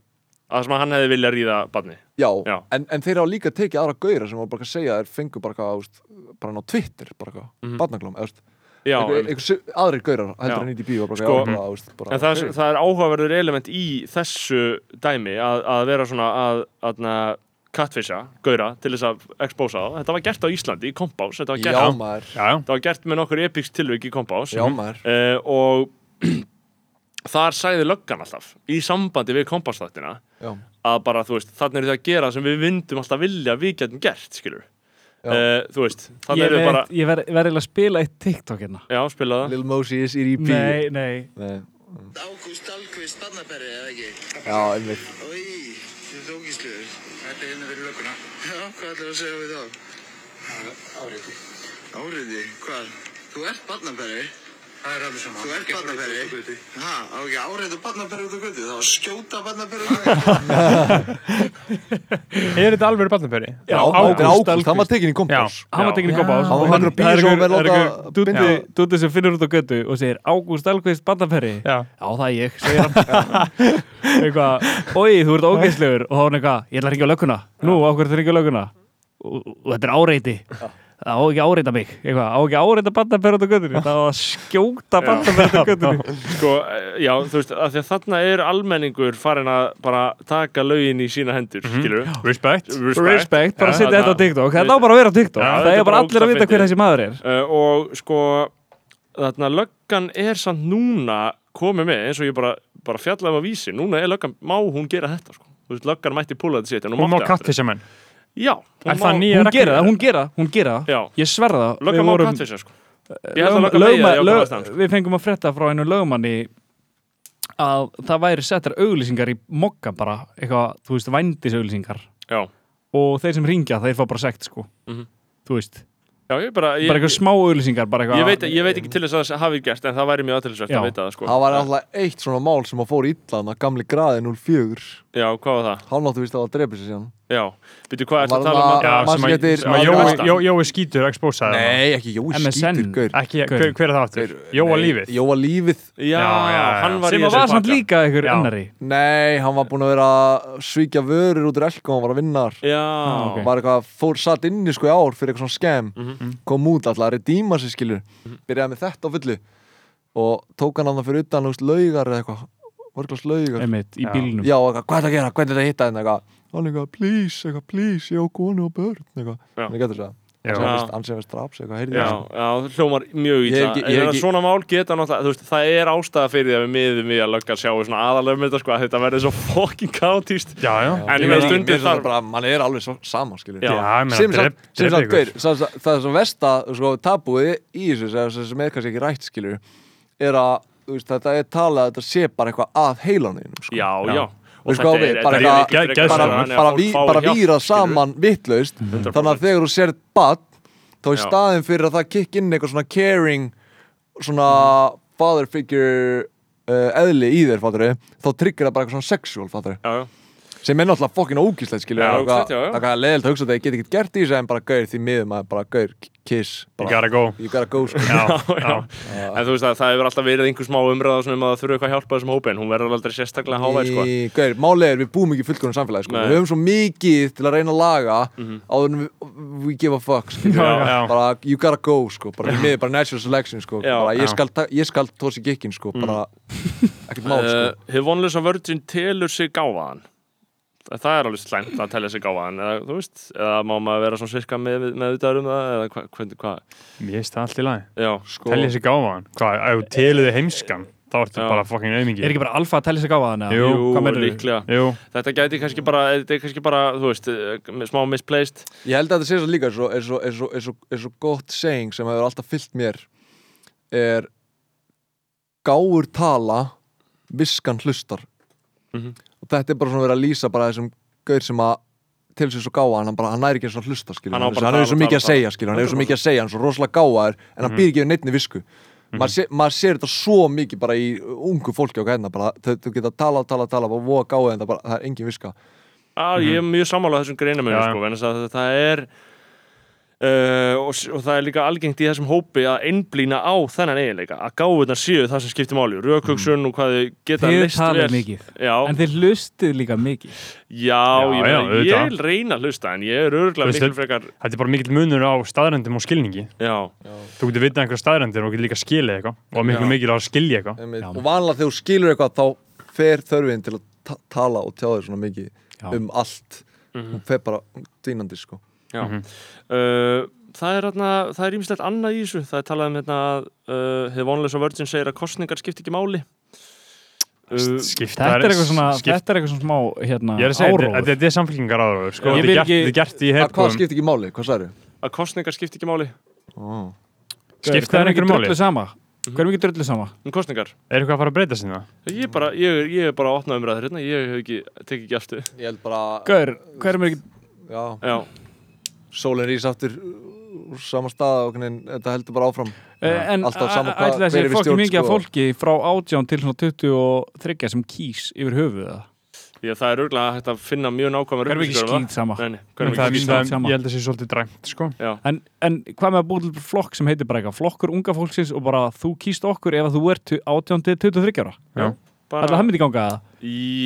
að sem að hann hefði viljað ríða barni já, Já. En, en þeir hafa líka tekið aðra gauðra sem var bara að segja þeir fengu bara eitthvað, úst, bara ná Twitter bara eitthvað, mm -hmm. barnaglum, eitthvað, Mhm. Já, einmitt. eitthvað sig- aðrir gauðrar heldur Já. en E EDP var bara, Sko, já, bara, úst, bara En það, er- það er áhugaverður element í þessu dæmi að, að vera svona að, að catfisha, gauðra, til þess að expósa þá. Þetta var gert á Íslandi í Kompás, þetta var já, gert, maður, já, já, þetta var gert með nokkur epics tilvik í Kompás já, maður uh, og þar sagði löggan alltaf í sambandi við kompásþáttina já, að bara, þú veist, þannig eru þið að gera sem við vindum alltaf vilja að við getum gert, skilur Já. uh, þú veist, þannig ég eru verð bara ég verð- ég verð eiginlega að spila eitt TikTok hérna já, spila það Lil Mosey is EDP nei, nei, Nei. Ágúst Alkvist Barnaberri, eða ekki? já, einmitt Í, þú ert ógísluður. Þetta er hérna fyrir lögguna. Já, hvað ætlar að segja við þá? Áriði. Áriði? Hvað? Þú ert Barnaberri? Það er alveg saman. Þú ert Barnaberri? Ha, á ekki áriði og Barnaberri út á götu? Þá skjóta Barnaberri út á götu? er þetta alveg barnaböri? já, Ágúst, Ágúst, hann var tekin í kompás hann var tekinn í gópa Hann var mættur á bíó og verið láta að binda- Dúti sem finnur út á götu og segir Ágúst Alkvist Bandaferri Já. það er ég, segir hann eitthvað, oi þú ert ógeðslegur og þá er hann eitthvað, ég ætla að ringja á lögguna nú, á hverju það ringja á lögguna og, og þetta er áreiti það á ekki að áreita mig eitthvað, á ekki að áreita Bandaferri út á götunni það á að skjóta Bandaferri út á götunni sko, eh, já, þú veist, af því að þarna er almenningur farin að bara taka lögin í sína hendur, mm respect respect, respekt, bara Já, setja þarna- þetta á TikTok þetta á bara að vera á TikTok, Já, það þetta er er bara bara allir að vita ógeðslega hver þessi maður er uh, og sko þarna löggan er samt núna komið með eins og ég bara, bara fjallaði um að vísi, núna er löggan, má hún gera þetta sko, þú veist, löggan mætti púla þetta sitt en hún má mátti aldrei. kattfisja menn já, hún Er það má- nýja- hún regla- gera það, hún gera, það, hún gera það. já, ég sverða það, löggan við má vorum- kattfisja sko ég held að löggan Lögma- megi það í lög- ákveðna stand sko. Við fengum að frétta frá einu lögmanni að það væri settar auglýsingar í mokka bara, eitthvað, þú veist, vændis auglýsingar já, og þeir sem ringja þeir fá bara sekt, sko Mhm. þú veist, já, ég bara ég, bara eitthvað smá auglýsingar bara eitthvað, ég, veit, ég veit ekki til þess að það hafi gert en það væri mjög aðtilsvægt Já. að vita það sko það var alltaf eitt svona mál sem að fór illa hann að gamli graði 04 já, hvað var það? hann áttu vist að það drepa sig síðan já, veitu hvað er það Var að tala um það- að- Já, sem maður að- getur- sem að maður Jói- getur- Jó- Jói skýtur expósaði það. Nei, ekki Jói MSN. skítur, gaur ekki, hver hver er það aftur? Jóa Nei, lífið Jóa lífið já, Já, já, já. hann var í sem að var þessu samt pakka. líka einhver Já. ennari Nei, hann var búinn að vera að svíkja vörur út úr elku hann var að vinna þar já, ok. var eitthvað, fór satt inni sko í ár fyrir eitthvað svona skemm kom út alltaf að redíma sig skilur byrjaði með þetta á fullu og tók hann hann fyrir utan úst, laugar eða eitthvað vörglast laugar einmitt, í Já. bílnum já, og eitthvað, hvað er þetta að gera, hvað er þetta að hitta henni eitthvað hann eitthvað, please, eitthvað, please, ég á konu og börn eitthvað, Já. hann getur það Já. hann sem fyrst- hann sem veist draps eitthvað, heyrði Já, það já, það hljómar mjög Ég ítla hef ekki- ég En hef það ekki- svona mál geta náttúrulega þú veist, Það er ástæða fyrir því að við miðum við að lögga sjáu svona aðalegum þetta sko að þetta verður svo fucking kaotíst já, já En ég Mér með finnst stundir þetta þar bara, mann er alveg svo sama skilur Já. Já, ég meina, sem sagt, drep- sem drep sagt, ykkur. gaur, það það- það er svo versta sko, tabúið í þessu sem, sem er kannski ekki rætt skilur er að þú veist, þetta er talað að þetta sé bara eitthvað að heilanum sko. já, já, Já. og Veist hvað á við? Bara eitthvað- ekki Gæ- frekar bara, þannig að bara, fólk ví, fái bara hjálp, víra skilurðu. saman vitlaust, þannig að þegar þú sér bad, þá er Já. staðin fyrir að það kikk inn eitthvað svona caring svona father figure uh, eðli í þér, fattari þá tryggir það bara eitthvað svona sexual, fattari já, já. sem er náttúrulega fokkin ógíslegt, skilur Já, það ógeðslegt, já, já. er hvað leðilt að hugsa þetta, ég get ekki gert í þessu en bara gaur því miður maður, bara gaur, kiss You bara, gotta go you gotta go, sko Já, já, en þú veist að það hefur alltaf verið einhver smá umræða svona um að það þurfa eitthvað að hjálpa þessum hópi en hún verður aldrei sérstaklega hávær sko. Í- Gaur, málið er við búum ekki í fullkomnum samfélagi sko. Nei. Við höfum svo mikið til að reyna að laga áður en við, we give a fuck skilur við. Já, já. Bara you gotta go sko. bara, Við miður bara natural selection sko. Já. bara, Já. ég, skal, ta- ég skal tósi gikkin sko. bara, ekkert mál sko. uh, Hið vonlösa vörðin telur sig gáfaðan Það er alveg slæmt að telja sig gáfaðan eða, þú veist, eða má maður vera svona sirka með, með auðvitað um það eða hva, hvernig, hvað mér finnst það allt í lagi Já, sko. Telja sér gáfaðan, hvað, ef þú teluði heimskan þá ertu Já. bara fucking auðmingi Er ekki bara alfa að telja sig gáfa þannig? Jú, jú, hvað meinarðu? líklega Jú, Þetta gæti kannski bara, þetta er kannski bara, þú veist, eh, smá misplaced Ég held að þetta sé svo líka er svo, er svo, er svo, er svo, er svo gott saying sem hefur alltaf fyllt mér er gáur tala viskan hlustar Mhm. og þetta er bara svona verið að lýsa bara þessum gaur sem að til sér svo gáa hann, bara, hann næri ekki einu sinni að hlusta skilur, Hann á hann, bara hann að er svo tala, mikið að tala, Mhm. segja skilur, hann er svo mikið að segja, hann er svo rosalega gáaður en hann býr ekki við neittni visku maður, sé, maður sér þetta svo mikið bara í ungu fólki og gæðna, bara þau þau geta tala, tala, tala, bara voða gáa en það, bara, það er engin viska ah, Ég er mjög sammála þessum greinamönu, Já, já. sko, en það, það er Uh, og, s- og það er líka algengt í þessum hópi að einblína á þennan eiginleika að gáfurnar séu það sem skiptir máli rökhugsun og hvað þau geta Þið leyst talið vel. mikið Já, En þið hlustið líka mikið Já, Já, ég, já, meina, auðvitað. ég reyna að hlusta en ég er örgulega Þú veist, miklu frekar þetta er bara mikill munur á staðrendum og skilningi Já, Þú getur vitað einhverja staðrendir og getur líka skilið eitthvað og miklu Já. mikil á að skilja eitthvað Einmitt. Já. og vanlega þegar þú skilur eitthvað þá fer þörfin til að ta tala og tjá þér svona mikið Já. um allt hún fer bara dýnandi sko já Mhm. uh, Það er hérna, það er ímislegt annað í þessu Það er talað um hérna að uh, Hið vonlösa vörðin segir að kostningar skipti ekki máli uh, Skipta Þetta er eitthvað svona, skip- þetta er eitthvað svona smá hérna, Ég er að segja, þetta- áróður. þetta þetta er samfélkingar áróður sko. Ég Þetta vil er gert- ekki- þetta er gert í að hvað herkóðum skiptir ekki máli, hvað særu? Að kostningar skipti ekki máli Oh. Skipta Hverjum það ekki einhverju máli? drullu sama? Hverjum ekki drullu sama? um kostningar Er eitthvað að fara að breyta hérna? sinna? Ég er bara, ég, er- ég er bara að opna umræður hérna Ég hef ekki, tek ekki aftur ég held bara Gaur, hverjum ekki já, Já, sólinn rís aftur úr sama stað og hvernig, þetta heldur bara áfram Eh, En Alltaf sama hvað- ætla hver er þessi við fólki stjórn, mikið af sko. fólki frá 18 til svona 23 sem kýs yfir höfuð það ég, það er örgulega hægt að finna mjög nákvæmar Hverjum ekki upplýsingar um skýt sama það. Nei, nei, En Hverjum ekki það er skýt skýt sama? það, ég held að það sé svolítið dræmt sko. en, en hvað með að búið til flokk sem heitir bara eitthvað flokkur unga fólksins og bara þú kýst okkur ef að þú ert 18 til 23 ára Alltaf það bara, myndi ganga það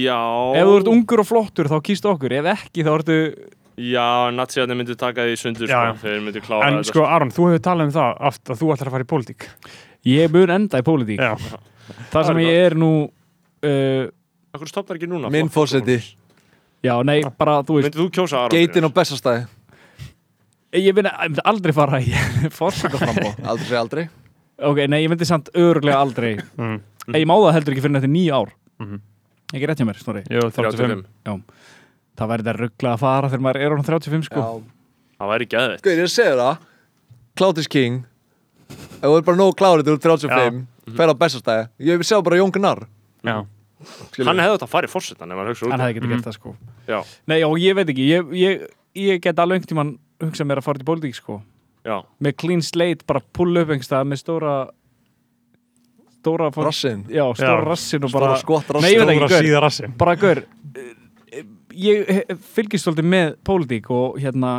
Já Ef þú ert ungur og flottur þá kýst okkur Ef ekki þá ertu Já, natsíðarnir myndu taka því sundur Já, sko, já. Þeir myndu klára En þetta, sko Aron, þú hefur talað um það aft að þú ætlar að fara í pólitík Ég mun enda í pólitík Já, Það sem Það er ég er nú uh, Akkur stopnar ekki núna minn flokkur, fósetti, Já, nei, bara þú veist Myndir þú kjósa Aron? geitin á bestastæði Ég myndi ég myndi aldrei fara í fórsetaframbóð aldrei segja aldrei Ok, nei, ég myndi samt öruglega aldrei Mm. Nei, Ég má það heldur ekki fyrir þetta nýja ár Mhm. Ekki rétt hjá mér, snorri Jú, 35 35 Það væri þetta ruggla að fara þegar maður er á 35 sko Já. Það væri geðveitt Guður, ég segir það Cloutis King ef þú er bara nóg klárið til 35 fer á bestastæði, ég vil sjá bara Jón Gnarr Já, skilur. Hann hefði þetta að fara í fórsetan ef maður hugsa út Hann í hefði getið gert það sko Já. Nei, já, ég veit ekki Ég, ég, ég get alveg einhvern tímann hugsað mér að fara til pólitík sko það. Já, Með clean slate, bara pull up einhverstað Með stóra Stóra fólk- rassinn, Já, stóra Já. rassin og bara sko. bara skott rassinn Nei, ég veit ekki, stóra gaur. síðarassi bara gaur eh, ég he- fylgist svolítið með pólitík og hérna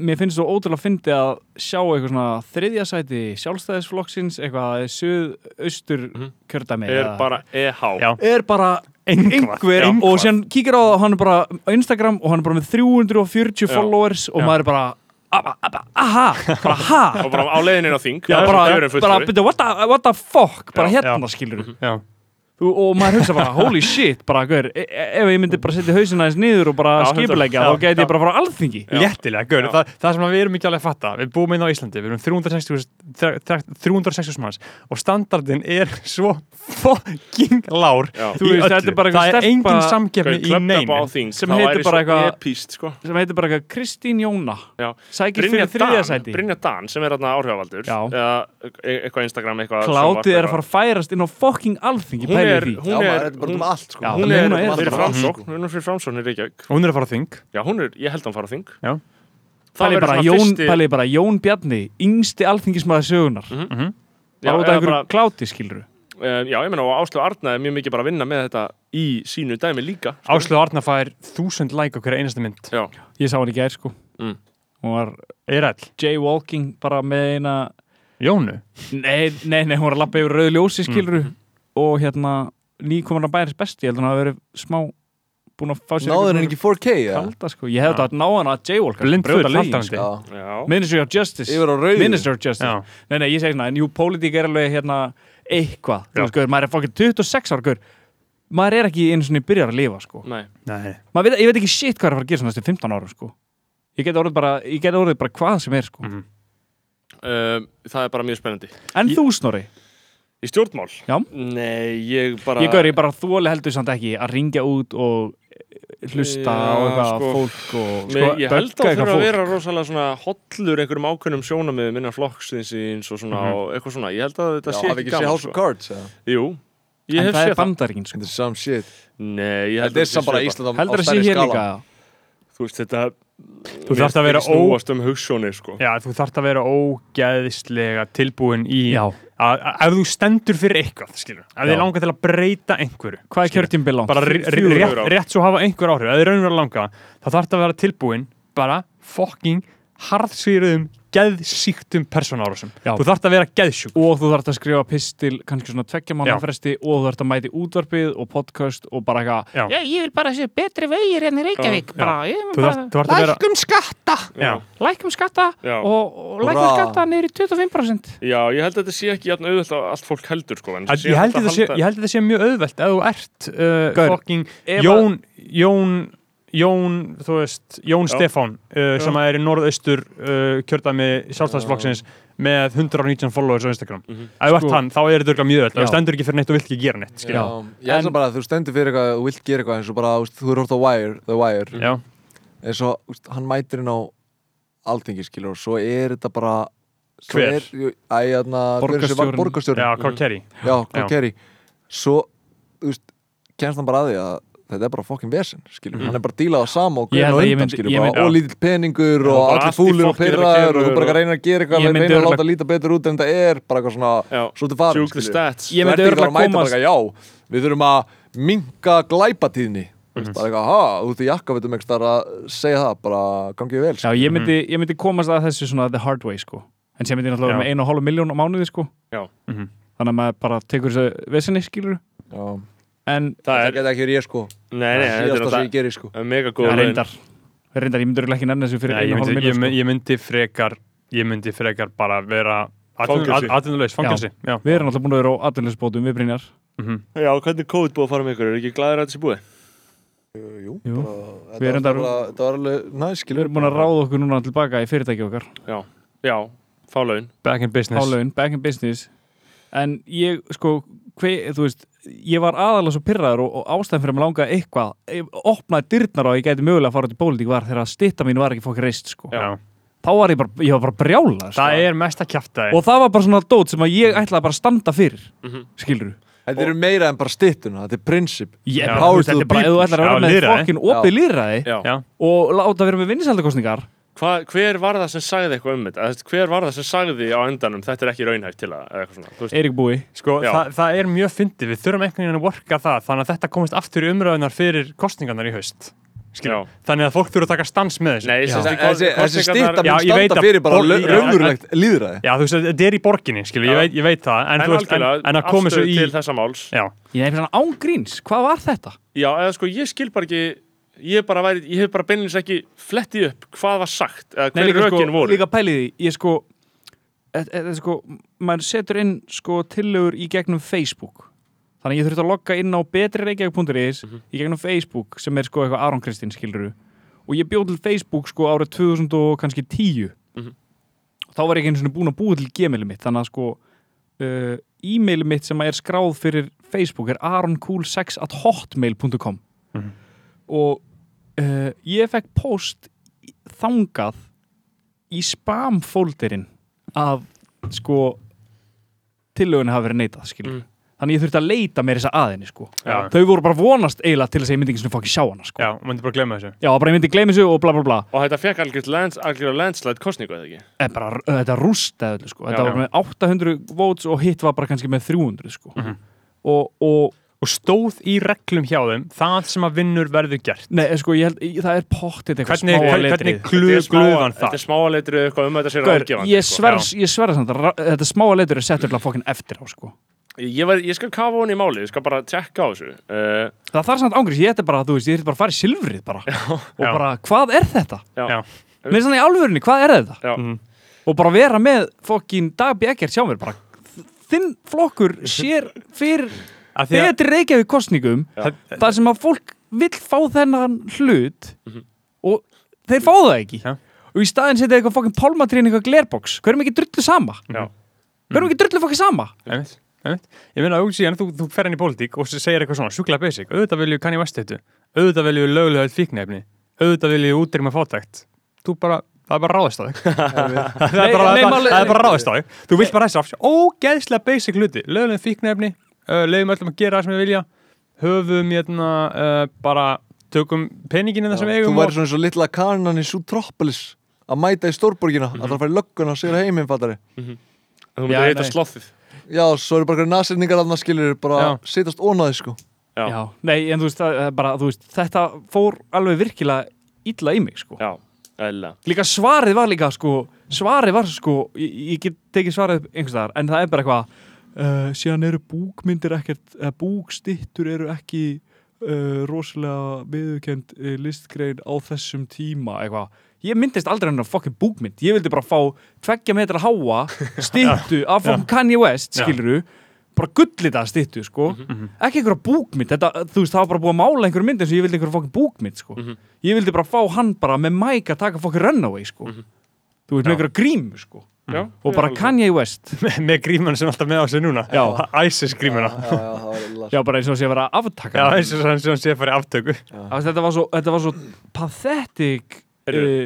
mér finnst svo ótrúlega fyndi að sjá eitthvað svona þriðja sæti sjálfstæðisflokksins eitthvað suðaustur kjördæmi Mhm. er eða- bara EH Já. er bara einhver Já. og sér kíkir á það og hann er bara á Instagram og hann er bara með 340 followers og maður er bara abba, abba, aha, bara ha Og bara á leiðinni inn á þing Já, það er bara, sem kjörinn bara fulltrúi. byrja, what, the- what the fuck bara Já, Mhm. hérna já. skilur Já, Þú- og maður hugsa bara, holy shit bara, hver, e e- ef ég myndi bara setja hausina aðeins niður og bara Já, skipulegja, hundra- þá gæti já, ég bara frá alþingi léttilega, gaur, Þa, það sem við erum ekki alveg að fatta við búum einn á Íslandi, við erum 360 þre- þre- 360 manns og standardin er svo fucking lár Já. í Þú veist, öllu. þetta er bara einhver það er stelpa- engin Gau, samgefni í klöpp neinu á þing Sem heitir bara eitthvað- epíst, sko. sem heitir bara eitthvað Kristín Jóna Já. sækir Brynja fyrir þriðja Dan, sæti Brynja Dan sem er þarna áhrifavaldur Já. eða e- eitthvað Instagram, eitthvað sjónvarp, klátið er að fara eitthvað. að færast inn á fucking Hún alþingi pælið er, því Já, hún maður er, er bara hún, um allt sko. Já, hún Núna er, um er þetta fyrir bara- framsókn, hún er fyrir framsókn í Reykjavík. og hún er að fara á þing Já, hún er, ég held að hún fara á þing. Já. Það pælið verður bara, svona Jón, fyrsti- Mhm. pælið bara Jón Bjarni yngsti alþingismæða sögunar mm -hmm. Já, bara út af eða einhverju bara- kláti skilur Um, já, ég meina, og Áslu Arna er mjög mikið bara að vinna með þetta í sínu dæmi líka. Sko- Áslu Arna fær 1000 like á hverja einasta mynd Já, ég sá hann í gær sko Mm. hún var Eirall, jaywalking bara með eina Jónu Nei, nei, nei, hún var að lappa yfir rauð ljósi skiluru og hérna nýkomur að bæðins besti, ég held að hún hafa verið smá búin að fá sér Náður henni ekki 4K ja? kalda sko, ég hefði þetta að ná hann að jaywalka Blind brjóta full, lögin, haldandi. sko. Já. já. Ministry of Justice Yfir á rauðu. Ministry of Justice, Já. nei, nei, ég segi svona en jú, pólitík er alveg hérna eitthvað, þú veist, gaur, maður er fokkið 26 ára gaur, maður er ekki einu svona byrjar að lifa sko, Nei, Nei. maður veit, ég veit ekki shit hvað er að fara að gera svona næstu 15 ára sko, ég get orðið bara, ég get orðið bara hvað sem er sko, um, það er bara mjög spennandi. en þú snorri Í stjórnmál? Já. Nei, ég bara... Ég gaur, ég bara þóli heldur samt ekki að ringja út og hlusta Já, á eitthvað sko. fólk og Sko, ég held að bögga það eitthvað þurfa að fólk. vera rosalega svona hollur einhverjum ákveðnum sjónamiðum innan flokksins og Mhm. svona og eitthvað svona. Ég held að þetta Já, sé hafi ekki ekki sé gaman. House of Cards ja. sko. Jú, ég En hef það séð er bandaríkin sko. Þetta er sam shit það. Nei, ég held Þetta er þetta samt bara sé Ísland á, á Heldur að sé stærri hér líka skala Þú veist, þetta... Þú þarft að vera ó- Snúast um hugssjónir, sko. Já, þú þarft að vera ógeðislega tilbúin í Já. að- að- ef þú stendur fyrir eitthvað, skilur ef þið Já. langar til að breyta einhverju Hvað er kjörtímbil langt? bara ri- ri- Fjögur rétt, ár. rétt svo hafa einhver áhrif eða raunverulega langa, þá þarf þetta að vera tilbúin bara fucking harðsýruðum, geðsíktum persónárásum. Já. Þú þarf að vera geðsjúk Og þú þarft að skrifa pistil kannski svona tveggja mánu Já. fresti og þú þarf að mæti útvarpið og podcast og bara eitthvað Já. Já, ég vil bara sé betri vegir enn í Reykjavík bara, ég vil Þú bara þarf, þú þarf að vera Já. lækjum skatta Já. og, og lækjum Hurra. skatta niður í 25% Já, ég held að þetta sé ekki jafn auðvitað að allt fólk heldur, sko. en Að- sé Ég held hægt þetta sé, halda- ég held þetta sé mjög auðvelt ef þú ert uh, Gaur, fucking ef að- Jón, Jón Jón, þú veist, Jón Stefán uh, sem er í norðaustur uh, kjördæmi sjálfstæðsflokksins með 119 followers á Instagram ef þú ert Sko- hann, þá er þetta örugglega mjög öll Já. þú stendur ekki fyrir neitt og vilt ekki gera neitt Já, skilur. Ég held En- það bara að þú stendur fyrir eitthvað Þú vilt gera eitthvað eins og bara þú veist, Þú er hort á Wire, The Wire Já. En svo þú veist, hann mætir inn á Altingi skilur Og svo er þetta bara svo Hver? er- jú, Æ, þarna hver sem Borgarstjórinn. var Borgarstjórinn Já, Carl Kerry Já, hvað Já. keri Svo, þú veist, kemst hann bara að því að þetta er bara fokkin vesen, skilur Hann er bara að díla það sama og Mhm. Ég guðin held og að ég undan, myndi- skilur ég myndi- bara, Og lítill peningur Já, bara og allir allt í fúlir og fólkið er að pyrraður kemur Og þú bara og- ekki reynir að gera Ég eitthvað myndi Reynir að örugglega- láta líta betur út en þetta er bara eitthvað svona Já. Svolítið farin, Juke the stats. Ég myndi Verði ekki bara að örugglega mæta bara eitthvað, já, við þurfum að minka glæpatíðni Þú Mhm. veist, bara eitthvað, ha, út í jakka veitum ekki að segja það, bara gangi vel Já, Mhm. ég myndi, ég myndi komast að þessu svona the hard way sko. en sem myndi náttúrulega Já. vera með einu og hálfu miljón á mánuði sko. Já. Mhm. þannig að maður bara tekur þessu vesenni skilur Já, en Það það er... geta ekki verið ég sko Nei, nei, þetta er Síðasta sem ég náttúrulega geri sko mega góð Já, laun. reyndar, reyndar, ég myndi örugglega ekki nefna þessu fyrir Nei, einu ég, og hálfu myndi, ég, miljón sko. myndi, ég myndi frekar ég myndi frekar bara vera Fangelsi. atvinnulegs, fangelsi Já. sko. Mhm. við erum alltaf búin að vera á atvinnulegsbótum við Brynjar Já, hvernig COVID búið að fara með ykkur? Er ekki glæðir að þetta sé búið? Jú, Jú. bara, Við erum þetta var reyndar- bara- þetta var alveg næst, við skilur erum búin að ráða okkur núna tilbaka í fyrirtæki okkar Já, já, fá laun. Back in business álaun, back in business en ég sko hve, þú veist, ég var aðalega svo pyrraður og, og ástæðan fyrir að mig langa eitthvað ég opnaði dyrnar á að ég gæti mögulega að fara út í pólitík var þegar að stitta mín var ekki fokk reist sko. Já. þá var ég bara, ég var bara brjála sko. Það er mesta kjaftaði og það var bara svona dót sem að ég ætlaði bara að standa fyrir mm -hmm. skilur Þetta eru meira en bara stittuna, þetta er prinsip ég, Já, bara, þú power veist, to þetta er the bara, ef þú people. ætlar að Já, vera með lýðræði. fokkin opið lýðræði Já. Já. og láta vera með vinsældakostningar Hva, hver var það sem sagði eitthvað um þetta? Eða, þú veist, Hver var það sem sagði á endanum þetta er ekki raunhægt til það? eða eitthvað svona? Þú veist, Eirik Búi, Sko, Já. það, það er mjög fyndið, við þurfum einhvern veginn að worka það þannig að þetta komist aftur í umröðunar fyrir kostningarnar í haust Já. Skilur. þannig að fólk þurfa að taka stans með þessu Nei, sem sagt, Þessi, þessi stitta Já, mun ég veit standa að fyrir bara borg- lau- já, raunverulegt líðræði Já, þú veist, þetta er í borginni, skilur, ég Já. veit, ég veit það en, En þú veist, en, algjörlega, en að koma svo afstöðu í til þessa máls. Já, ég nefnir svona ángríns, hvað var þetta? Já, eða sko, ég skil bara ekki, ég bara væri, ég hef bara beinlins ekki flettið upp hvað var sagt, eða hver líka, rökin sko, voru. líka pælið því, ég sko, e, e, sko maður setur inn sko tillögur í gegnum Facebook þannig að ég þurfti að logga inn á betri reykjavík.is Mhm. í gegnum Facebook sem er sko eitthvað Aron Kristinn skiluru og ég bjóð til Facebook sko árið 2010 Mhm. og þá var ég ekki einu svona búin að búa til gmailið mitt þannig að sko uh, e-mailið mitt sem er skráð fyrir Facebook er aroncool6 at hotmail.com og uh, ég fekk post í- þangað í spam folderinn að sko tillögunni hafa verið neitað skilur Mm. þannig ég þurfti að leita mér þessa aðinni sko. Já. þau voru bara vonast eiginlega til þess að ég myndi ekki svona fokki sjá hana sko. Já, og myndi bara að glemma þessu já, bara ég myndi gleymi þessu og bla bla bla Og þetta fekk algjör, lands, algjör landslætt kostningu, eða ekki? en bara, uh, þetta rústaði öllu sko. þetta Já, var já. með 800 votes og hitt var bara kannski með 300 sko. Mhm. og, og Og stóð í reglum hjá þeim það sem að vinnur verður gert nei, sko, ég held, ég, það er pottit eitthvað Hvernig, smáa hvernig, letrið. hvernig glu, gluðan Þetta það? er smáaleitrið eitthvað um að þetta sér Gaur, ráðgefandi. ég sverð sko. ég sverð samt að ra- þetta smáa leitur er sett öllu að fokkin eftir á sko. Ég, var, ég skal kafa hún í máli, ég skal bara tjekka á þessu. Uh, það þarf samt ángriðs, ég ætti bara, þú veist, ég ætti bara að fara í silfrið bara, og já. bara, hvað er þetta? Já. Mér finnst þannig í alvörunni, hvað er þetta? Já. Mhm. Og bara vera með fokkin dagbi ekkert sjá mér bara, þinn flokkur sér fyrir Af því að- betri reykjavík kostningum þar sem að fólk vill fá þennan hlut og þeir fá það ekki Mhm. Já. og í staðin setja eitthvað fokkin pálmatrýn eitthvað glerbox, hverjum ekki drullu sama Já. hverjum ekki drullu fokkin sama Einmitt, einmitt. Ég meina, auðvitað síðan, þú, þú fer inn í pólitík og segir eitthvað svona, sjúklega basic, auðvitað vilju kann í vestættu, auðvitað vilju lögulega fíknefni, auðvitað vilju útrýma fátækt. Þú bara, það er bara ráðist á þig. það er bara, Nei, nei, það, máli- það er bara ráðist á þig. Þú vilt bara þess að, ógeðslega basic hluti, lögulega fíknefni, uh, leiðum öllum að gera það sem við vilja, höfum, hérna, uh, bara, tökum peninginu það sem við Þú eigum. væri svona eins og litla kanan í Sutropolis að mæta í stórborgina, Mhm. mm -hmm. að það fara í lögguna og sigra heiminn, fattari. þú myndir Já, heita nei. slothið. Já, svo eru bara einhverjir nasirningar að það skilur bara Já. sitast ónaði, sko. Já. Já, nei, en þú veist, það, er bara, þú veist, þetta fór alveg virkilega illa í mig, sko. Já, eðlilega. Líka svarið var líka, sko, svarið var, sko, ég, ég get tekið svarið upp einhvers staðar, en það er bara eitthvað, uh, síðan eru búkmyndir ekkert, eða búkstittur eru ekki uh, rosalega viðurkend uh, listgrein á þessum tíma, eitthvað. Ég myndist aldrei hennar fokkin búkmynd, ég vildi bara fá tveggja metra háa stittu af fokkin Kanye West, Já. skiluru, bara gullita stittu, sko ekki einhverja búkmynd þetta, þú veist, það var bara búið að mála einhverju mynd eins og ég vildi einhverja fokkin búkmynd sko. Mhm. ég vildi bara fá hann bara með mæk að taka fokkin runaway sko. Mhm. þú veist, með einhverja grímu sko. Mm. Já, og ég bara alveg. Kanye West Með, með grímuna sem er alltaf með á sig núna. Já. ISIS grímuna. Já, já, það var illa. já, bara eins og sé að vera að aftaka Já, eins og hann sem hann sé að fara í aftöku. Af því þetta, var svo, þetta var svo pathetic uh, Heyrðu,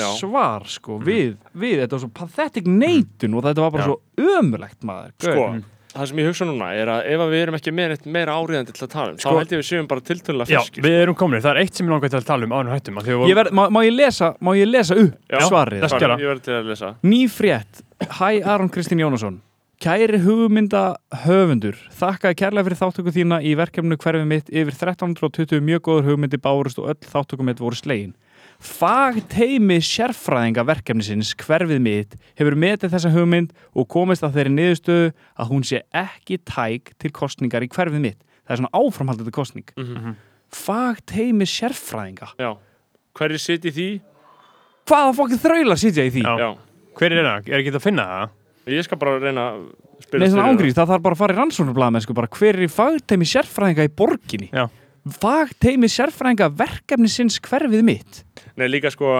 já. svar sko, við, við, þetta var svo pathetic neitun og þetta var bara Mhm. Já. svo ömulegt maður Sko, Gaur. það sem ég hugsa núna er að ef að við erum ekki með neitt meira áriðandi til að tala um, Sko- þá held ég við séum bara tiltölulega Já, ferskir. við erum komin. Það er eitt sem ég langar til að tala um ánum hættum. af því að Ég við vorum- verð, má, má, ég lesa, má ég lesa upp Já, svarið það skal gera. Ég verði til að lesa. Ný frétt, hæ Aron Kristín Jónasson Kæri hugmynda höfundur Þakkaði kærlega fyrir þáttöku þína í verkefnu hverfið mitt yfir 1320 mjög góður hugmyndi bárust og öll þáttöku mitt voru slegin Fagteimi sérfræðinga verkefnisins hverfið mitt hefur metið þessa hugmynd og komist að þeirri niðurstöðu að hún sé ekki tæk til kostningar í hverfið mitt Það er svona áframhaldandi kostning Fagteimi sérfræðinga Já. Hverju sitja í því? Hvaða fokkið þraula sitja í því? Já. Já. Hver er það? Er ekki þetta að finna það? Ég skal bara reyna að spila Nei, svona fyrir ángríns, það þarf bara að fara í rannsóknarblaðamenn sko, bara hver er í fagteimi sérfræðinga í borginni? Já. Fagteimi sérfræðinga verkefni sinns hverfið mitt? það. Nei, líka sko,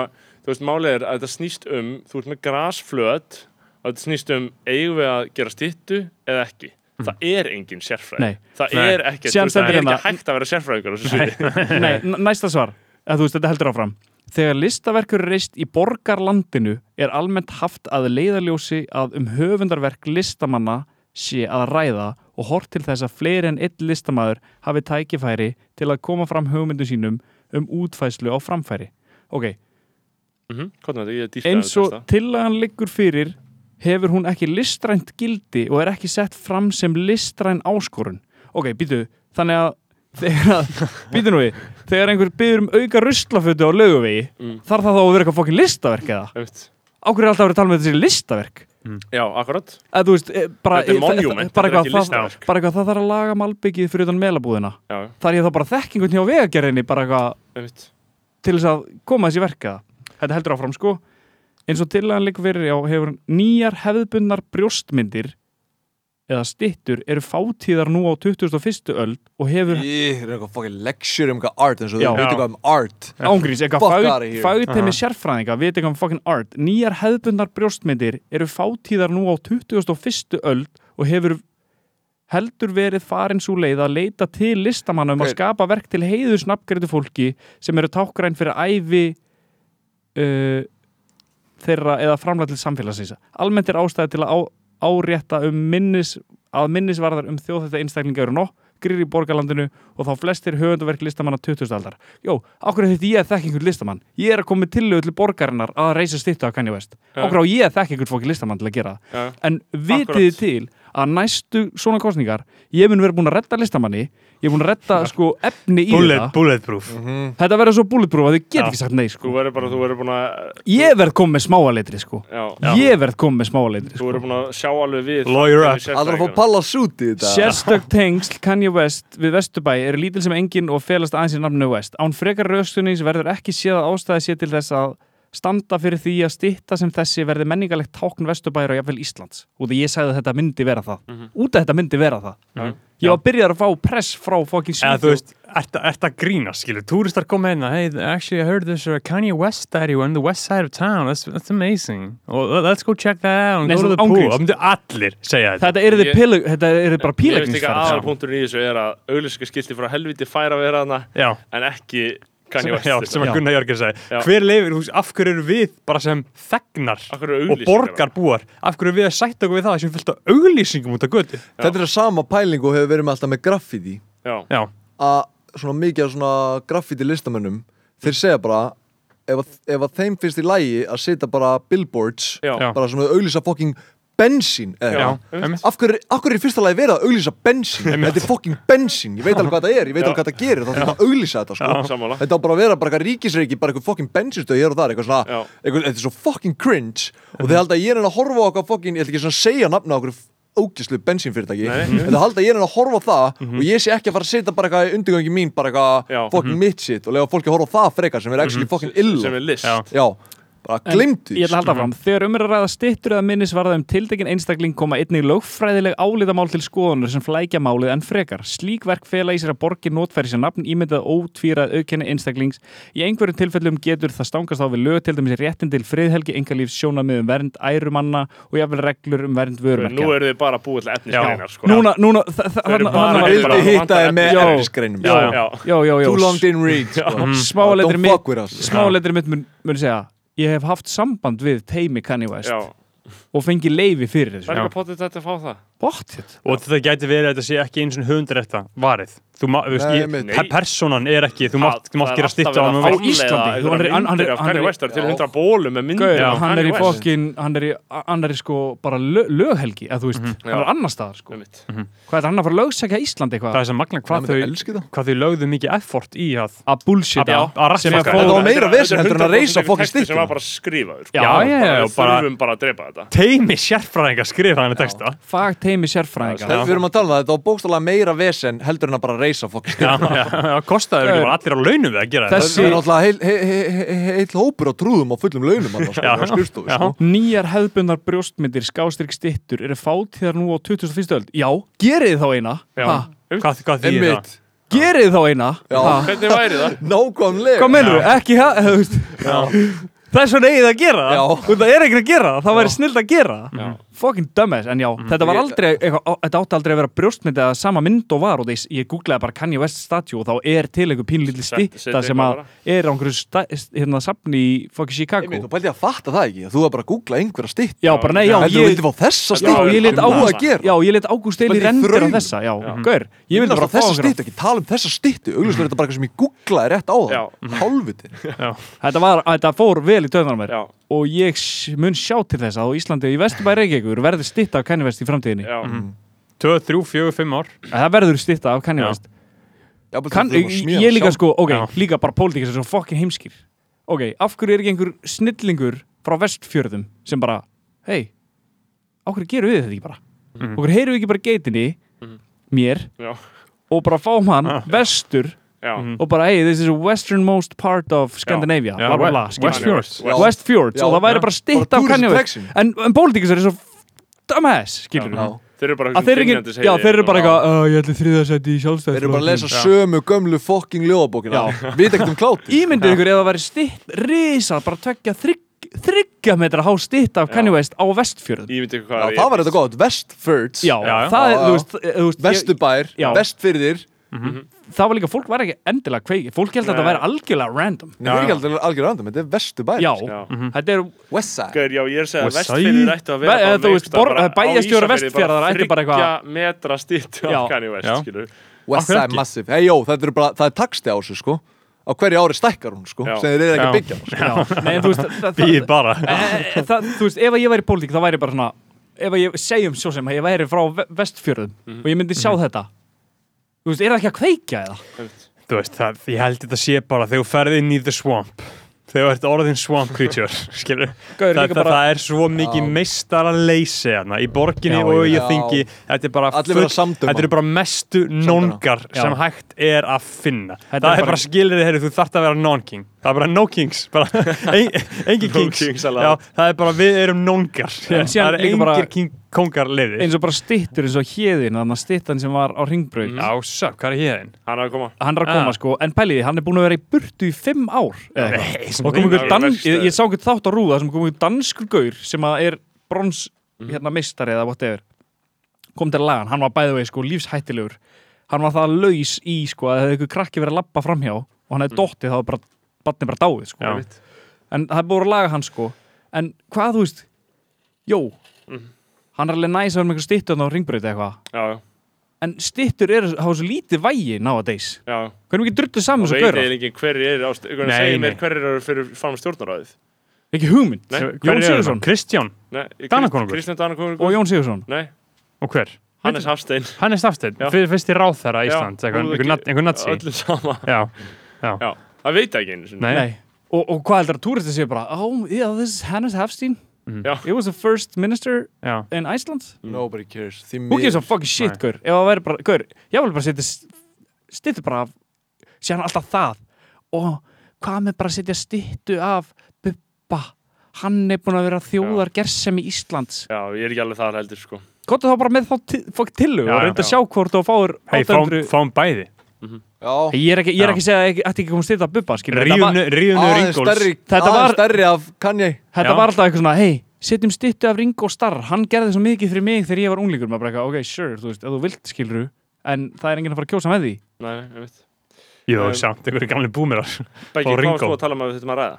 þú veist, málið er að þetta snýst um, þú ert með grasflöt, að þetta snýst um eigum við að gera stýttu eða ekki. Það er engin sérfræði. Nei. Það Nei. er ekki, Síðan það stendur er ekki hérna- hægt að vera sérfræðingur á þessu sviði. Nei, n- næsta svar, að þú veist, þetta heldur áfram. Þegar listaverkur er reist í borgarlandinu er almennt haft að leiðaljósi að um höfundarverk listamanna sé að ræða og hort til þess að fleiri en einn listamaður hafi tækifæri til að koma fram hugmyndum sínum um útfæslu á framfæri. Ok, Mhm, Hvað er þetta? Ég er dýrkaði eins og tillagan liggur fyrir hefur hún ekki listrænt gildi og er ekki sett fram sem listræn áskorun ok, býtu, þannig að þegar að, býtu nú við þegar einhver byrður um auka ruslafötu á laugavegi Mm. þarf það þá að vera eitthvað fokkin listaverk eða á hverju er alltaf að vera að tala með þessi listaverk Já, akkurat. að þú veist, eh, bara, Þetta er eh, það- monument, þetta bara, er eitthvað, ekki það, listaverk. bara eitthvað, það þarf að laga malbyggið fyrir utan melabúðina Já, þar ég þá bara þekkingun hjá vegagerðinni bara eitthvað einmitt. til þess að koma þessi verka þetta heldur áfram sko eins og tillagan liggur fyrir á hefur hún nýjar hefðbundnar brjóstmyndir eða stittur eru fátíðar nú á 21. öld og hefur Ég er eitthvað fucking lecture um eitthvað art eins og Já. þú veit eitthvað um art ángríns, eitthvað Fuck fag, outta here. fagteimi sérfræðinga við eitthvað um fucking art, nýjar hefðbundnar brjóstmyndir eru fátíðar nú á 21. öld og hefur heldur verið farin svo leið að leita til listamanna um að Gaur. skapa verk til heiðusnafngreitu fólki sem eru tákgræn fyrir ævi uh, þeirra eða framlega til samfélagsins almennt er ástæði til að á, árétta um minnis, að minnisvarðar um þjóðhætta einstaklinga eru nokkrir í borgarlandinu og þá flestir höfundaverk listamanna 20. aldar Jó, okkur er þetta ég að þekka einhvern listamann ég er að koma með tillögu til borgarinnar að reysa stýttu af Kanye West Já. okkur á ég að þekka einhvern fólki listamann til að gera það Já. en vitið þið til að næstu svona kostningar ég mun vera búin að redda listamanni ég er búin að redda sko efni í Bullet, þetta bulletproof þetta verður svo bulletproof að þið get Já. ekki sagt nei Þú sko. verður bara, þú verður búin að ég verð komið með smáaletri sko. Já, ég verð komið með smáaletri þú sko. verður búin að sjá alveg við Lawyer up. Allra að fá palla sút í þetta sérstök tengsl Kanye West við Vesturbæ eru lítil sem engin og felast aðeins í nafnu West án frekar röstunins verður ekki séð að ástæði sé til þess að standa fyrir því að stýtta sem þessi verði menningarlegt tákn Vesturbæra og jafnvel Íslands út af ég sagði að þetta myndi vera það út af þetta myndi vera það ég var byrjar að fá press frá fokkin Mhm. Eða Svíþjóð. þú veist, ert ert að grína, skilur, túristar koma hérna, hey, actually I heard there's a Kanye West statue on the west side of town, that's, that's amazing, well, let's go check that out and Nei, go to svona the pool, ángríns. það myndi allir segja þetta. þetta eru Ég- pilu- þetta Ég veist eru bara ekki að pílagningsferð aðalpunkturinn í þessu er að auglýsingaskilti frá helviti færa að vera hana Já, en ekki Kanye West já, sem að Já. Gunnar Jörgir segi, Já. hver leifir, þú veist, af hverju eru við bara sem þegnar Af hverju eru og auglýsingar borgarbúar, af hverju eru við að sætta okkur við það sem fylgta auglýsingum út af götu? Þetta er sama pæling og hefur verið með alltaf með graffiti Já, Já, að svona mikið af svona graffiti listamönnum þeir segja bara ef, að- ef að þeim finnst í lægi að setja bara billboards já, Já. bara svona auglýsa fucking bensín eða já, eitthvað. einmitt. af hverju, af hverju er í fyrsta lagi verið að auglýsa bensín þetta er fucking bensín, ég veit alveg hvað það er ég veit alveg hvað það gerir, þá þarf að auglýsa þetta sko. sammála Þetta á bara að vera bara eitthvað ríkisreiki, bara eitthvað fokkin bensinstöð hér og þar, eitthvað svona, Já. eitthvað, þetta er svo fokkin cringe og þið halda að ég er enn að horfa á okkar fokkin, ég ætla ekki svona að segja nafna á okkur ógislu bensinfyrirtæki, en þið halda að ég er enn að horfa á það og ég sé ekki að fara að setja bara eitthvað í undirgöngi mín, bara Já. Mhm. eitthvað fokkin mitt sitt og lega fólki að horfa á það frekar sem er actually fokkin illa. sem er list Já. Já, bara En glimtu Ég ætla að halda fram, þegar um er að ræða stittur eða minnisvarða um tiltekin einstakling koma einnig lögfræðileg álítamál til skoðunar sem flækja málið en frekar. Slík verk fela í sér að borgin notfæri sér nafn ímyndað ótvíraðið aukenni einstaklings. Í einhverjum tilfellum getur það stangast á við lög til dæmis réttin til friðhelgi, engalífs, sjónamið um vernd ærumanna og jafnvel reglur um vernd Nú vörumerkja. eru þið bara búið til efnisgreinar sko. Núna, núna, þa- þa- eru þarna bara- þarna var Vildi bara... Vildi hitta vantar þið með efni. Já. efnisgreinum Já, já, Já, já, já. Too long didn't read sko. Smáaletri Don't mitt- fuck with us Smáleitur mitt mun, mun segja, ég hef haft samband við teimi Kanye West já og fengi leifi fyrir þessu. Það er ekki potið þetta að fá það Bóttið. Og þetta gæti verið að þetta sé ekki eins og hundrætta varið. Þú ma, þú veist, Nei, ég, einmitt. per- personan er ekki, þú mátt, þú mátt Það er gera alltaf stýtt verið á hann og fá- veit. framleiða Íslandi, einhverjar þú- hann er- hann- myndir hann- af hann Kanye er- West það eru til hundra bólum með myndir Gaur, af hann er Kanye í West. fokkin, hann er í, hann er í sko bara lö, löghelgi, að þú veist, hann er Mhm. Já. annar staðar sko. Einmitt. Hvað er þetta, hann að fara að lögsækja Íslandi Það eitthvað? er sem magna hvað Hvað þau, elski það? hvað þau lögðu mikið effort í að Að bullshita, Að- að sem Þetta að rassfakka. Þetta fóra, var meira þetta er vesen heldur en að 100% reisa texti fucking sem var stykkið. bara skrifaður sko. Já, já, bara, já, já, við bara- þurfum bara að drepa þetta teimi sérfræðinga skrifa þannig texta. fag teimi sérfræðinga. Þegar við erum að tala um það, þetta var bókstálega meira vesen heldur en að bara sko. reysa fokk Já, já, já, kostaður ekki bara allir á launum við að gera þetta. Þess- Það er náttúrulega heil, heil, heil, heil, heil hópur á trúðum á fullum launum annars, sko, Já, á skrifstofu, já. sko. Nýjar hefðbundar brjóstmyndir, skástrík stittur, eru fátíðar nú á 2001. öld. Já, gerið þið þá eina. Já. Ha, Hvað, hvað því það? Einmitt, gerið þið þá eina. Já. Ha, Hvernig væri það? nákvæmlega Hvað mennur þú? Ekki það, þú veist. Þess vegna eigið þið að gera Já. það. Og Það er ekkert að gera það, það væri snild að gera það. Fucking dumbass, en já, Mm. þetta var Ég- aldrei, eitthvað, á- þetta átti aldrei að vera brjóstmynd eða sama mynd og var og þess, ég googlaði bara Kanye West statue og þá er til einhver pínlítið Set- stitta setja sem eitthvað að er á einhverju sta- hérna safni í fucking Einmitt, Þú Chicago. pældi að fatta það ekki, að þú var bara að googla einhverja stytt Já, bara nei, já, Heldur þú ég... vildi fá þessa Já, stytt ég lét lit á- að Ágúst gera Já, ég lit Ágúst Eili Bara í rendir á þraut. þessa Já, gaur, ég vildi bara fá þessa okkur stytt, ekki tala um þessa styttu Auglustlega er þetta bara eitthvað sem ég googlaði rétt á Já. það Hálfviti Þetta var, þetta fór vel í töðunar mér Já, og ég s- mun sjá til þess að á Íslandi í Vesturbæri Reykjavíkur verður stitta af Kanye West í framtíðinni já, 2, 3, 4, 5 ár. Að Það verður stitta af Kanye Já. West kan, ég, ég líka sko, ok, líka bara pólitík sem er svo fokkin heimskir ok, af hverju er ekki einhver snillingur frá vestfjörðum sem bara, hei af hverju gerum við þetta ekki bara Mhm. mm. okkur heyrum við ekki bara geitinni mér já, og bara fáum hann Ah. vestur já og bara, hey, this is the westernmost part of Scandinavia, Já, bla bla bla West- skilur. Westfjords. sko. Já. West Fjords Já, og það væri já. bara stitt Bara af Kanye tourist West attraction. en, en pólitík sem er svo dumbass, skilur Já. Þeir eru bara að þeir eru ekki, já þeir eru bara eitthvað "Ó, ég ætli þriða seti í Þeir sjálfstæð eru bara að lesa sömu gömlu fokking Já. ljóðabókina Við ekkert um kláti ímyndið ykkur ef það væri stitt risa, bara tökja þrygg, þryggja metra há stitt af Kanye West á vestfjörðum já, Ég veit ekki Já, hvað það var þetta gott, Vestfjörds Já, já. það er, þú Já, já. veist, eh, þú veist ég, Vesturbær, Já. Vestfyrðir það var líka, fólk var ekki endilega kveiki fólk held að þetta væri algjörlega random Nei, það er ekki algjör- algjör random, þetta er Vesturbær já, Já. Mhm. þetta er Westside Gauður, já, ég er að segja Og að vestfyrir sæ- ættu að vera Ve- bara eða þú veist, einhvers staðar borg- bara eða bæjarstjórar á Ísafirði, Vestfjarða ættu bara eitthvað- þriggja metra stýttu Já. af Kanye West, Já. skilur við. Westside ekki? Massive Hei, jó, þetta eru bara, það er taksti á þessu sko Á hverju ári stækkar hún sko Já. Sem þeir eru ekki að Já. byggja hún sko. já, nei, þú veist það- það- Býð bara Eh, eh, það, þú veist, ef að ég væri í pólitík þá væri ég bara svona ef að ég segjum svo sem að ég væri frá ve- vestfjörðum og ég myndi sjá þetta þú veist, er það ekki að kveikja eða? Þú veist, það, ég held þetta sé bara þegar þú ferði inn í the swamp þegar þú ert orðin swamp creature skilur, Gauður, það, líka það, bara- það er svo mikið meistara leysi hérna í borginni Já, og já. ég þingi þetta er bara, Allir verða samdöma. þetta er bara mestu nongar Já. sem hægt er að finna er það er bara- bara skilrið, heyrðu, þú þart að vera non-king það er bara no kings bara, en, engin kings, kings allowed. Já, það er bara við erum nongar En það síðan er líka engir bara- king, kongar leiði eins og bara stittur eins og hérðin þannig að stittan sem var á ringbraut já, söp, hvað er hérðin? Hann hafði koma hann er að koma Mhm. Ah. sko, en pæliði, hann er búin að vera í burtu í fimm ár eða eitthvað. og kom Nei, einhver það er dan, verst, ég, eh. ég sá einhvern þátt á rúða sem kom einhver danskur gaur sem að er brons Mhm. hérna mistari eða whatever kom til lagan, hann var bæði vegi sko lífshættilegur hann var það laus í sko að það hefði einhver krakki verið að labba framhjá og hann Mhm. hefði dottið þá var bara, barnið bara dáið sko Já. en það er búin að laga hann sko en hvað þú veist, jó Mhm. hann er alveg næs að vera með einhver stittur á ringbröð eitthvað, Já, já, en stittur er hafa svo lítið vægi náðadeis já hvernig ekki drullu saman Og þessu veit gaura eiginlega enginn hverjir eru á st- einhvern Nei, veginn segir nei. mér hverjir eru fyrir fram stjórnaráðið ekki hugmynd, Nei. Jón Sigurðsson Kristján Nei, Krist- Danakonungur. Kristján og Danakonungur Jón Sigursson Nei, og hver? Hannes Hafstein Hannes Stafstein, Já. fyr, fyrst í ráþæra Já, Ísland, hún er einhver, ekki- nat- einhver nazi Öllum sama Já, Já, það veit ég ekki einu sinni nei, Nei. Og, og hvað heldur að túristi séu bara Oh, yeah, this is Hannes Hafstein Mhm. Já. It was the first minister Já. in Iceland Nobody cares Því Who gives a miður. fucking shit, gaur Ef það væri bara, gaur, ég vil bara setja Stittu bara af Sér hann alltaf það Og hvað með bara að setja stittu af Bubba Hann er búin að vera þjóðar gersemi Íslands Já, ég er ekki alveg það heldur sko Kottu þá bara með þá til- fokk tillögu Já, Og já. reynda að sjá hvort þú fáir Hey, fáum, 800 fáum bæði Já, Ég er ekki, ég er Já. ekki að segja að ekki- ætti ekki að koma stittu af Bubba skilur. Þetta var- Ríðunur aðeins Ringóls stærri, Þetta aðeins var- stærri af Kanye Þetta Já. var alltaf eitthvað svona, hei, setjum stittu af Ringo Starr, hann gerði svo mikið fyrir mig þegar ég var unglíkur, maður bara eitthvað, ok, sure, þú veist, ef þú vilt skiluru, en það er enginn að fara að kjósa með því. Nei, ég veit Jú, Um, samt, einhverju gamli búmirar Bæki, Og hvað Ringo. varst þú að tala um að við þurfum að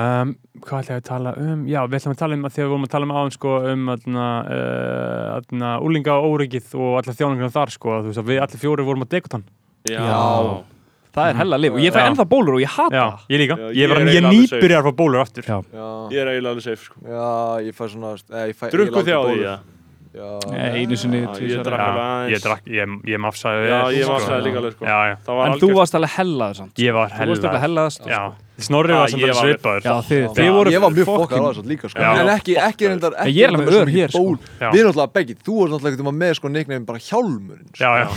ræða? um, Hvað ætlaði að tala um? Já, við ætlum að tala um að þegar við vorum að tala um áðan sko, um aðna, uh, aðna, úlinga og óryggið og alla þjáninguna þar sko, að þú veist að við allir fjóri vorum á Dekotan Já, Það er hella lif og ég fæ Mhm. Já. ennþá bólur og ég hata Já, það. ég líka, Já, ég, ég er ég, ég, ég eiginlega alveg safe. nýbyrjar frá bólur aftur Já. Já, ég er eiginlega alveg safe sko já ég fæ svona eh, ég fæ, ég Drukku lát þið á bólur. því, já Já, Nei, Einu sinni, Já, ég tvisvar. drakk alveg aðeins. ég drakk, ég, ég mafsaði Já, vel, ég sko. mafsaði líka alveg, sko. Já, já, Það var En þú algjört- varst alveg hellaður samt. ég var Þú varst alveg hella hellaðast. Já, Snorri Ah, var ég samt alveg var alveg- svipaður Já, þið, þið Já. voru Ég var mjög fucking- fokkar á þessu líka sko. Já. En ekki, ekki reyndar ekki En ég er alveg reyndar svo ör mikið hér, sko. ból. Já. Við náttúrulega beggi, þú varst náttúrulega ekki um að með sko neiknefn bara hjálmurinn sko. Já, já,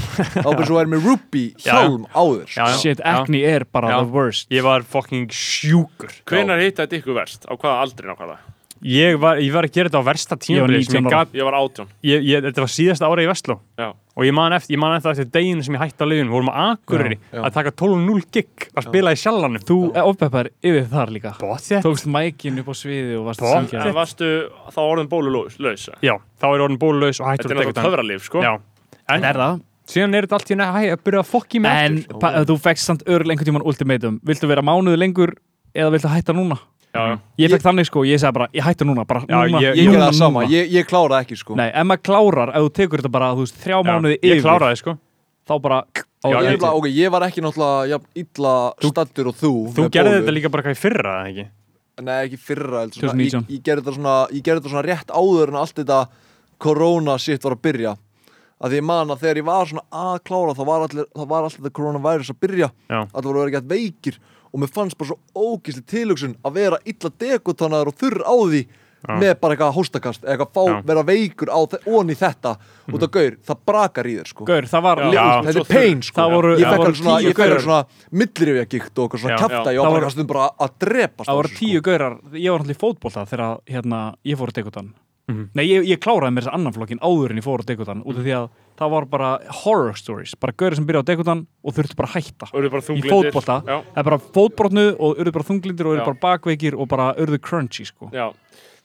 Þá bara svo væri með Ruby Já, já. hjálm á þér sko. já, já. Shit, Já. acne er bara Já. the worst. Ég var fucking sjúkur Hvenær hitta þetta ykkur verst? Á hvaða aldri nákvæmlega? Ég var, ég var að gera þetta á versta tímabili sem 19 ég ára. gat, Ég var átján ég, ég, þetta var síðasta ára í Vestló Já. og ég man eftir, ég man eftir, eftir deginu sem ég hætti á liðun, vorum á Akureyri Já, já. að taka 12-0 gig að spila í sjallanum Þú ofbeppar Eh, yfir þar líka. bóttið Tókst mækin upp á sviði og varst að Bótt. syngja. En varstu þá orðin bólulaus? lausa? Já, þá er orðin bólulaus og Þetta hættur er náttúrulega töfralíf, sko Já, en Er það? síðan er þetta allt í næ, hæ, að byrja að fokki með En pa- þú fekst samt örl einhvern tíman ultimatum. Viltu vera mánuði lengur eða viltu hætta núna? Já, Ég fekk þannig sko, ég sagði bara, ég hætti núna, bara Já, núna. ég- Ég núna, gerði það sama, núna. ég, ég klára ekki sko Nei, ef maður klárar, ef þú tekur þetta bara, þú veist, þrjá mánuði Ég yfir, kláraði, sko þá bara, á, Já, Ég, ég- ég, okay, ég var ekki náttúrulega jafn, illa stattur og þú Þú með gerði bólu. þetta líka bara hvað í fyrra, eða ekki? Nei, ekki fyrra heldur, svona, ég, 2019. ég gerði þetta svona, ég gerði þetta svona rétt áður en allt þetta corona shit var að byrja að því ég man að þegar ég var svona að klára þá var, allir, þá var allt þetta coronavirus að byrja Já. allir voru verið gett veikir og mér fannst bara svo ógisli tilugsun að vera illa dekotanaður og þurr á því með bara eitthvað hóstakast eða eitthvað fá, Já. vera veikur á þe- ón í þetta út af gaur, það brakar í þér sko gaur, það var, Já. þetta er pain sko Það voru- ég það fekk voru alveg svona, tíu ég fekk alveg gaur. svona millirifjagikt og eitthvað svona Já. kæftægi Já. og Það voru- bara kastum bara að drepast á það voru þessu, sko. tíu gaurar, ég var náttúrulega í fótbolta þegar, hérna, ég fór að teka utan Mhm. Nei, ég, ég kláraði mér þess að annan flokkin áður en ég fór á Dekotan út af því að það var bara horror stories, bara gaurið sem byrjaði á Dekotan og þurfti bara að hætta Og eru bara í þunglindir. fótbolta, Já. það er bara fótbrotnu og urðu bara þunglindir og urðu Já. bara bakveikir og bara urðu crunchy sko. Já,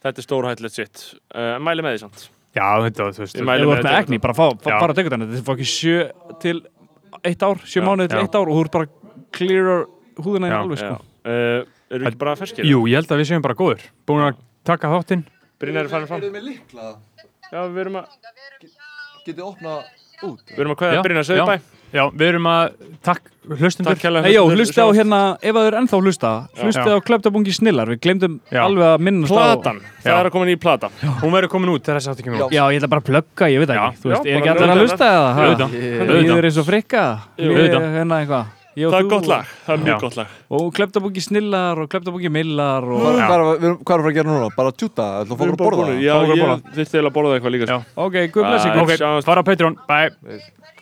þetta er stórhættilegt sitt uh, Mæli með því samt Já, þetta, þú veist Ég Ef mæli þú ert með Dekotan. egni, bara fá, fá, Já. fara að degutan þetta er fokkin sjö til eitt ár, Já, sjö mánuði til já. eitt ár og þú ert bara clearar húðina Já, þín alveg Já. sko. Uh, Eru ekki bara ferskir? Jú, ég held að við séum bara góður Búin að taka þáttinn Brynjar er farin fram Eruð þið með líkla? Já, við erum að, Getið opna út? við erum að kveða Brynjar já, Söðbæ já, við erum að Takk hlustundur Takk kærlega Nei, jó, fyrir hlusta á þessu. hérna, ef að þau eru ennþá að hlusta hlusta á klöptabungi snillar, við glemdum Já. alveg að minnast Platan, það Já. er að koma nýja plata Hún verður komin út þegar þess aftur kemur Já. út á Já, ég ætla bara að plugga, ég veit það Já. ekki Þú veist, Já, er ekki bara allir að auðvitað. hlusta eða? ha? Auðvitað, Líður auðvitað eins og frikka Jú, Líður auðvitað. hérna eitthvað Ég og Það er þú gott lag, það er Já. mjög gott lag Og klöptabungi snillar og klöptabungi millar Hvað og... er að við erum- hvað erum við að gera núna? Bara að tjúta? Þú ætlum að fóra að borða? Já, Fá okkur að ég borða. þurfti eiginlega að borða eitthvað líka Já. sko. Ok, guð blessi Æ, ykkur Ok, sjáumst. fara á Patreon, bye